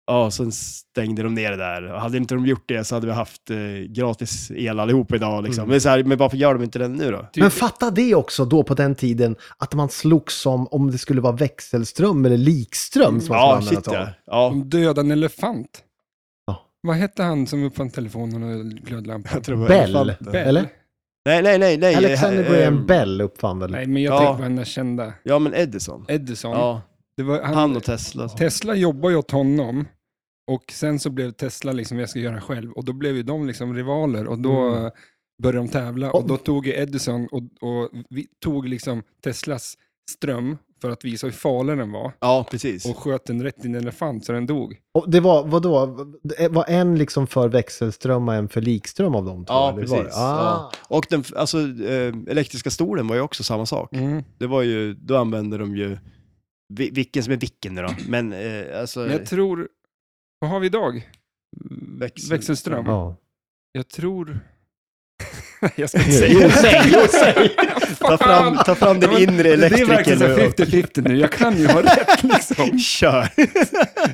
Speaker 2: Ja, sen stängde de ner det där. Och Hade inte de gjort det så hade vi haft eh, gratis el allihop
Speaker 3: Mm.
Speaker 2: idag. Liksom. Men, så här, men varför gör de inte det nu då?
Speaker 3: Men fatta det också då på den tiden att man slogs som om det skulle vara växelström eller likström som man
Speaker 2: Mm. Ja,
Speaker 3: skulle
Speaker 2: shit
Speaker 3: använda
Speaker 2: ja.
Speaker 3: sig av.
Speaker 2: ja.
Speaker 1: Om döda en elefant.
Speaker 3: Ja.
Speaker 1: Vad hette han som uppfann telefonen och glödlampan?
Speaker 2: Jag tror det var
Speaker 3: Bell,
Speaker 2: elefanten.
Speaker 3: eller?
Speaker 2: Nej, nej, nej. nej.
Speaker 3: Alexander
Speaker 2: Eh,
Speaker 3: Graham
Speaker 2: eh,
Speaker 3: Bell uppfann väl?
Speaker 1: Nej, men jag
Speaker 2: Ja.
Speaker 1: tänkte på den där kända
Speaker 2: Ja, men Edison.
Speaker 1: Edison.
Speaker 2: Ja,
Speaker 1: Det var, han,
Speaker 2: han och Tesla.
Speaker 1: Tesla jobbade ju åt honom och sen så blev Tesla liksom, jag ska göra själv och då blev ju de liksom rivaler och då
Speaker 2: Mm.
Speaker 1: eh, började de tävla och då tog ju Edison och, och vi, tog liksom Teslas ström för att visa hur farlig den var
Speaker 2: Ja, precis.
Speaker 1: och sköt den rätt in i en elefant så den dog.
Speaker 3: Och det var, vadå, det var en liksom för växelström och en för likström av de två?
Speaker 2: Ja,
Speaker 3: eller hur
Speaker 2: precis.
Speaker 3: var det? Ah.
Speaker 2: Ja. Och den alltså, eh, elektriska stolen var ju också samma sak.
Speaker 1: Mm.
Speaker 2: Det var ju, då använde de ju vi- vilken som är vilken nu då. Men eh, alltså...
Speaker 1: Men jag tror, vad har vi idag?
Speaker 2: Växel-
Speaker 1: Växelström.
Speaker 3: Ja.
Speaker 1: Jag tror... Nej, jag ska inte säga
Speaker 2: Jo, säg, jo, säg! Ta fram,
Speaker 1: Fan!
Speaker 2: ta fram
Speaker 1: Ja,
Speaker 2: den
Speaker 1: men
Speaker 2: inre
Speaker 1: Det är verkligen så
Speaker 2: elektrikern
Speaker 1: här 50-50
Speaker 2: nu
Speaker 1: nu. Jag kan ju ha rätt liksom.
Speaker 2: och kör.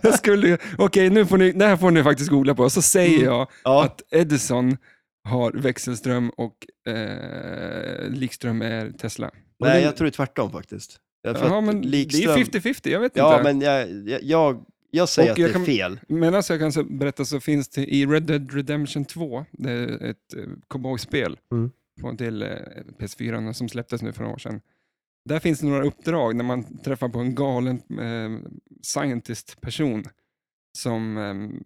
Speaker 1: Jag skulle, okej, nu får ni, det här får ni faktiskt googla på. Så säger jag
Speaker 2: Mm. Ja,
Speaker 1: att Edison har växelström och eh, likström är Tesla.
Speaker 2: nej, jag tror tvärtom faktiskt. Jag tror
Speaker 1: Jaha,
Speaker 2: att
Speaker 1: men
Speaker 2: likström-
Speaker 1: det är 50-50, jag vet
Speaker 2: Ja,
Speaker 1: inte.
Speaker 2: men jag, jag, jag, jag säger
Speaker 1: Och
Speaker 2: att
Speaker 1: jag
Speaker 2: det är
Speaker 1: kan-
Speaker 2: fel.
Speaker 1: Men alltså jag kan så berätta så finns det i Red Dead Redemption 2, det är ett eh, cowboyspel
Speaker 3: Mm.
Speaker 1: på- till eh, PS4 som släpptes nu för några år sedan. Där finns det några uppdrag när man träffar på en galen eh, scientist-person som eh,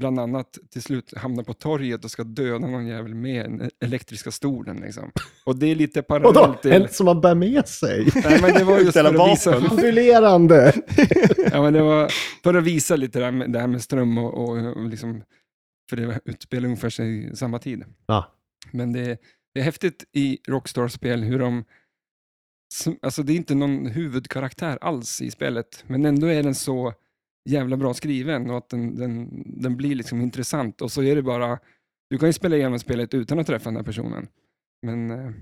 Speaker 1: bland annat till slut hamnar på torget och ska döda någon jävel med den elektriska stolen. Liksom. Och det är lite
Speaker 3: Vadå?
Speaker 1: parallellt till...
Speaker 3: En som man bär med sig?
Speaker 1: Nej, men det var just
Speaker 2: Ställa
Speaker 1: för att visa
Speaker 2: vapen.
Speaker 3: Kondulerande!
Speaker 1: Ja, men det var för att visa lite det här med, det här med ström och, och, och liksom, för det utspelar ungefär sig i samma tid.
Speaker 3: Ja.
Speaker 1: Men det, det är häftigt i Rockstar-spel hur de, som- alltså det är inte någon huvudkaraktär alls i spelet, men ändå är den så jävla bra skriven och att den, den, den blir liksom intressant och så är det bara, du kan ju spela igenom spelet utan att träffa den här personen. Men eh,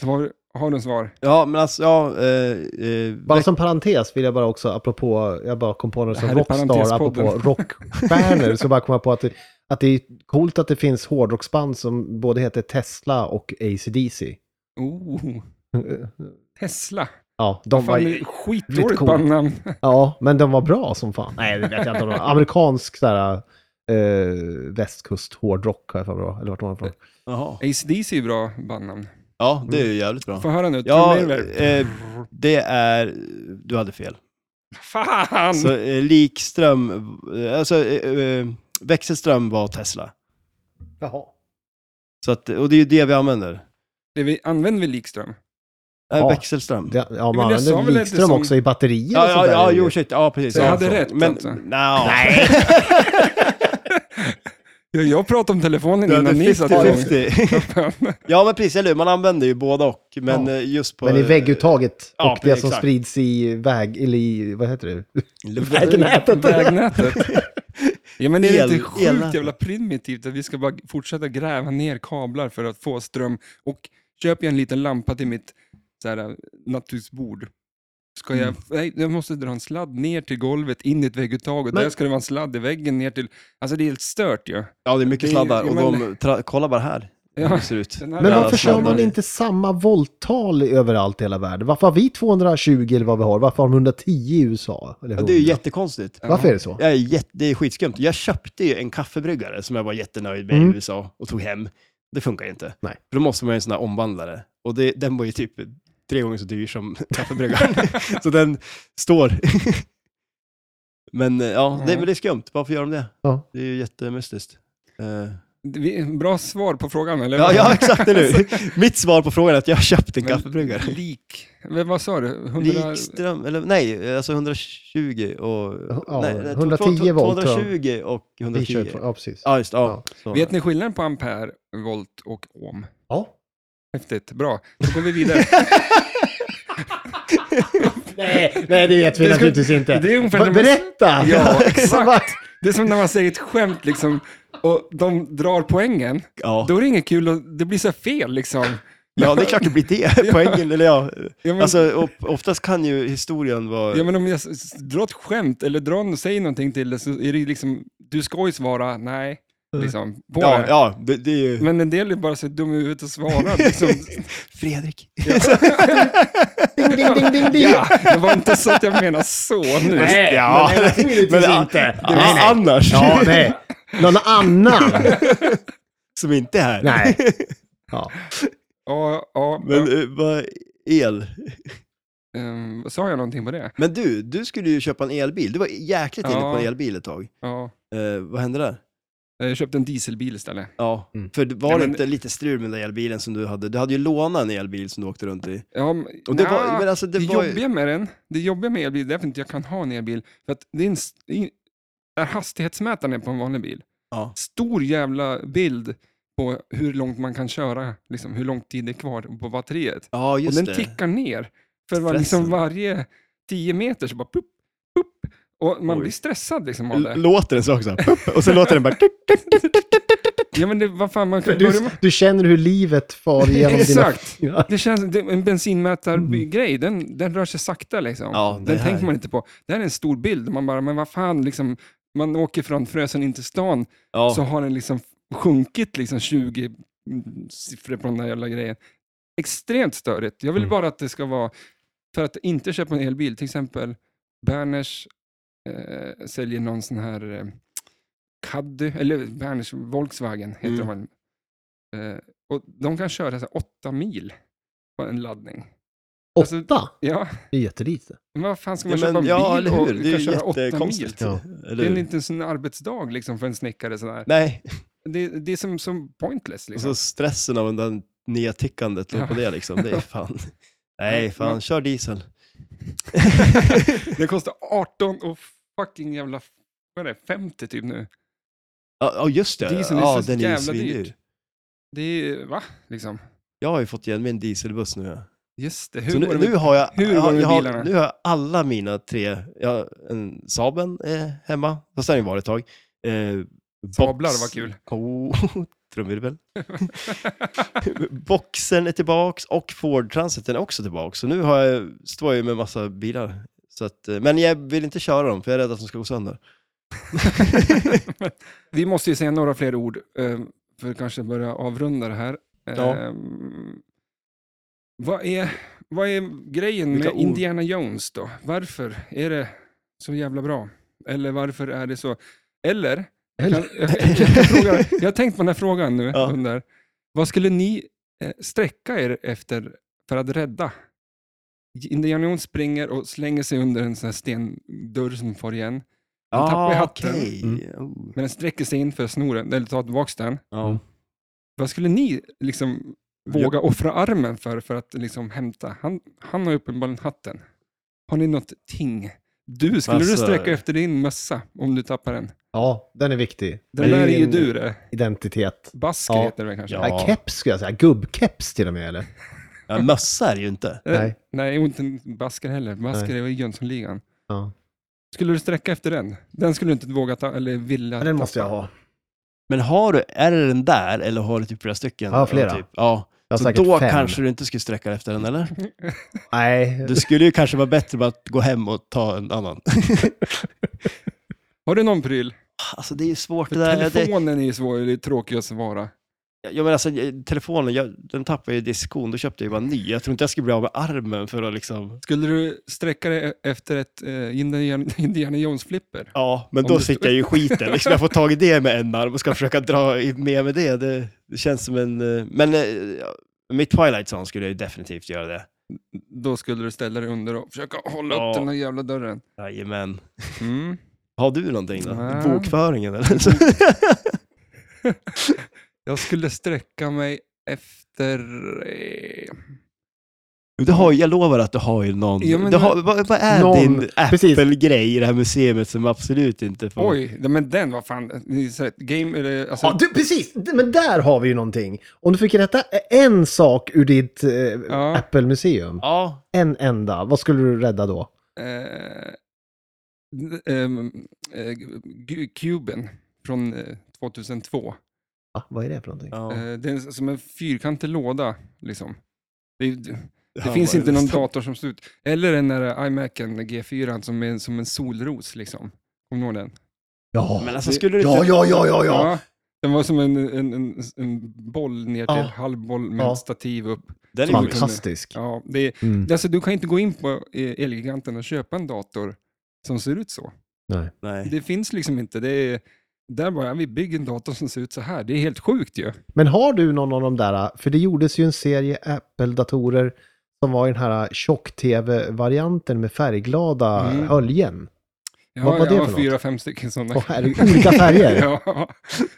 Speaker 1: svar, har du en svar?
Speaker 2: Ja, men alltså, ja, eh, eh,
Speaker 3: Bara som parentes vill jag bara också, apropå, jag bara kom på något
Speaker 1: Det
Speaker 3: som
Speaker 1: här är
Speaker 3: Rockstar, apropå
Speaker 1: parentespodden.
Speaker 3: rockstjärnor, så bara kom jag på att det, att det är coolt att det finns hårdrocksband som både heter Tesla och AC/DC.
Speaker 1: Oh, Tesla.
Speaker 3: Ja, de var
Speaker 1: Fan, det
Speaker 3: ju,
Speaker 1: är skitdåligt
Speaker 3: coolt.
Speaker 1: bandnamn.
Speaker 3: ja, men de var bra som fan. Nej, det vet jag inte om de var. Amerikansk sådär, eh, västkust hårdrock har jag för mig det var, eller vart de var ifrån.
Speaker 2: jaha.
Speaker 1: ACDC är ju bra bandnamn.
Speaker 2: ja, det är ju jävligt bra.
Speaker 1: Få höra nu,
Speaker 2: Ja,
Speaker 1: trumvirvel.
Speaker 2: eh, det är... Du hade fel.
Speaker 1: Fan!
Speaker 2: Så eh, likström, eh, alltså eh, eh, växelström var Tesla.
Speaker 3: Jaha.
Speaker 2: Så att, och det är ju det vi använder. Eh,
Speaker 1: Det vi, använder vi likström?
Speaker 2: Äh,
Speaker 3: Ja.
Speaker 2: Växelström.
Speaker 3: Ja, ja man
Speaker 1: jag sa väl att
Speaker 3: använder
Speaker 1: det
Speaker 3: likström
Speaker 1: som-
Speaker 3: också i batterier
Speaker 2: Ja,
Speaker 3: och
Speaker 2: ja,
Speaker 3: sånt där.
Speaker 2: ja,
Speaker 3: ju.
Speaker 2: jo, shit, ja, precis.
Speaker 1: Så jag
Speaker 2: ja,
Speaker 1: hade rätt,
Speaker 2: Men,
Speaker 1: alltså?
Speaker 2: Nej,
Speaker 1: Ja, jag pratade om telefonen
Speaker 2: du hade
Speaker 1: innan ni satte igång.
Speaker 2: 50-50. Ja, men precis, eller hur? Man använder ju båda och, men
Speaker 3: Ja.
Speaker 2: eh, just på...
Speaker 3: Men i vägguttaget
Speaker 2: Ja,
Speaker 3: och det som
Speaker 2: exakt.
Speaker 3: sprids i väg, eller i, vad heter det?
Speaker 1: Vägnätet. Vägnätet. Ja, men är det
Speaker 2: El-
Speaker 1: inte sjukt
Speaker 2: elnätet.
Speaker 1: jävla primitivt att vi ska bara fortsätta gräva ner kablar för att få ström och köper jag en liten lampa till mitt så här, nattduksbord. Ska jag,
Speaker 2: Mm.
Speaker 1: nej, jag måste dra en sladd ner till golvet, in i ett vägguttag och
Speaker 3: Men-
Speaker 1: där ska det vara en sladd i väggen ner till... Alltså det är helt stört ju. Ja.
Speaker 2: Ja, det är mycket
Speaker 1: Det är-
Speaker 2: sladdar
Speaker 1: ja,
Speaker 2: och
Speaker 1: men-
Speaker 2: de... Tra... Kolla bara här, hur det ser ut.
Speaker 1: den här
Speaker 3: Men
Speaker 1: jävla
Speaker 3: varför kör
Speaker 1: sladden.
Speaker 3: man inte samma volttal i- överallt i hela världen? Varför har vi 220 eller vad vi har? Varför har de 110 i USA? Eller
Speaker 2: Ja, det är ju
Speaker 3: 100?
Speaker 2: jättekonstigt.
Speaker 3: Varför är det så?
Speaker 2: Jag är jätte, det är skitskumt. Jag köpte ju en kaffebryggare som jag var jättenöjd med
Speaker 3: Mm.
Speaker 2: i USA och tog hem. Det funkar ju inte.
Speaker 3: Nej.
Speaker 2: För då måste man ju en sån här omvandlare. Och det, den var ju typ tre gånger så dyr som kaffebryggaren. så den står. Men eh, ja, det,
Speaker 1: Ja.
Speaker 2: men det är skumt. Varför gör de det?
Speaker 3: Ja.
Speaker 2: Det är ju jättemystiskt. Eh,
Speaker 1: Vi- Bra svar på frågan, eller?
Speaker 2: ja, ja, exakt, eller hur? Mitt svar på frågan är att jag har köpt en
Speaker 1: Men-
Speaker 2: kaffebryggare.
Speaker 1: Lik. Men vad sa du? 100...
Speaker 2: Likström, eller nej, alltså 120 och...
Speaker 3: Ja,
Speaker 2: nej, nej,
Speaker 3: 110 volt, ja.
Speaker 2: 220 och
Speaker 3: Vi kör
Speaker 2: 110.
Speaker 3: på, ja, precis.
Speaker 2: Ja, just ja.
Speaker 3: Ja.
Speaker 2: Så.
Speaker 1: Vet ni skillnaden på ampere, volt och ohm?
Speaker 3: Ja.
Speaker 1: Häftigt, bra. Då går vi vidare.
Speaker 3: Nej, nej, det vet vi
Speaker 1: Det ska-
Speaker 3: naturligtvis inte.
Speaker 1: det är ungefär
Speaker 3: Va-
Speaker 1: som-
Speaker 3: Berätta!
Speaker 1: Ja, exakt. Det är som när man säger ett skämt liksom, och de drar poängen.
Speaker 2: Ja.
Speaker 1: Då är det inget kul och det blir så här fel liksom.
Speaker 2: ja, det är klart det blir det. Poängen, eller ja.
Speaker 1: Ja, men,
Speaker 2: Alltså, op- oftast kan ju historien vara...
Speaker 1: Mm. ja, men om jag s- s- drar ett skämt eller drar, säger någonting till det så är det liksom, du ska ju svara nej. Liksom, på
Speaker 2: Mm. ja,
Speaker 1: det.
Speaker 2: ja, det, det är ju...
Speaker 1: Men en del är bara så dum i huvudet och svarar. Liksom.
Speaker 2: Fredrik.
Speaker 3: Ding, ding, ding, ding, ding.
Speaker 1: Ja, det var inte så att jag menar så nu.
Speaker 3: Nej,
Speaker 2: Ja.
Speaker 3: men naturligtvis
Speaker 2: Men, ja,
Speaker 3: inte.
Speaker 2: Ja,
Speaker 3: nej, nej.
Speaker 2: annars,
Speaker 3: Ja, nej. Någon annan?
Speaker 2: som inte är här.
Speaker 3: Nej. Ja.
Speaker 1: Ja, ja,
Speaker 2: Men eh, vad... El.
Speaker 1: ehm, sa jag någonting på det?
Speaker 2: Men du, du skulle ju köpa en elbil. Du var jäkligt inne
Speaker 1: Ja.
Speaker 2: på en elbil ett tag.
Speaker 1: Ja.
Speaker 2: Eh, vad hände där?
Speaker 1: Jag köpte en dieselbil istället.
Speaker 2: Ja,
Speaker 3: Mm.
Speaker 2: för det var
Speaker 1: Nej,
Speaker 2: det
Speaker 1: men-
Speaker 2: inte lite strul med den där elbilen som du hade? Du hade ju lånat en elbil som du åkte runt i.
Speaker 1: Ja, men-
Speaker 2: Och det
Speaker 1: nja,
Speaker 2: var, men alltså det,
Speaker 1: det
Speaker 2: var ju...
Speaker 1: jobbiga med den, det jobbiga med elbil, det är därför inte jag kan ha en elbil. För att det är en, s- det är- där hastighetsmätaren är på en vanlig bil.
Speaker 2: Ja.
Speaker 1: Stor jävla bild på hur långt man kan köra, liksom, hur lång tid det är kvar på batteriet.
Speaker 2: Ja, just
Speaker 1: och den
Speaker 2: det.
Speaker 1: tickar ner. För var,
Speaker 2: Stressen.
Speaker 1: liksom varje 10 meter så bara pup, pup. Och man
Speaker 2: Oj.
Speaker 1: blir stressad liksom av
Speaker 2: L-
Speaker 1: det.
Speaker 2: låter den så också? Pup, och så låter den bara... tuk, tuk, tuk, tuk, tuk, tuk, tuk.
Speaker 1: Ja men det, vad fan, man kan börja
Speaker 3: Du,
Speaker 1: med...
Speaker 3: du känner hur livet far genom dina...
Speaker 1: Exakt!
Speaker 3: Ja.
Speaker 1: Det känns, det, en bensinmätargrej,
Speaker 2: Mm.
Speaker 1: den, den rör sig sakta liksom.
Speaker 2: Ja, det
Speaker 1: den
Speaker 2: här-
Speaker 1: tänker man inte på. Det här är en stor bild, man bara, men vad fan, liksom, man åker från Frösön in till stan,
Speaker 2: Ja.
Speaker 1: så har den liksom sjunkit liksom 20 siffror på den där jävla grejen. Extremt störigt. Jag vill
Speaker 4: Mm.
Speaker 1: bara att det ska vara, för att inte köpa en elbil, till exempel Berners eh, säljer någon sån här eh, Caddy, eller Berners Volkswagen heter
Speaker 2: Mm.
Speaker 1: de väl. Eh, och de kan köra så här, åtta mil på en laddning. Alltså-
Speaker 3: Åtta?
Speaker 1: Ja,
Speaker 3: Det är jättelite.
Speaker 1: men vad fan ska
Speaker 2: Ja,
Speaker 1: man köpa
Speaker 2: men,
Speaker 1: en
Speaker 2: ja,
Speaker 1: bil
Speaker 2: eller
Speaker 1: och
Speaker 2: hur? Det är
Speaker 1: kan
Speaker 2: ju
Speaker 1: köra åtta mil?
Speaker 2: jättekonstigt.
Speaker 3: Ja.
Speaker 2: Eller
Speaker 1: Det är
Speaker 2: hur?
Speaker 1: inte ens en arbetsdag liksom, för en snickare. Sådär.
Speaker 2: Nej,
Speaker 1: Det, det är som, som pointless.
Speaker 2: och
Speaker 1: Liksom.
Speaker 2: så stressen av det där nya tickandet
Speaker 1: Ja.
Speaker 2: på det liksom. Det är fan... Nej, fan, kör diesel.
Speaker 1: Det kostar 18 och fucking jävla vad är det, 50 typ nu.
Speaker 2: Ja, ja, just det.
Speaker 1: Diesel är
Speaker 2: ja,
Speaker 1: så
Speaker 2: den är ju
Speaker 1: jävla dyrt.
Speaker 2: svindyr.
Speaker 1: Det är va? Liksom.
Speaker 2: Jag har ju fått igen mig en dieselbuss nu. Ja.
Speaker 1: Just det. Hur
Speaker 2: så
Speaker 1: går
Speaker 2: nu,
Speaker 1: det
Speaker 2: nu
Speaker 1: med...
Speaker 2: har jag,
Speaker 1: hur
Speaker 2: jag,
Speaker 1: går det med
Speaker 2: jag har,
Speaker 1: bilarna?
Speaker 2: nu har jag alla mina tre, jag, en Saaben är hemma, fast den har ju varit ett tag. Eh, box-
Speaker 1: Sablar, vad kul.
Speaker 2: Oh, trumvirvel. Boxen är tillbaks och Ford Transiten är också tillbaks. Så nu har jag, står jag ju med massa bilar. Så att, eh, men jag vill inte köra dem, för jag är rädd att de ska gå sönder.
Speaker 1: Vi måste ju säga några fler ord eh, för att kanske börja avrunda det här. Eh,
Speaker 2: Ja.
Speaker 1: Vad är, vad är grejen
Speaker 2: Vilka
Speaker 1: med
Speaker 2: ord?
Speaker 1: Indiana Jones då? Varför är det så jävla bra? Eller varför är det så? Eller,
Speaker 3: Eller-
Speaker 1: Kan, jag, jag, kan fråga, jag har tänkt på den här frågan nu.
Speaker 2: Ja.
Speaker 1: Undrar, vad skulle ni eh, sträcka er efter för att rädda? Indiana Jones springer och slänger sig under en sån här stendörr som får igen. Han tappar ju hatten.
Speaker 2: Ah, okej. Oh.
Speaker 1: Men den sträcker sig in för att sno den, eller ta tillbaka den.
Speaker 2: Ja.
Speaker 1: Vad skulle ni liksom våga offra armen för, för att liksom hämta? Han, han har ju uppenbarligen hatten. Har ni något ting? Du, skulle du
Speaker 2: Alltså-
Speaker 1: sträcka efter din mössa om du tappar den?
Speaker 3: Ja, den är viktig.
Speaker 1: Den
Speaker 3: Det
Speaker 1: där är ju
Speaker 3: min
Speaker 1: du det.
Speaker 3: Identitet.
Speaker 1: Basker
Speaker 3: Ja.
Speaker 1: heter det kanske?
Speaker 2: Ja.
Speaker 3: Nej, keps ska jag säga. Gubbkeps till och med, eller?
Speaker 2: Ja, mössa är det ju inte.
Speaker 1: Eh,
Speaker 3: Nej.
Speaker 1: Nej, och inte en basker heller. Basker är ju i Jönssonligan.
Speaker 3: Ja.
Speaker 1: Skulle du sträcka efter den? Den skulle du inte våga ta, eller vilja
Speaker 3: Men den
Speaker 1: tappa.
Speaker 3: måste jag ha.
Speaker 2: Men har du, är det den där eller har du typ flera stycken?
Speaker 3: Ja, flera.
Speaker 2: Typ, ja.
Speaker 3: Jag har
Speaker 2: Så
Speaker 3: säkert
Speaker 2: då
Speaker 3: fem.
Speaker 2: kanske du inte skulle sträcka dig efter den, eller?
Speaker 3: Nej,
Speaker 2: Det skulle ju kanske vara bättre bara att gå hem och ta en annan.
Speaker 1: Har du någon pryl?
Speaker 2: Alltså det är ju svårt
Speaker 1: För
Speaker 2: det där. Det,
Speaker 1: telefonen är ju svår, det är tråkig att svara.
Speaker 2: jag menar alltså, jag- telefonen, jag, den tappade ju i diskon, då köpte jag ju bara en ny. Jag tror inte jag skulle bli av med armen för att liksom...
Speaker 1: Skulle du sträcka dig e-, efter ett eh, Indiana, Indiana Jones-flipper?
Speaker 2: Ja, men
Speaker 1: Om
Speaker 2: då
Speaker 1: du-
Speaker 2: sitter jag ju i skiten. Liksom, jag får tag i det med en arm och ska försöka dra i- med mig det. det. Det känns som en... eh, Men eh, ja, mitt Twilight Zone skulle jag ju definitivt göra det.
Speaker 1: Då skulle du ställa dig under och försöka hålla
Speaker 2: Ja.
Speaker 1: upp den där jävla dörren.
Speaker 2: Jajamän.
Speaker 1: Mm.
Speaker 2: Har du någonting då?
Speaker 1: Nej.
Speaker 2: Bokföringen eller?
Speaker 1: Jag skulle sträcka mig efter... Eh,
Speaker 2: Du har, ju- jag lovar att du har ju någon...
Speaker 1: Ja, men
Speaker 2: du
Speaker 1: det-
Speaker 2: har, vad, vad är
Speaker 3: Någon-
Speaker 2: din
Speaker 3: precis.
Speaker 2: Apple-grej i det här museet som absolut inte får...
Speaker 1: oj, men den, vad fan. det är så här, Game, eller, alltså,
Speaker 3: Ja, du, precis! D- Men där har vi ju någonting. Om du fick rätta en sak ur ditt eh,
Speaker 1: Ja.
Speaker 3: Apple-museum,
Speaker 2: Ja,
Speaker 3: en enda, vad skulle du rädda då?
Speaker 1: eh, ehm, eh, Gu- Cuben från eh, 2002.
Speaker 3: Va? vad är det för någonting?
Speaker 2: ja.
Speaker 1: Eh, det är som en fyrkantig låda. Liksom. Det, är- det
Speaker 2: Han
Speaker 1: finns
Speaker 2: var
Speaker 1: inte någon
Speaker 2: just-
Speaker 1: dator som ser ut. Eller den där iMacen G4 som är som en solros. Liksom. Kommer du ihåg den?
Speaker 3: Ja.
Speaker 2: Men alltså skulle du
Speaker 3: ja, ja, ja, ja, ja.
Speaker 1: Den var som en, en, en, en boll ner till
Speaker 3: Ja.
Speaker 1: halvboll med
Speaker 3: Ja.
Speaker 1: stativ upp.
Speaker 2: Den är ju
Speaker 1: Fanta.
Speaker 3: Fantastisk.
Speaker 1: Ja, det är,
Speaker 3: Mm.
Speaker 1: det är alltså, du kan inte gå in på eh, Elgiganten och köpa en dator som ser ut så.
Speaker 2: Nej.
Speaker 1: Det finns liksom inte. Det är, där bara, vi bygger en dator som ser ut så här. Det är helt sjukt ju.
Speaker 3: Men har du någon av de där, för det gjordes ju en serie Apple-datorer som var i den här tjock-tv-varianten med färgglada
Speaker 1: Mm.
Speaker 3: höljen.
Speaker 1: Jag
Speaker 3: Vad
Speaker 1: har,
Speaker 3: var det
Speaker 1: jag har
Speaker 3: för något?
Speaker 1: fyra, fem stycken sådana.
Speaker 3: Och här, olika färger.
Speaker 1: Ja,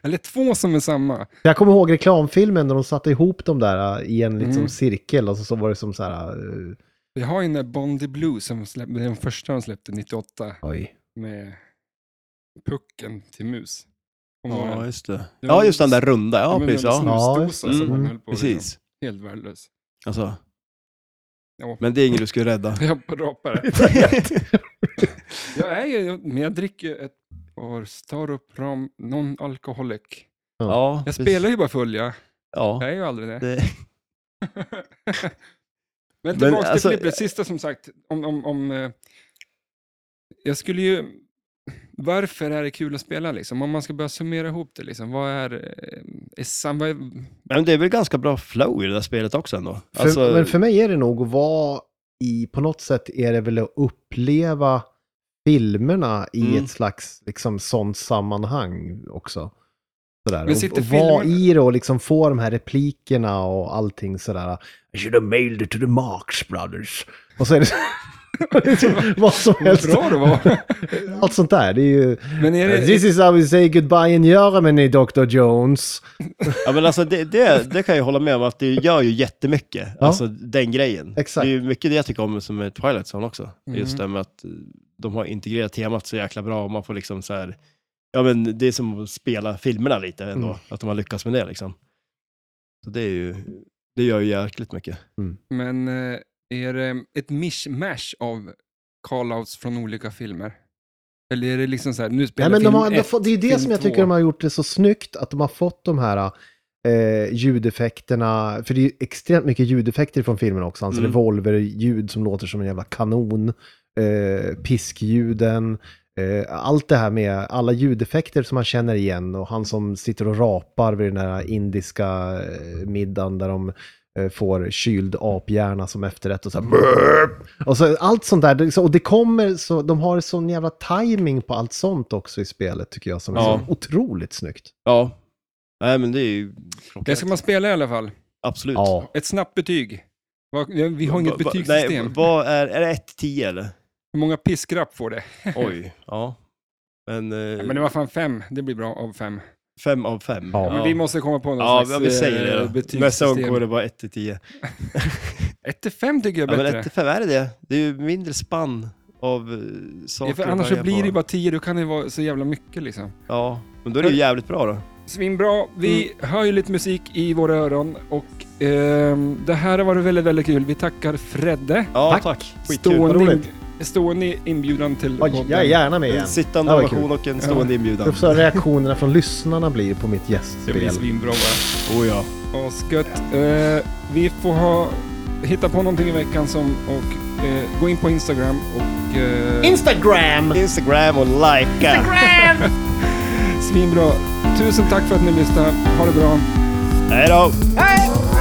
Speaker 1: eller två som är samma.
Speaker 3: Jag kommer ihåg reklamfilmen när de satte ihop de där äh, i en liksom
Speaker 1: Mm.
Speaker 3: cirkel och så, så var det som så här... äh,
Speaker 1: Vi har ju den där Bondi Blue som släpp, den första de släppte 98
Speaker 3: Oj.
Speaker 1: med pucken till mus. Kommer du ihåg
Speaker 2: Ja,
Speaker 1: den?
Speaker 2: just det.
Speaker 1: Det var
Speaker 2: Ja,
Speaker 1: en-
Speaker 2: just den där runda. Ja,
Speaker 1: men
Speaker 2: precis.
Speaker 1: den
Speaker 2: Ja,
Speaker 1: snusdosa som
Speaker 3: Ja, just det.
Speaker 1: man
Speaker 3: Mm.
Speaker 1: höll på med.
Speaker 2: precis.
Speaker 1: Helt värdelös.
Speaker 2: Alltså,
Speaker 1: Ja.
Speaker 2: Men det är ingen du skulle rädda.
Speaker 1: Jag rappar Jag är ju, men jag dricker ett par Starup Ram Non-Alcoholic.
Speaker 2: ja,
Speaker 1: Jag spelar ju bara full, ja.
Speaker 2: Ja.
Speaker 1: Jag är ju aldrig det.
Speaker 2: Det,
Speaker 1: Men
Speaker 2: Men
Speaker 1: tillbaka
Speaker 2: alltså-
Speaker 1: till Flippret, sista som sagt. Om, om, om, eh, jag skulle ju... Varför är det kul att spela liksom? Om man ska börja summera ihop det liksom. Vad är... eh, essan- vad är
Speaker 2: men det är väl ganska bra flow i det där spelet också ändå.
Speaker 3: För,
Speaker 2: Alltså,
Speaker 3: men för mig är det nog att vara i, på något sätt är det väl att uppleva filmerna i
Speaker 2: Mm.
Speaker 3: ett slags liksom, sånt sammanhang också. Sådär.
Speaker 1: Men
Speaker 3: Och,
Speaker 1: sitter
Speaker 3: och vara
Speaker 1: filmerna-
Speaker 3: i det och liksom få de här replikerna och allting sådär. I should have mailed it to the Marx brothers. Och så är det vad som
Speaker 1: vad
Speaker 3: helst.
Speaker 1: bra det var.
Speaker 3: Allt sånt där. Det är ju...
Speaker 1: Men är det...
Speaker 3: This is how we say goodbye in Germany, Dr. Jones.
Speaker 2: ja, men alltså det, det, det kan jag hålla med om att det gör ju jättemycket.
Speaker 3: Ja.
Speaker 2: Alltså den grejen.
Speaker 3: Exakt.
Speaker 2: Det är ju mycket det jag tycker om som är Twilight Zone också.
Speaker 1: Mm.
Speaker 2: Just det med att eh, de har integrerat temat så jäkla bra och man får liksom så här, ja men det är som att spela filmerna lite ändå,
Speaker 3: Mm.
Speaker 2: att de har lyckats med det liksom. Så det är ju, det gör ju jäkligt mycket.
Speaker 1: Men eh, är det ett mishmash av call-outs från olika filmer? Eller är det liksom så här, nu spelar
Speaker 3: Nej, men de
Speaker 1: film
Speaker 3: har ändå
Speaker 1: ett,
Speaker 3: fått, det är det
Speaker 1: film
Speaker 3: som jag
Speaker 1: två.
Speaker 3: tycker de har gjort det så snyggt, att de har fått de här eh, ljudeffekterna, för det är ju extremt mycket ljudeffekter från filmen också, alltså
Speaker 2: Mm.
Speaker 3: revolverljud som låter som en jävla kanon, eh, piskljuden, eh, allt det här med alla ljudeffekter som man känner igen och han som sitter och rapar vid den här indiska eh, middagen där de eh, får kyld aphjärna som efterrätt och så här, "Burp!" och så allt sånt där. Det- så- Och det kommer så, de har sån jävla timing på allt sånt också i spelet tycker jag som är
Speaker 2: Ja.
Speaker 3: så otroligt snyggt.
Speaker 2: Ja. Nej men det är ju
Speaker 1: Det
Speaker 2: klockrent.
Speaker 1: ska man spela i alla fall.
Speaker 2: Absolut.
Speaker 3: Ja.
Speaker 1: Ett snabbt betyg. Vad- Vi har
Speaker 2: Va-
Speaker 1: inget
Speaker 2: va-
Speaker 1: betygssystem.
Speaker 2: Nej, vad är, är det 1-10 eller?
Speaker 1: Hur många piskrapp får det?
Speaker 2: Oj, ja. Men, eh,
Speaker 1: Ja, men det var fan fem. Det blir bra av fem.
Speaker 2: fem av fem.
Speaker 3: Ja.
Speaker 1: Men vi måste komma på någon
Speaker 2: Ja,
Speaker 1: slags
Speaker 2: ja, vi
Speaker 1: eh,
Speaker 2: säger det då.
Speaker 1: betygssystem.
Speaker 2: Nästa gång går det bara 1 till 10.
Speaker 1: 1 till 5 tycker jag
Speaker 2: Ja,
Speaker 1: är
Speaker 2: men 1
Speaker 1: bättre.
Speaker 2: till 5 är det det. Det är ju mindre spann av eh, saker
Speaker 1: Ja, för
Speaker 2: att
Speaker 1: annars
Speaker 2: välja
Speaker 1: så blir det
Speaker 2: på.
Speaker 1: ju bara 10, då kan det vara så jävla mycket liksom.
Speaker 2: Ja, men då är det ju jävligt bra då.
Speaker 1: Svinbra. Vi
Speaker 3: Mm.
Speaker 1: hör ju lite musik i våra öron och ehm, det här har varit väldigt, väldigt kul. Vi tackar Fredde.
Speaker 2: Ja,
Speaker 3: Tack.
Speaker 2: tack. Skitkul.
Speaker 1: Stående,
Speaker 3: roligt.
Speaker 1: in- stående inbjudan till
Speaker 3: Oj, jag är gärna med igen.
Speaker 2: En sittande
Speaker 3: Ja, vad kul.
Speaker 2: ovation och en stående inbjudan.
Speaker 3: Och så reaktionerna från lyssnarna blir på mitt
Speaker 1: Det blir
Speaker 3: gästspel.
Speaker 1: svinbra bara.
Speaker 2: Oh, ja.
Speaker 1: Asgött. Eh, vi får ha, hitta på någonting i veckan som, och eh, gå in på Instagram och eh,
Speaker 3: Instagram!
Speaker 2: Instagram och likea.
Speaker 1: svinbra. Tusen tack för att ni lyssnade. Ha det bra.
Speaker 2: Hej då!
Speaker 3: Hej!